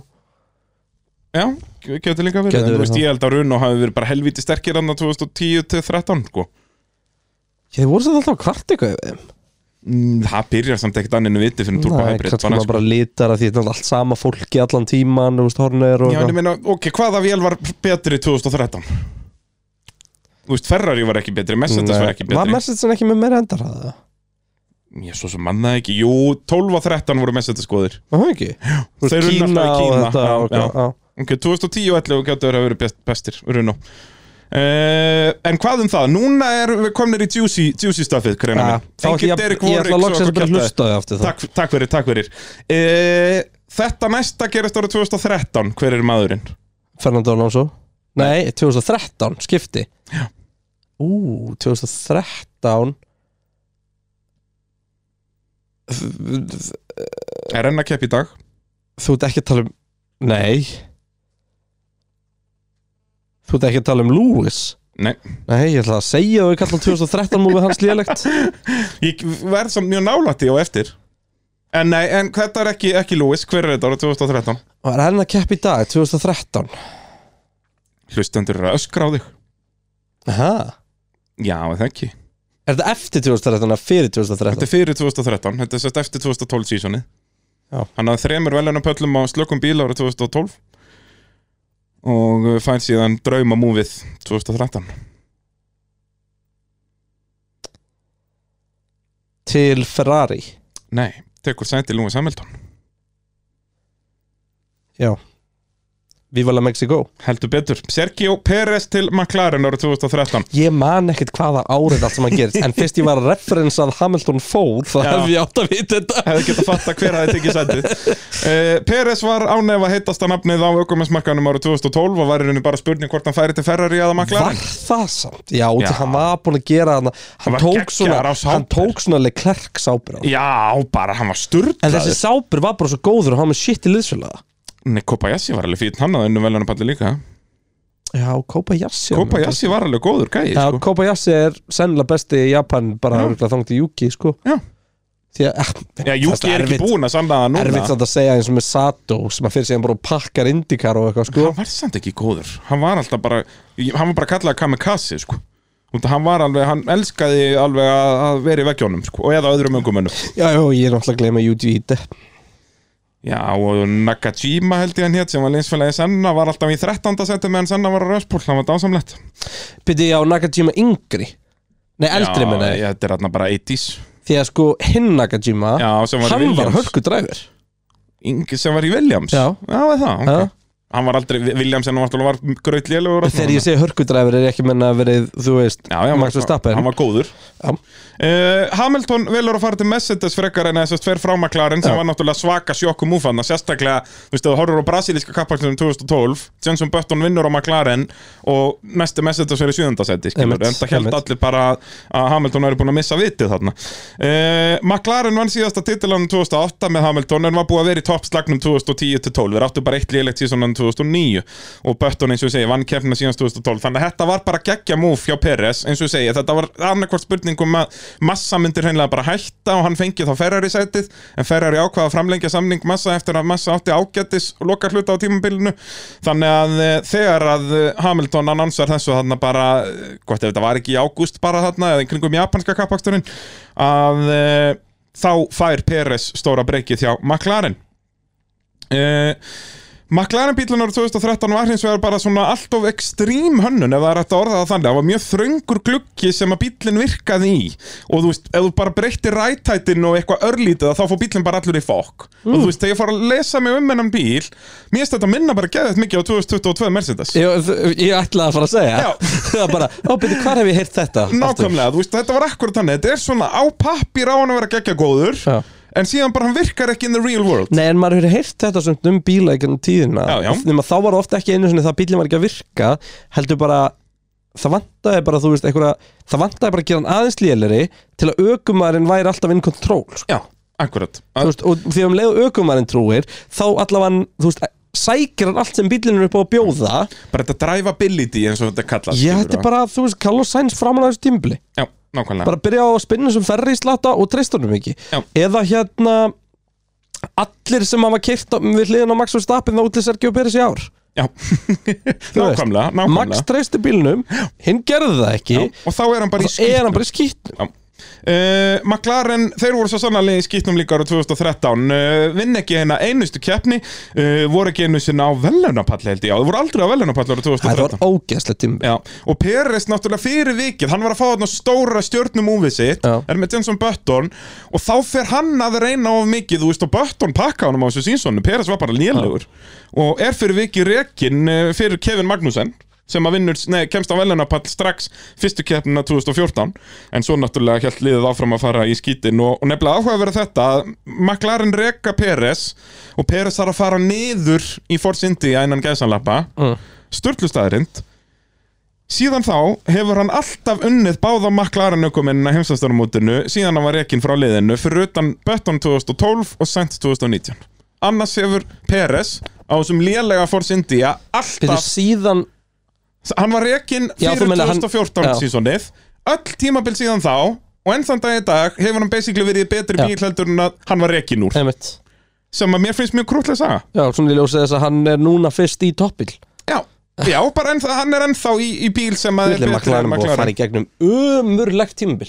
Já, getur líka verið Gæti En verið Þú veist, það. ég held að Runo hafi verið bara helviti sterkir Anna 2010-13, sko Já, þið voru samt alltaf að kvart eitthvað yfir þeim. Mm, Það byrjar samt ekkert anninu viti Fyrir Turbo Nei, Hybrid sko. kannski bara, maður bara lítar að því þetta er allt sama fólki allan tíman, þú veist, hornir og Já, en ég meina, ok, hvaða vél var betri 2013? Þú veist, Ferrari var ekki betri, Mercedes var ekki Nei, Var betri Mercedes ekki með meira endarhraða? Ég svo sem manna ekki, jú, 12 og 13 voru Mercedes góðir Það er ekki Þú veist, Þeir runnu Kína alltaf í og Kína, þetta já, og já. já. Ok, 2010 og 11 getur að vera best, bestir Runo Uh, en hvað um það, núna er við komnir í juicy, juicy stuffið Já, ja, þá ætla ég að- ég ætla að loksins bara að hlusta á þig aftur það takk, takk fyrir, takk fyrir uh, Þetta næsta gerist árið 2013 hver er maðurinn? Fernando Alonso Nei, 2013, skipti Ú, 2013 F- Er enn að keppa í dag? Þú ert ekki að tala um Nei Þú ert ekki að tala um Lewis Nei, Nei, ég ætla að segja að við kallum 2013 múlið hans lélegt ég verð samt mjög nálætti og eftir En nei, en þetta er ekki, ekki Lewis, hver er þetta árið 2013? Og er henn að keppa í dag, 2013 Hlustendur eru að öskra á þig Aha. Já, er það ekki Er þetta eftir 2013 eða fyrir 2013? Þetta er fyrir 2013, þetta er sett eftir 2012 sísoni Já. Hann hafði þremur veljarnapöllum á slökum bíl ára 2012 og uh, fær síðan drauma múfið 2013 Til Ferrari Nei, tekur sæti Lúi Samhildon Já Viva la Mexico Heldur betur, Sergio Pérez til McLaren ára 2013 Ég man ekkert hvaða árið allt sem að gerist En fyrst ég var að referensa að Hamilton fór Þá Já. hef ég átt að vita þetta Hefði getað fatta hver hafði tekið sætið uh, Pérez var ánef að heitasta nafnið á aukumessmarkanum ára 2012 og var í rauninni bara spurning hvort hann færi til Ferrari eða McLaren Var það samt? Já, Já. já. hann var búin að gera hann Hann var tók svona, geggjaður á Sauber. hann tók svona Leclerc sábur á hann. Já, bara hann var En sturglaður þessi sábur var bara svo góður og hann var með shit í liðsfélaga Nei, Kobayashi var alveg fýtt hann að unnu veljarnapalli líka Já, Kobayashi Kobayashi var alveg góður gæði Já, sko. Kobayashi er sennilega besti í Japan bara örugglega þangað til Yuki, sko Já. Því að, eh, Já, Juki þetta er ekki búinn að sanna það núna Erfitt samt að segja eins og með Sato sem að fyrir sig hann bara og pakkar indikar og eitthvað, sko Hann var samt ekki góður Hann var alltaf bara Hann var bara kallað kamikaze sko. Út að Hann var alveg Hann elskaði alveg að að vera í veggjónum sko. Og eða öðrum öngumönnum Já, já, ég er náttúrulega að gleyma Yuji Ide Já, og Nakajima held ég hann hétt sem var linsfélagi Senna var alltaf í 13. seti meðan Senna var á röspúl, hann var dásamlegt Piti, já, Nakajima yngri Nei, eldri Já, minna ég ég, Þetta er hann bara 80s Því að sko, hinn Nakajima Já, sem var í Hann var Williams hörkudræfur Ingi sem var í Williams Já. Já, var það, ok Já. Hann var aldrei, Williams en hann var, var gröðlélegur Þegar ég segi hörkudræfur er ég ekki menna verið, þú veist Já, já, Max Verstappen. hann var góður Já. uh, Hamilton velur að fara til Mercedes frekar en þessast fer frá McLaren sem Já. var náttúrulega svaka sjokkum úfanna sérstaklega, þú veist, ef þú horfur á brasilíska kappakstunum 2012, Jenson Button vinnur á McLaren og næsti Mercedes verið sjöðundasetti, skilur, Einmitt, en það held einmitt. allir bara að Hamilton væri búin að missa vitið þarna uh, McLaren vann síðasta titilanum 2008 með Hamilton en var búið að vera í toppslagnum 2010-12 við áttu bara eitt lélegt síðan 2009 og Bötton eins og ég segi vann keppna síðan 2012 þannig að þetta var bara geggja múf hjá Peres eins og ég segi þetta var annarkvort spurning um að massa myndir hreinlega bara hætta og hann fengi þá Ferrari sætið en Ferrari ákvaða að framlengja samning massa eftir að massa átti ágættis og lokar hluta á tímabilinu þannig að eh, þegar að eh, Hamilton annansar þessu þarna bara eh, gott ef þetta var ekki í ágúst bara þarna eða í kringum japanska kappaksturinn að eh, þá fær Peres stóra breykið hjá McLaren Uh, McLaren bílun árið 2013 var hins vegar bara svona allt of ekstrím hönnun ef það er hægt að orða það þannig það var mjög þröngur gluggi sem að bílun virkaði í og þú veist, ef þú bara breytti rættætin og eitthvað örlítið þá fór bílun bara allur í fokk og Mm. þú veist, þegar ég fór að lesa mig um hennan bíl mér finnst þetta minna bara geðið mikið á 2022 Mercedes Ég, ég ætlaði að fara að segja Já. Það bara, ó, byrju, hvar hef ég heyrt þetta? aftur?" Nákvæmlega, þú veist, þetta var akkurat þannig þetta er svona á pappir á hann að vera geggja góður Já. en síðan bara hann virkar ekki in the real world Nei, en maður hefur heyrt þetta svona um bíla í um tíðina Já, já. Nema þá var ofta ekki einu sinni það bílum var ekki að virka Heldur bara, það vantaði bara, þú veist, einhverja Það vantaði bara að gera hann aðeins léleri Til að ökumærin væri alltaf inn kontról sko. Já, akkurat Þú veist, Og því um leið og ökumærin trúir Þá allavega, þú veist, sækir hann allt sem bílinn er upp á að bjóða Bara þetta drivability eins og þetta kallast Ég skilurðu. hætti bara, þú veist, Carlos Sainz framan að þessu tímbli Já, nákvæmlega bara byrja á að spinna sem ferri í slata og treysta honum ekki Já. eða hérna allir sem hafa keirt við hliðin á Max Verstappen þá útlið Sergio Pérez í ár Já, nákvæmlega, nákvæmlega Max treysti bílnum, hinn gerði það ekki Já, Og þá er hann bara í þá er hann skýtnum bara í skýtnum uh, McLaren, þeir voru svo sannarlega í skýtnum líka ára 2013 uh, Vinn ekki hérna einustu keppni uh, Voru ekki einu sinna á velunapalli held ég á Þeir voru aldrei á velunapalli ára það 2013 var ógeðslega tímbi Já, og Peres náttúrulega fyrir vikið hann var að fá þarna stóra stjörnum úfið sitt Já. er með Jenson Button og þá fer hann að reyna of mikið þú veist og Button pakka honum á þessu sínsonu Peres var bara lélegur og er fyrir vikið rekin eh, fyrir Kevin Magnussen sem að vinnur, nei, kemst á velunapall strax fyrstu keppnina 2014 en svo náttúrulega held liðið áfram að fara í skítin og, og nefnilega áhuga verið þetta að McLaren reka Peres og Peres þarf að fara niður í Force India innan gæsanlappa Mm. störtlustæðrind Síðan þá hefur hann alltaf unnið báða McLaren ökumennina heimsastarumótinu síðan hann var rekinn frá liðinu fyrir utan Button 2012 og Sainz 2019. Annars hefur Peres á þessum lélega Force India Fyrir alltaf, síðan, hann var rekinn Já, fyrir þú meinar hann- 2014 Já. sísonið, öll tímabil síðan þá og enn þann dag í dag hefur hann basically verið í betri Já. bíl heldur en að hann var rekinn úr, einmitt sem að mér finnst mjög krútlega að saga. Já, svona ég ljósið þess að hann er núna fyrst í toppbíl Já, já, bara ennþá, hann er ennþá í, í bíl sem að Vilja McLaren búið að fara í gegnum umurlegt tímbil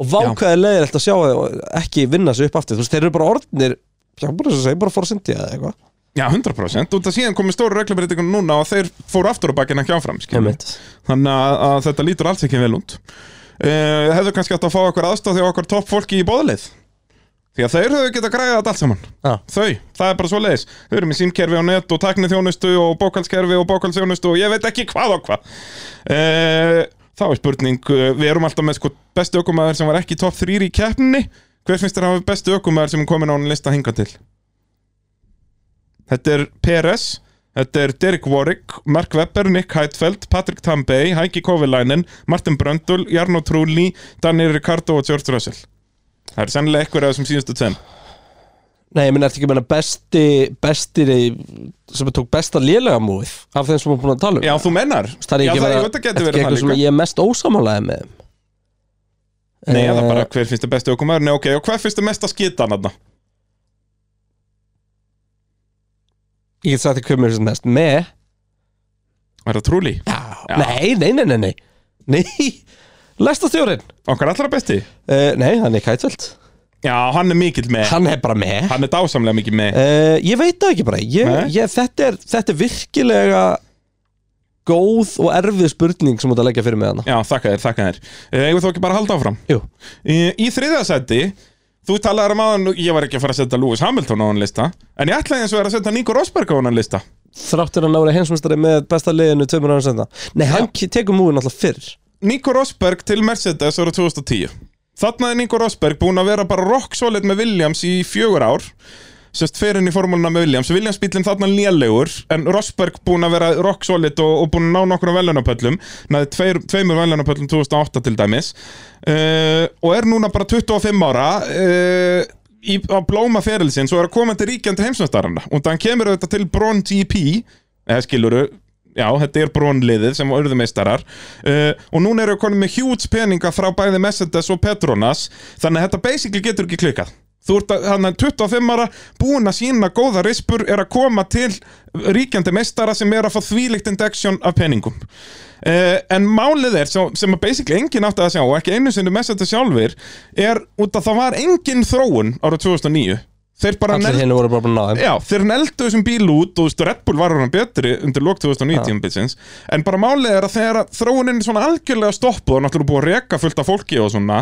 og vákvæði leiðir eftir að sjá að ekki vinna sig upp aftur, þú veist, þeir eru bara orðnir Já, bara þess að segja, bara fór að syndja eða eitthvað Já, 100% og það síðan komið stóru reglubreitingum núna og þeir fóru aftur á bakkinn ekki áfram skilur við. Einmitt. þannig að, að þetta lítur alls ekki vel und uh, hefðu kannski átt að fá okkur aðstáð því okkur topp fólki í bóðlið því að þeir höfðu geta græðið þetta allt saman Já. þau, það er bara svo leiðis þau eru með símkerfi og net og tæknithjónustu og bókalskerfi og bókalsjónustu og ég veit ekki hvað og hvað uh, þá er spurning eh, við erum alltaf með sko bestu ökumæður sem var ekki topp 3 í keppninni hver finnst þér að hafa bestu ökumæður sem er komin á hann lista hinga til Þetta er Peres Þetta er Derek Warwick, Mark Webber, Nick Heidfeld, Patrick Tambay, Heikki Kovilainen, Martin Bröndul, Jarno Trulli, Daniel Ricardo og George Russell. Það er sennilega eitthvað af þessum síðustu tveim. Nei, ég minn eftir ekki að menna besti, besti sem tók besta lélega múið af þeim sem við erum búin að tala um Já, þú mennar. það er Já, ekki það, bara- það getur verið ekki það eitthvað líka. sem ég er mest ósamálaði með þeim. Nei, það Eh, er bara hver finnst þið bestu okkur maður. Nei, ok, og hvað finnst þið mest að skita hann þarna? Ég get sagt þér hver mér sem mest með Er það Trulli? Já. Nei, nei, nei, nei, nei Nei, lesta stjórin Okkar allra besti? uh, Nei, hann er kætveld Já, hann er mikill með. Hann er bara með Hann er dásamlega mikill með. uh, Ég veit það ekki bara ég, Nei. ég, þetta, er, þetta er virkilega góð og erfið spurning sem þú ert að leggja fyrir með hana Já, þakka þér, þakka þér. Eh, Eigum við þó ekki bara að halda áfram? Jú, Í, í þriðasæti Þú talaðir um aðan, ég var ekki að fara að setja Lewis Hamilton á hann lista En ég ætlaði eins og er að setja Nico Rosberg á hann lista þráttur hann ára heimsmestari með besta liðinu tveimur ára senda Nei, hann ke- tekur múin alltaf fyrr Nico Rosberg til Mercedes ára 2010 Þarna er Nico Rosberg búinn að vera bara rock solid með Williams í fjögur ár Sest fer inn í formúluna með Williams Williams bílinn þarna lélegur En Rosberg búinn að vera rock solid og, og búinn að ná nokkrum velunapöllum Næði tveir, tveimur velunapöllum 2008 til dæmis uh, Og er núna bara 25 ára uh, í, Á blóma ferilsinn Svo er að koma til ríkjandi heimsmyndstarana Og hann kemur auðvitað til Bron GP eða skiluru Já, þetta er brónliðið sem urðu meistarar uh, og núna eru konum með hjúts peninga frá bæði Mercedes og Petronas þannig að þetta basically getur ekki klikað Þú ert að, hann er 25 ára búin að sína góða rispur er að koma til ríkjandi meistara sem er að fá þvílíkt indeksjón af peningum uh, en málið er sem, sem að basically enginn átti að sjá og ekki einu sinni Mercedes sjálfur er út að það var engin þróun árið 2009 Þeir bara Allir negldu- henni voru bara búin að ná þeim Já, þeir neldu þessum bíl út og þú veist, Red Bull var hann betri undir lok 2019 bílsins en bara málið er að þegar að þróunin er svona algjörlega stoppuð og náttúrulega búið að reka fullt af fólki og svona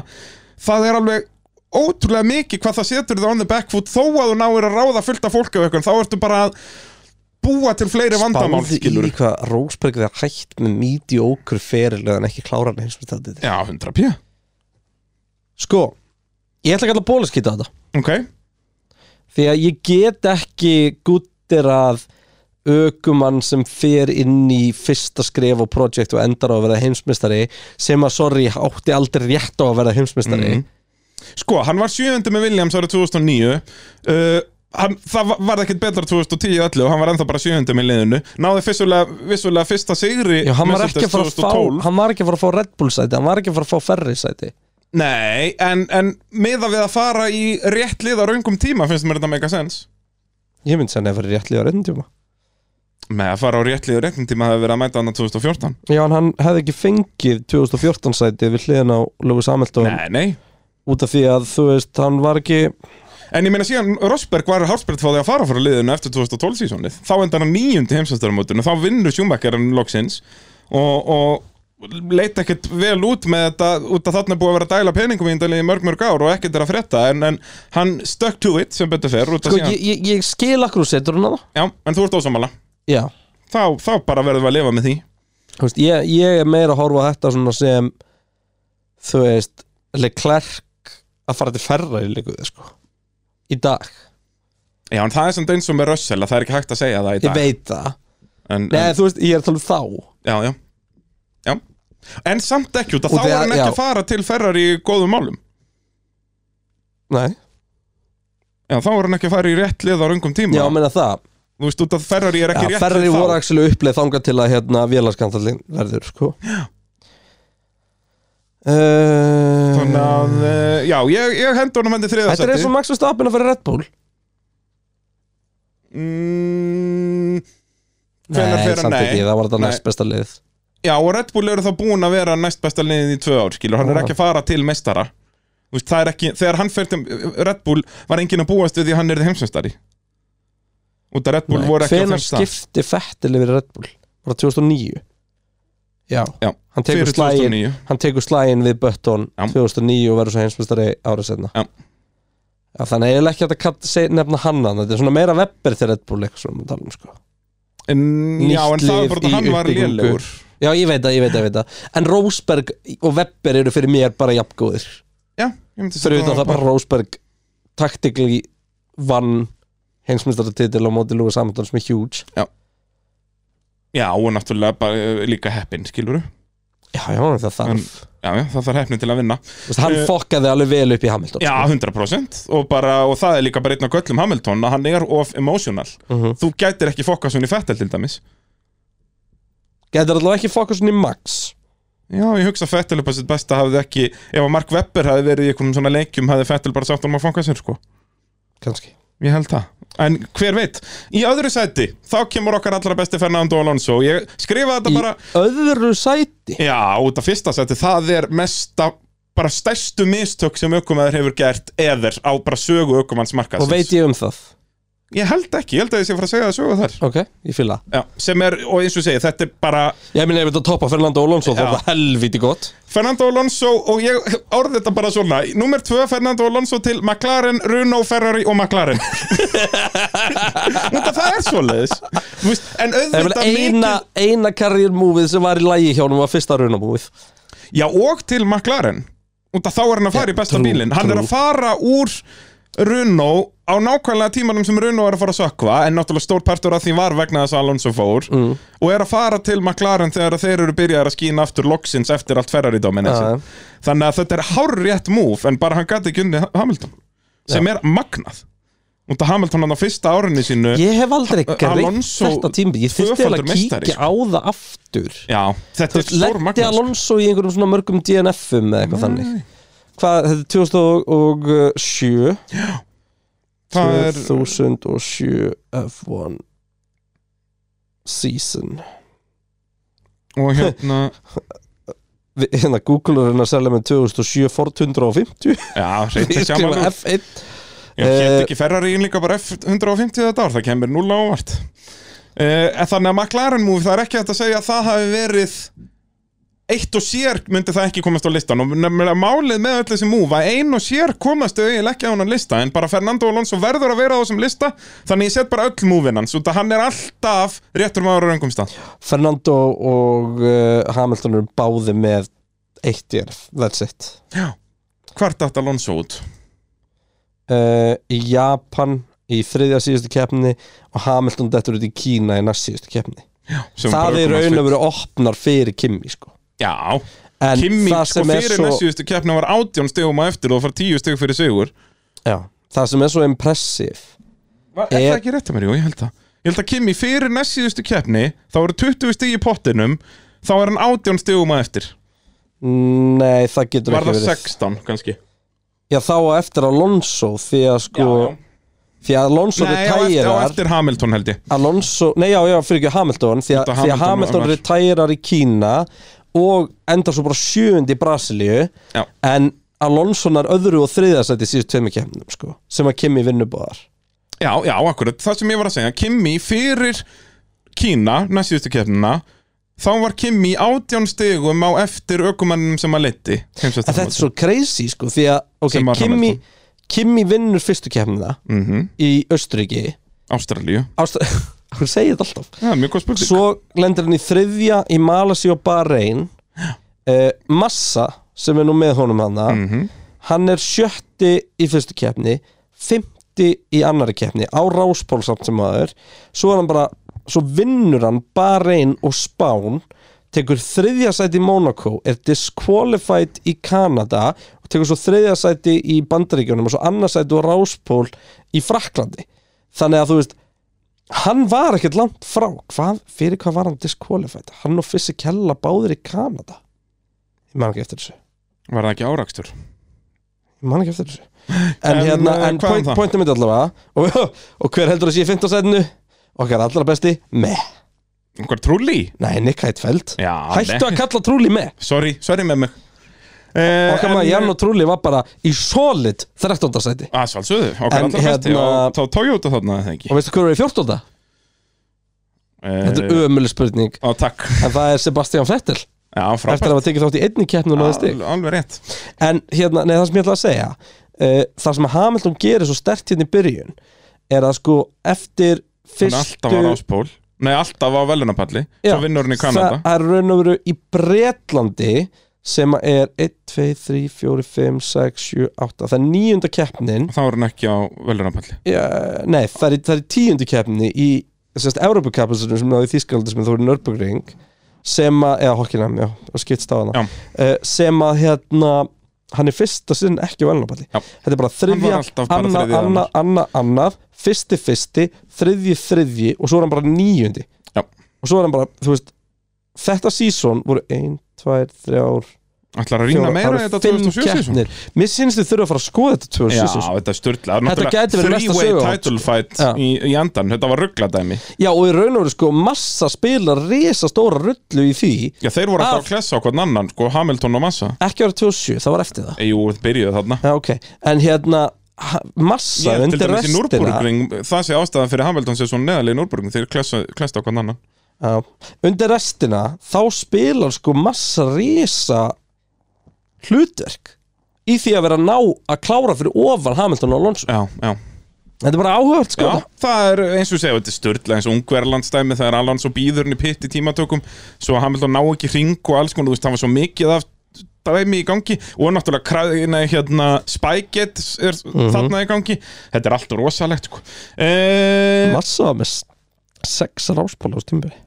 það er alveg ótrúlega mikið hvað það setur þau on the back foot þó að þú náir að ráða fullt af fólki og eitthvað þá ertu bara að búa til fleiri vandamál Spáðu skilur í hvað Rósberg þegar hætt með mediocre ferilega en ekki klára hann eins og þetta Já, 100 pjö Sko, ég ætla ekki að bóluskýta þetta Ok, Því að ég get ekki guttir að aukumann sem fer inn í fyrsta skref og projekt og endar á að verða heimsmystari sem að, sorry, átti aldrei rétt á að verða heimsmystari sko, hann var sjöfundi með Williams árið 2009 uh, hann, það var- varð ekkert betra 2010 og 11 og hann var ennþá bara sjöfundi með liðinu náði vissulega, vissulega fyrsta sigri Já, hann var, Mercedes ekki að fara að fá, 2012. hann var ekki að fara að fá Red Bull sæti hann var ekki að fara að fá Ferri sæti Nei, en, en meða við að fara í rétt lið á raungum tíma finnst mér þetta mega sens ég myndi segja hann hefur rétt líða reyndum tíma með að fara á rétt lið á réttum tíma það hefur verið að mæta hann 2014 Já, en hann hefði ekki fengið 2014 sæti við hliðin á Lófus Hamilton Nei, nei út af því að þú veist, hann var ekki En ég meina síðan Rosberg var hálfspilt fóði að fara frá liðinu eftir 2012 sísónið þá endar hann nýjundi heimsvæmstaramótinu þá vinnur sjúmakkarinn loksins og, og leita ekkert vel út með þetta út að þarna er búið að vera að dæla peningum í þetta liði í mörg mörg ár og ekkert er að frétta en, en hann stuck to it sem betur fer út að sko, síðan, ég, ég, ég skil akkur úr setur hann að það já, en þú ert ósamála Já, þá, þá bara verðum við að lifa með því þú veist, ég, ég er meira að horfa á þetta svona sem þú veist, Leclerc að fara til ferra í líkuði sko. í dag, Já, en það er samt eins og með Russell að það er ekki hægt að segja það í ég dag veit það en, Nei, en, þú veist, ég er að tala um þá já, já. já, en samt ekki út að Og þá það- er hann ekki já. að fara til Ferrari í góðum málum Nei, Já, þá er hann ekki að fara í rétt lið á röngum tíma já, meina það Þú veist, út að Ferrari er ekki Já, rétt ferri lið þá voru akslu uppleið þangað til að hérna vélarskandallin verður, sko Já Þannig að, uh, já, ég, ég hendur honum hendi Eh, Þetta er þriðasætti eins og Max Verstappen að fara í Red Bull mm, Hvenær fer hann? samt Nei. ekki, það var þetta Nei. næst besta lið Já, og Red Bull eru þá búin að vera næst besta liðið í tvö ár, skilur Hann er Já. ekki að fara til mestara Þú veist, það er ekki, þegar hann fer til Red Bull var enginn að búast við því að hann er heimsumstari Út að Red Bull voru ekki á Hvenær þeim stað. skipti Fettil yfir í Red Bull? Var það 2009? Já, Já, hann tekur fyrir slægin 2009. Hann tekur slægin við Button Já. 2009 og verður svo heimsmyndstari árið setna Já. Já, þannig að ég er ekki hægt að kalla- seg- nefna hann hann, þetta er svona meira webber til Red Bull eitthvað svona talum, sko. En, Nýtt já, en það lið er bara út að í hann var uppbyggingu. lélegur Já, ég veit það, ég veit það, ég veit það En Rósberg og Webber eru fyrir mér bara jafngóðir Já, ég myndi Fyrir segja utan það bara Rósberg taktikli vann heimsmyndstaratitil á móti Lúi Samtón sem er huge Já, og náttúrulega bara eh, líka heppin, skilur Já, já, það þarf En- Já, já, það þarf hefni til að vinna Þú veist, Hann Eh, fokkaði alveg vel upp í Hamilton Já, 100% og, bara, og það er líka bara einn af göllum Hamilton að hann er of emotional Mhm. Þú gætir ekki fokkast hún í fettel til dæmis Getur allavega ekki fokusin í Max Já, ég hugsa að Fettel upp að sitt besta hafði ekki Ef að Mark Webber hafði verið í einhverjum svona leikjum hafði Fettel bara sagt um að fanga sér sko Kanski Ég held það En hver veit, í öðru sæti þá kemur okkar allra besti Fernando Alonso Ég skrifa þetta Í bara öðru sæti Já, út af fyrsta seti, það er mesta bara stærstu mistök sem aukumæður hefur gert eðir á bara sögu aukumanns markaðsins Og veit ég um það Ég held ekki, ég held að ég sé að fara að segja það sögu þar Ok, ég fíla það. Já, sem er, og eins og ég segi, þetta er bara Ég minn ef þetta toppa Fernando Alonso þá Já. er það helviti gott Fernando Alonso og ég orði þetta bara svona Númer 2, Fernando Alonso til McLaren, Renault, Ferrari og McLaren Þetta það er svoleiðis Þú veist, En Það er auðvitað vel eina, mikið eina karriérmúfið sem var í lægi hjá honum var fyrsta runamúfið Já, og til McLaren Út að þá er hann að fara Já, í besta trú, bílinn Hann trú. er að fara úr Renault á nákvæmlega tímanum sem Renault er að fara að sökva En náttúrulega stór partur af því var vegna þess að Alonso fór mm. Og er að fara til McLaren þegar þeir eru byrjaðir að skína aftur loksins eftir allt Já, Ferrari-domination já. Þannig að þetta er hárrétt múf En bara hann gæti ekki unni Hamilton Sem er magnað Út af Hamilton hann á fyrsta árunni sínu Ég hef aldrei Ha- greitt Alonso þetta tímbil Ég þurfti tvöfaldur eiginlega að meistari, kíkja á það aftur Já, þetta er stór Lendi magnað sko. Mm. Alonso í einhverjum svona mörgum DNF-um eða eitthvað þannig Hvað, þetta er 2007 Það er 2007 F1 season Og hérna Vi- hérna Google er hérna að selja með 2007 Ford 150 Já, reyndi Ég sjáman skrifa F1 Ég Eh, hétt ekki Ferrari líka bara F150 þetta ár, það kemur núla ávart uh, En þannig að McLaren move, það er ekki hægt að segja að það hafi verið Eitt og sér myndi það ekki komast á listan Og nefnilega málið með öll þessi move Að ein og sér komast auðvitað ekki á hann lista En bara Fernando Alonso verður að vera á þessum lista Þannig ég set bara öll múvin hans Út að hann er alltaf réttur maður á röngum stað Fernando og uh, Hamilton eru báði með 1 DNF, that's it Hvart átt Alonso út? uh, í Japan í þriðja síðustu keppni og Hamilton dettur út í Kína í næst síðustu keppni Sem það bara er ökumannssveit. raun og verið opnar fyrir Kimi sko. Já, en Kimi það sko sem er fyrir svo... svo næstjústu keppni var 18 stegum að eftir og það fara 10 steg fyrir sigur já, það sem er svo impressiv Var, er, Er- það ekki rétt að mér, jú, ég held að Ég held að Kimi fyrir næstsíðustu keppni Þá eru 20 stig í pottinum Þá er hann 18 stigum að eftir nei, það getur Var ekki það verið 16 kannski já, þá á eftir Alonso því að sko því að Alonso Nei, á eftir, á retærar eftir Hamilton held ég Alonso, nei já, já, fyrir ekki Hamilton því að, Út af því að Hamilton Hamilton var- retærar í Kína og endar svo bara sjöund í Brasilíu Já. en Alonso nær öðru og þriðasætti síðust tveimur kemnum sko, sem að kemmi vinnubóðar Já, já, akkurat, það sem ég var að segja Kimi fyrir Kína Næstsíðustu keppnina Þá var Kimi 18 stigum á eftir Ökumannum sem að leiti en þetta er svo crazy sko því að Sem okay, var Kimi, Hamilton. Kimi vinnur fyrstu kemna mm -hmm. í Östuríki Ástralíu Ástu, hún segir þetta alltaf Já, mjög góð spurning svo lendir hann í þriðja í Malasi og Bahrein uh, Massa sem er nú með honum hana Mhm. hann er sjötti í fyrstu keppni fymti í annari keppni á ráspól samt sem aður svo er hann bara, svo vinnur hann Bahrein og Spán tekur þriðja sæti í Monaco er disqualified í Kanada og tekur svo þriðja sæti í Bandaríkjunum og svo annarsæti og ráspól í Fraklandi þannig að þú veist hann var ekkert langt frá hvað, fyrir hvað var hann disqualified hann og Fissi Kella báðir í Kanada ég man ekki eftir þessu Var það ekki árakstur? ég man ekki eftir þessu en, En, hérna, eh, en hvað um point, það? pointum mitt allavega og, og hver heldur að sé í 15 setinu okkar allra besti, meh Hvað trúli? nei, Nick Heitfeld, Já, hættu nei. að kalla trúli meh Sorry, sorry með mig eh, okkar maður Jan og trúli var bara í solid 13. seti Að sjálfsögðu, okkar En allra besti hérna- og þá Toyota þarna eða ekki og veistu hver er í 14. þetta er ömuleg spurning Eh, Á takk, en það er Sebastian Vettel já eftir frábært að hafa tekið þátt í einni keppnum og náði stig Al- Alveg rétt En hérna, nei, það sem ég ætla að segja uh, Það sem að Hamilton gerir svo stert hérna í byrjun Er að sko eftir Hann fyrstu alltaf var áspól Nei, alltaf var velunapalli Já, Svo vinnur hann í Kanada Það er raun og veru í Bretlandi Sem að er 1, 2, 3, 4, 5, 6, 7, 8 Það er níunda keppnin Þá er hann ekki á velunapalli ja, Nei, það er, í- það er í tíundu keppni Í sérst Evropakapasinu sem náði Þískaldi sem þú eru Nörbjörgring Sem að, eða hokkinam, já, og skiptst á hana Já. uh, Sem að hérna Hann er fyrsta sinn ekki á velnapalli Já. Þetta er bara Hann var þriðja, alltaf bara anna, þriðja anna, anna, annað Fyrsti, fyrsti, þriðji, þriðji Og svo er hann bara níundi Já. Og svo er hann bara, þú veist Þetta sísón voru ein, tvær, þrjár Ætlar að rýna fjórar- meira það í eru þetta fimm 2007 sísón? keppnir. Mér sínst þið þurfa að fara að skoða þetta Já, 2007 þetta er sturla Þetta gæti verið næsta Three-way söguhótt, title fight Já. í, í andan Þetta var ruggladæmi Já og í raun og veru sko massa spila resa stóra rullu í því Já, þeir voru alltaf Af- að klessa á hvern annan sko, Hamilton og Massa ekki ára 27, það var eftir það Eh, Jú, þetta byrjuðu þarna Já ok, en hérna ha- massa Ég, til undir dæmis í restina Núrburgring, það sé ástæðan fyrir Hamilton sé svona neðalega í Núrburgring, þeir klesta, klesta okkur annan já, undir restina þá spilar sko massa resa hlutverk í því að vera að ná að klára fyrir ofan Hamilton og Alonso Já, já, Þetta er bara áhugavert sko já það er eins og við segja, þetta er störtlega eins og ungverðlandstæmi þegar Alonso býður henni pitt í tímatökum svo að Hamilton ná ekki hring og alls konar, þú veist, það var svo mikið af dæmi í gangi og náttúrulega kræðina hérna Spygate er þarna í gangi þetta er alltaf rosalegt sko. e, Massa var með s- sex ráspóla á stímbili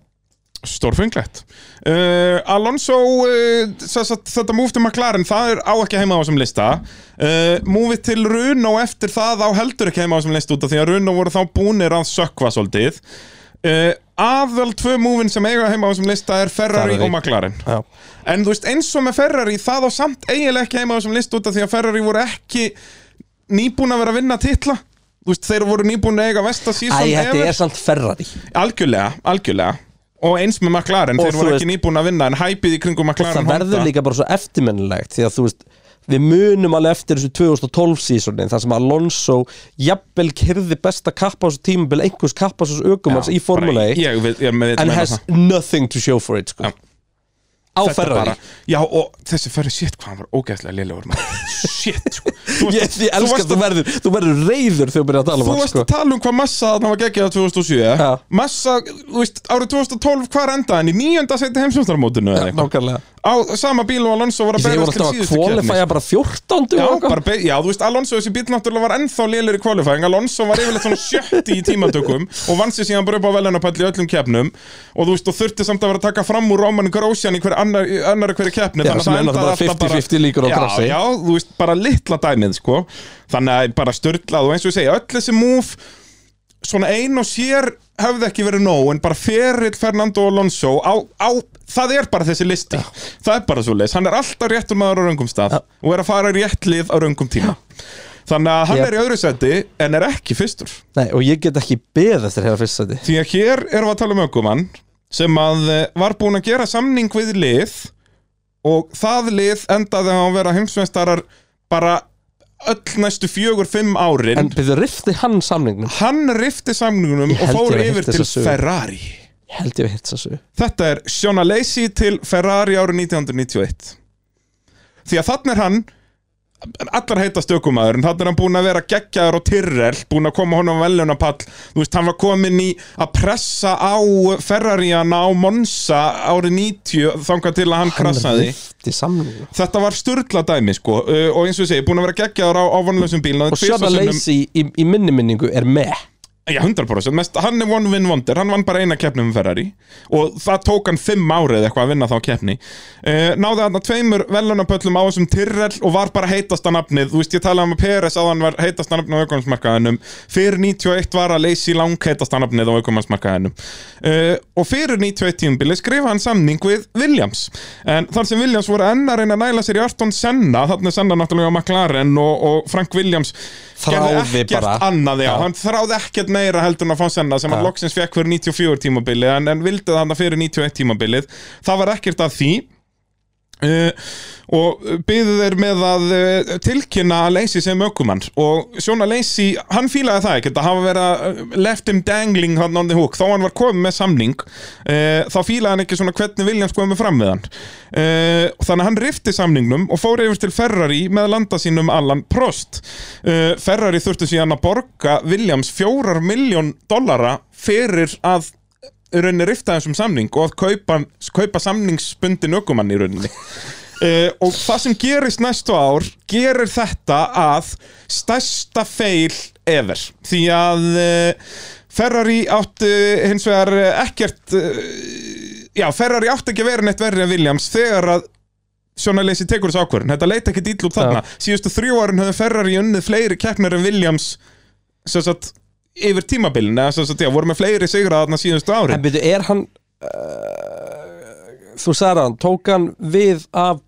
Stórfenglegt uh, Alonso, uh, s- s- þetta move til McLaren, það er á ekki heima á þessum lista uh, Move til Runo eftir það á heldur ekki heima á þessum lista út af því að Runo voru þá búnir að sökva svolítið uh, Aðal tvö múvin sem eiga heima á þessum lista er Ferrari Ferrari. og McLaren Já. En þú veist, eins og með Ferrari, það á samt eiginlega ekki heima á þessum list út af því að Ferrari voru ekki nýbúin að vera að vinna titla Þú veist, þeir voru nýbúin að eiga Vesta Æ, síðan þetta er samt Ferrari Algjörlega, algjörlega Og eins með McLaren, Og þeir þú voru veist- ekki nýbúin að vinna En hæpið í og kringum McLaren það verður líka bara svo eftirmennilegt því að þú veist við munum alveg eftir þessu 2012 sísonin þar sem Alonso jafnvel kyrði besta kappa á þessu tímabil einhvers kappa á þessu ökumanns í formulei Ég, ég, veit- ég, ég, and has nothing to show for it sko. Já. á Ferrari Já, og þessi Ferrari, shit, hvað hann var ógeðslega lélegur maður. Shit, sko Þú varst- ég, ég þú elska varst að þú verður, þú verður reyður þegar þú byrjar að tala um Þú hann varst sko. að tala um hvað massa þarna var geggjað á 2007 Já. Massa, þú veist, árið 2012 hvar endaði hann í nýjönda seti heimsumstarmótinu eða eitthvað nákvæmlega Á sama bíl og Alonso ég var að segi, ég var berjast til alltaf að um síðustu keppni, kvalifæja bara 14 Já, og eitthvað. bara, be- já, þú veist, Alonso þessi bíl náttúrulega var ennþá lélir í qualifying Alonso var yfirleitt svona sjötti í tímatökum og vann sér síðan bara upp á velunapall í öllum keppnum og þú veist, og þurfti samt að vera að taka fram úr Roman Grosjan í hver annar, í annarri hverju keppni Já, sem er náttúrulega bara 50-50 líkur á já, grassi. Já, þú veist, bara litla dæmið, sko þannig að bara störtlað og eins og ég segja, öll þessi move svona ein og sér höfðu ekki verið nóg en bara ferill Fernando Alonso á, á, það er bara þessi listi það er bara svo leis, hann er alltaf réttur maður á röngum stað Já. og er að fara í rétt lið á röngum tíma þannig að hann Ég- er í öðru seti en er ekki fyrstur Nei, og ég get ekki beð eftir hérna fyrst sæti því að hér erum við að tala um ökumann sem að eh, var búinn að gera samning við lið og það lið endaði á að vera heimsveistarar bara öll næstu fjögur, fimm árin en byrðu rifti hann samningnum hann rifti samningunum Ég og held ég fór hafi heyrt yfir til þessa sögu. Ferrari held ég að hitt þessu Þetta er Sjona Lacey til Ferrari árið 1991 Því að þannig er hann allar heitast ökumæður en þannig er hann búinn að vera geggjaður og tyrrel búinn að koma honum á velunapall þú veist, hann var kominn í að pressa á Ferrariana á Monza árið 90 þangað til að hann krassaði rifti samningnum Þetta var sturla dæmi sko uh, og eins og ég segi, búinn að vera geggjaður á, á vonlausum bíl náði og tvisvar Sjona sinnum- Lacey í, í minni minningu er með Já, 100% mest, Hann er one win wonder, hann vann bara eina keppni um Ferrari og það tók hann fimm árið eitthvað að vinna þá keppni uh, Náði hann að tveimur velunapöllum á þessum Tyrrell og var bara heitasta nafnið Þú veist, ég talaði um að Peres að hann var heitasta nafnið á aukumannsmarkaðinum Fyrir 91 var að leysi lang heitasta nafnið á aukumannsmarkaðinum uh, Og fyrir 91 tímbili skrifa hann samning við Williams En þar sem Williams voru enn að reyna að næla sér í Arton Senna Þannig Senna náttúrulega á McLaren og, og Frank Williams gerði Þráði ekkert bara. annað já, Já. hann þráði ekkert meira heldur en að fá senna sem hann Já. loksins fekk fyrir 94 tímabilið en, en vildi það hann fyrir 91 tímabilið það var ekkert að því uh, og byggðu þeir með að uh, tilkynna að Lacey sem ökumann og Sjóna Lacey, hann fílaði það ekkert að hafa verið að uh, left him dangling hann on the hook, þá hann var komið með samning uh, þá fílaði hann ekki svona hvernig Williams komið fram við hann uh, þannig að hann rifti samningnum og fór yfir til Ferrari með landa sínum Allan Prost uh, Ferrari þurfti síðan að borga Williams fjórar miljón dollara fyrir að í rauninni rifta þessum samning og að kaupa, kaupa samningsbundin ökumann í rauninni uh, og það sem gerist næstu ár gerir þetta að stærsta feil ever því að uh, Ferrari áttu hins vegar eh, ekkert uh, já, Ferrari áttu ekki að vera neitt verri en Williams þegar að Sjónaleysi tekur þessu ákvörðin, þetta leita ekki dýll út þarna síðustu þrjú árin höfðu Ferrari unnið fleiri keppnir en Williams sem sagt, yfir tímabilin eða sem sagt, já, voru með fleiri sigra þarna síðustu árin en byrju, er hann uh, þú sagði hann, tók hann við af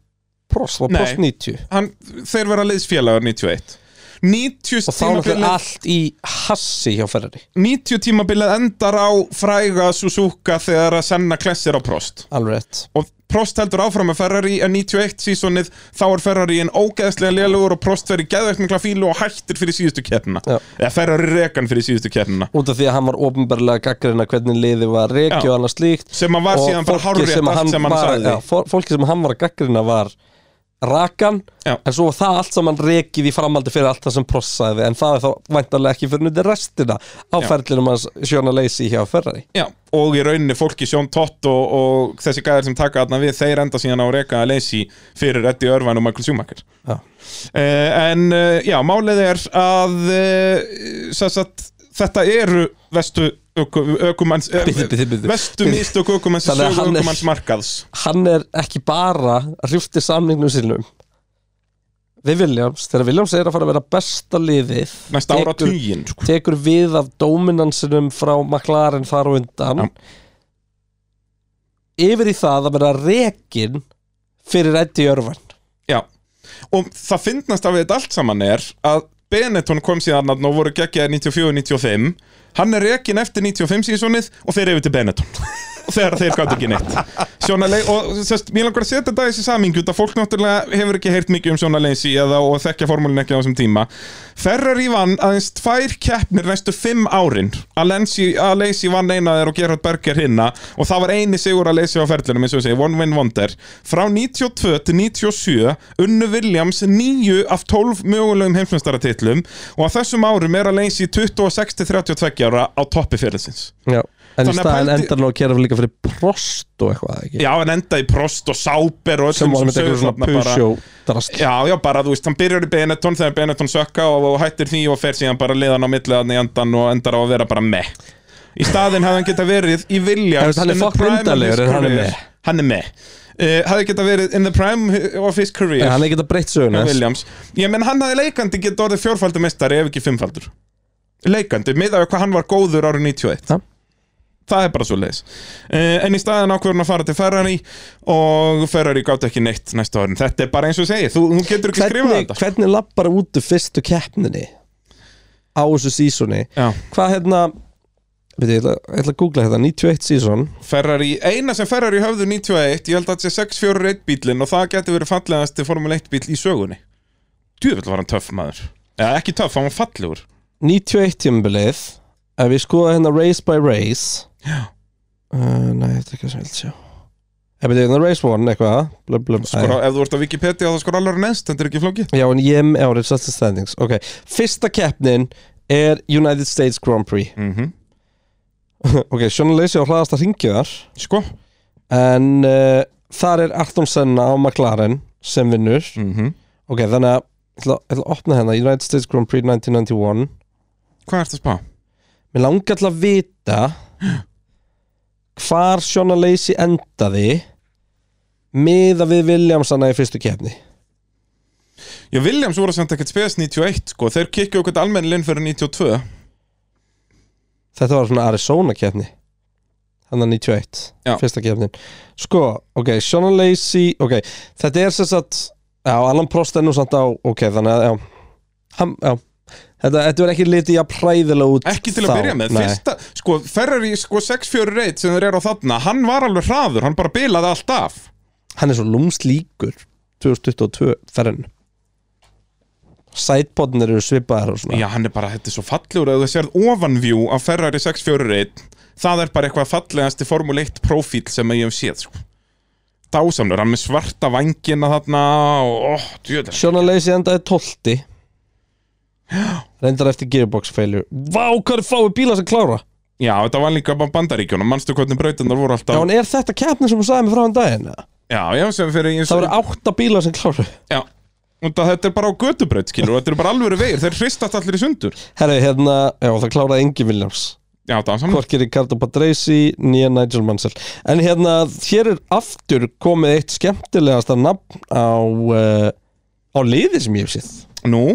Prost, var Nei. Prost 90 hann, þeir vera liðsfélagar 91 90 og þá er náttúrulega tímabilið, allt í hassi hjá Ferrari 90 tímabilið endar á fræga Suzuka þegar að senna klessir á Prost alveg rétt og Prost heldur áfram með Ferrari en 91 sísonið þá er Ferrari en ógeðslega lélugur og Prost fer í geðvegt mikla fílu og hættir fyrir síðustu keppnina Já. eða Ferrari rekan fyrir síðustu keppnina út af því að hann var ofnbarlega gaggrina hvernig liði var Já. reiki og annað slíkt sem að var og síðan bara fólkið hárrétt allt sem hann var, sagði já, fó- fólkið sem hann var að gaggrina var rakan, Já. en svo var það allt saman rekið í framaldi fyrir allt það sem Prost sagði en það er þá væntanlega ekki fyrir nuti restina á Já. ferlinum hans Sjóna Leysi hjá Ferrari Já, og í rauninni fólki Sjón Tott og, og þessi gæðar sem taka þarna við, þeir enda síðan á reka að leysi fyrir Eddie Irvine og Michael Schumacher Já. Eh, uh, En uh, já, málið er að uh, eh, sem sagt, þetta eru vestu öku- ökumanns eh, Bíddu, bíddu, bíddu. vestu Bíddu. mistök ökumanns í Þannig að sögu hann er- ökumanns markaðs hann er ekki bara hrjúfti samningnum sínum við Williams, þegar Williams er að fara að vera besta liðið næsta ára tugin sko. tekur við af dóminansinum frá McLaren þar og undan Já. yfir í það að vera rekin fyrir Eddie Örvan Já. og það finnast af þetta allt saman er að Benetton kom síðan þarna og voru geggjaðir 94-95 hann er rekin eftir 95 sísonið og þeir eru til Benetton Og þegar þeir gætu ekki neitt Sjónalei, og sérst, mér langar að setja þetta í þessi samingi út að fólk náttúrulega hefur ekki heyrt mikið um sjónaleiðsi eða og þekkja formúlin ekki á þessum tíma Ferrari vann aðeins tvær keppnir næstu fimm árin Alensi, Alesi vann eina þeir og Gerhard Berger hinna og það var eini sigur Alesi á ferlinum eins og við segjum, one win wonder frá 92 til 97 unnu Williams 9 af 12 mögulegum heimsmyndstaratitlum og á þessum árum er Alesi 26 til 32 ára á toppi fyrirlsins Já. en í Þannig að staðin pældi- endar nú að kera líka fyrir prost og eitthvað ekki Já, en enda í Prost og Sáber og öllum sem var með eitthvað sögum svona þarna bara- pusjó drast Já, já, bara þú veist, hann byrjar í Benetton þegar Benetton sökka og, og hættir því og fer síðan bara liðan á milli þarna í endan og endar á að vera bara með Í staðinn hefði hann geta verið í Já, Williams veist, hann er in the fokk prime of myndarlegur, his en hann er career. með. Hann er með uh, Hefði geta verið in the prime of his career en hann er ekki að breytt söguna hjá þess. Williams Ég menn hann hafði leikandi geta orðið fjórfaldur mestari ef ekki fimmfaldur Leikandi, miðað við hvað hann var góður árið 91 Já. Það er bara svo leiðis En í staðan ákvörðun að fara til Ferrari Og Ferrari gátt ekki neitt næsta árin Þetta er bara eins og ég segi, þú, þú getur ekki skrifað hvernig, þetta hvernig lappar út úr fyrstu keppninni á þessu sísoni Já, hvað hérna veit, ég, ætla, ég ætla að googla hérna, 91 síson Ferrari, eina sem Ferrari höfðu 91 Ég held að þetta sé 641 bílinn Og það geti verið fallegasti Formule 1 bíl í sögunni Djöfull var hann töff maður Eða ekki töff, hann var fallegur 91 tímabilið ef ég skoða hérna race by race Já. uh, nei, þetta er ekki sem ég vil sjá ef við hérna race one eitthvað blum, blum, skora, Ef þú ert á Wikipedia þá skor alveg neðst Þetta er ekki flókið já, en ég er árið such standings ok, fyrsta keppnin er United States Grand Prix mm ok, Sean Lacey á hlaðasta ringið þar Sko en uh, þar er Arton Senna á McLaren sem vinnur mm ok, þannig að ég ætla, ég ætla að opna hérna United States Grand Prix 1991 Hvað ertu að spá? Mér langar til að vita hvar Sjona Lacey endaði miða við Williamsana í fyrstu keppni Já, Williams voru samt ekkert spes 91 sko. Þeir kikku okkur almennilinn fyrir 92 Þetta var svona Arizona keppni Þannig að 91, Já. fyrsta keppnin Sko, ok, Sjona Lacey Ok, þetta er sem sagt Já, Alan Prost er nú samt á Ok, þannig að, já, hann, já. Þetta, þetta var ekki litið að præðilega út Ekki til að þá, byrja með nei. Fyrsta, sko, Ferrari sko, 641 sem þeir eru á þarna Hann var alveg hraður, hann bara bilaði allt af hann er svo lúmslíkur 2022 ferðin sætbótnir eru svipaðar og svona Já, hann er bara, þetta er svo fallegur að þú sérð ofanvjú af Ferrari 641 það er bara eitthvað fallegasti Formule 1 profíl sem ég hef séð sko. dásamlur, hann með svarta vangina þarna og oh, djöðlega Sjóna Leysi endaði 12 reyndar eftir gearbox failure Vá, hvað er fáið bíla sem klára Já, þetta var líka bara bandaríkjunum, manstu hvernig brautinnar voru Já, alltaf en er þetta keppni sem hún sagði mig frá hann daginn? eða? Já, já, sem fyrir eins Það voru átta bíla sem kláru Já, og það, þetta er bara á götubraut skilur og þetta er bara alvöru vegir, þeir hristast allir í sundur Herri, hérna, já, það kláraði engin Williams Já, dásamlur Hvorki Ricardo Patrese, nýja Nigel Mansell En hérna, hér er aftur komið eitt skemmtilegasta nafn á, uh, á liði sem ég hef séð Nú,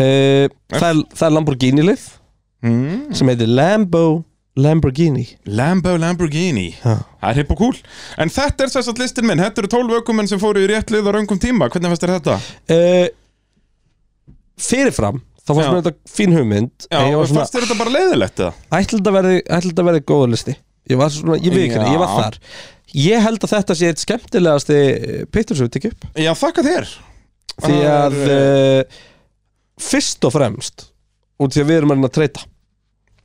Eh, það er, það er Lamborghini lið mm. sem heitir Lambo Lamborghini Lambo Lamborghini Já. Það er hipp og kúl En þetta er sérstætt listin minn, þetta eru 12 ökumenn sem fóru í rétt lið á raungum tíma, hvernig fannst þér þetta? uh, fyrirfram þá fannst Já. mér þetta fín hugmynd Já, en ég var svona, fannst þér þetta bara leiðilegt eða? ætli þetta verði, ætli þetta verði góða listi ég var svona, ég veit ekki, Já. ég var þar ég held að þetta sé eitt skemmtilegasti pittur sem við tekjum upp Já, þakka þér því Það að er, uh, fyrst og fremst út því að við erum að reyna að treyta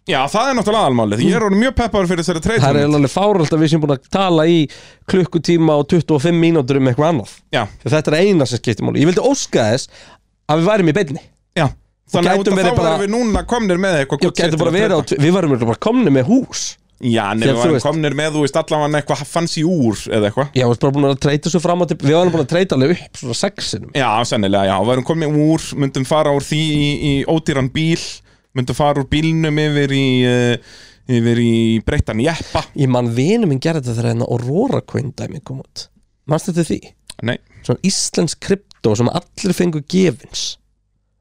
Já, það er náttúrulega aðalmálið, ég er orðin mjög peppaður fyrir þessari það er treyta eiginlega alveg fáralt að við séum búin að tala í klukkutíma og 25 mínútur um eitthvað annað Já, Því þetta er eina sem skiptir máli Ég vildi óska þess að við værum í beinni já Þannig að gætum út af verið þá bara- erum við núna komnir með Ég eitthvað gott gæti sitt bara til að verið á, treyta. tv- Við værum örugglega bara komni með hús Já, Þegar nefnum þú við veist- komnir með, þú veist, allavega eitthvað fancy úr eða eitthvað Já, við erum bara búin að treyta svo fram og til Við varum búin að treyta alveg upp svona sexinum Já, sennilega, já, við erum komin úr, myndum fara úr því í, í ódýran bíl myndu fara úr bílnum yfir í uh, yfir í breyttan jeppa Ég man vinur minn gerði þetta þegar hérna Aurora Coin dæmi kom út Manstu þetta því? Nei, Svona íslensk krypto sem allir fengu gefins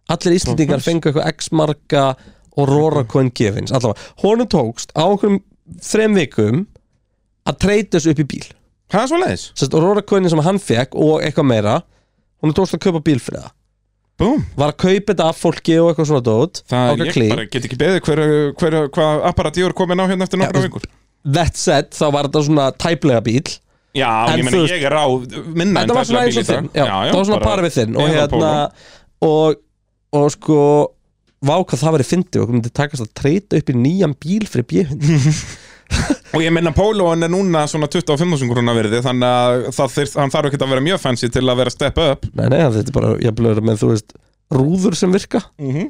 Allir íslendingar Aurora Coins? fengu eitthvað x marka Aurora Coin gefins Allavega, honum tókst á okkur þrem vikum að treyta þessu upp í bíl hvað er svo leiðis? Sest Aurora Coinin sem hann fekk og eitthvað meira Honum tókst að kaupa bíl fyrir það Búm, Var að kaupa þetta af fólki og eitthvað svona dót það ákveð er ég klí. bara get ekki beðið hver, hver, hvað apparat ég er komin á hérna eftir nokkra þú- vikur That said, þá var þetta svona tæplega bíl Já, en ég þú meina veist- ég er á minna en Þetta var svona Tesla eins bíl og í dag. þinn já, Það var svona bara- par við þinn og, eða hérna, Polo. og, og sko Vá hvað það verið fyndið og myndi takast að treyta upp í nýjan bíl fyrir bíhund Og ég menna pólóan er núna svona 25.000 krona verði þannig að það þyr, hann þarf ekki að vera mjög fancy til að vera step up Nei, nei, þetta er bara, ég blöður með, þú veist Rúður sem virka Mhm.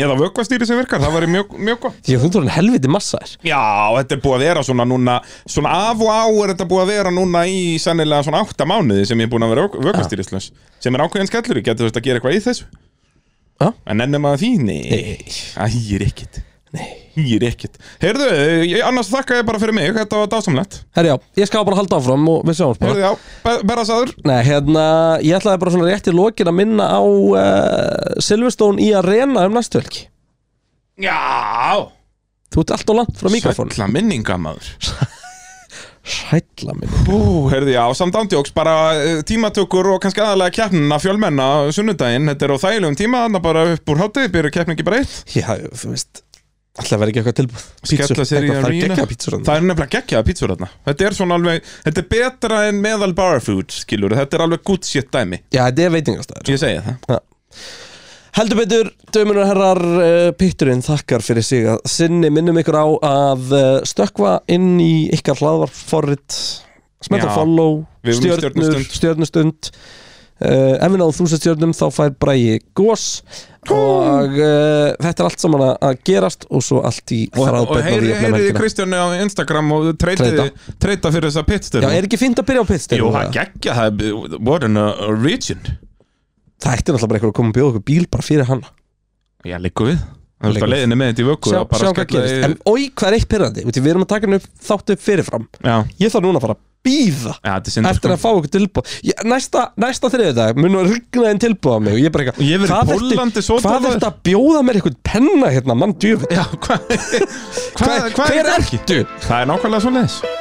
eða vökkvastýri sem virkar, það væri mjög, mjög gott Því að hún tóra helviti massa er Já, þetta er búið að vera svona núna svona af og á er þetta búið að vera núna í sennilega svona 8 mánuði sem ég er búin að vera vökkvastýrislaus sem er ákveðin skellur, getur þetta að gera eitthvað í þessu Já. En ennum að því, nei Nei. Æ, ég er ekkit Nei Ég er ekkit Heyrðu, ég, annars þakka ég bara fyrir mig, þetta var dásamlegt Herri já, ég skal bara halda áfram og við sjáum bara Heyrðu, já, ber, berðasaður Nei, hérna, ég ætlaði bara svona rétt í lokin að minna á uh, Silverstone í Arena um næstu helgi Já, Þú ert allt og langt frá mikrofónu sætla minningamaður Sætla minn Bú, heyrðu, já, samt ándjóks, bara eh, tímatökur og kannski aðalega keppnina fjölmenna sunnudaginn, þetta er á þægilegum tíma, þannig bara upp úr hátið, byrju keppni ekki bara eitt, Já, þú veist Alltaf verið ekki eitthvað tilbúð Pítsur, skella sér í eitthvað, það er arena. gekkja pítsur Það er nefnilega geggjaða pítsur þarna, þetta er svona alveg, þetta er betra en meðal bar food, skilur, þetta er alveg good shit dæmi, Já, þetta er veitingastæður ég segi það. Heldur betur, dömur og herrar uh, Pitturinn þakkar fyrir sig að sinni minnum ykkur á að uh, stökkva inn í ykkar hlaðvarforrit smelta Já, follow, við erum í stjörnur stjörnustund. stjörnustund uh, ef við náðum þúsund stjörnum þá fær bræði gós og uh, þetta er allt saman að- að gerast og svo allt í Og, og þráðbætna heyri, heyriði Kristjánu á Instagram og treytiði, treyta fyrir þessa Já, pitstur. er ekki fínt að byrja á pittstur? Jú, það geggja, það er, what an uh, origin. Það ætti náttúrulega bara eitthvað að koma og bjóða okkur bíl bara fyrir hann Já, liggur við. Það er Liggur við. leiðinni með þetta í vöku. Sjá, og bara sjá hvað skella gerist í- En oi, hvað er eitt pyrrandi? Við erum að taka hann upp þáttu upp fyrirfram Já, Ég þarf núna að fara að býða já, þetta er synd, Eftir sko. að fá okkur tilbúð Ég- Næsta, næsta þriðudag mun að rigna einn tilbúð á mig Og ég bara Og ég verið hvað ertu- pólandi Hvað sódólaður. er þetta að bjóða mér einhvern penna hérna, mann djúfið Já, hvað hva, hva, hva Hver er ertu? Það er nákvæmlega svo leiðis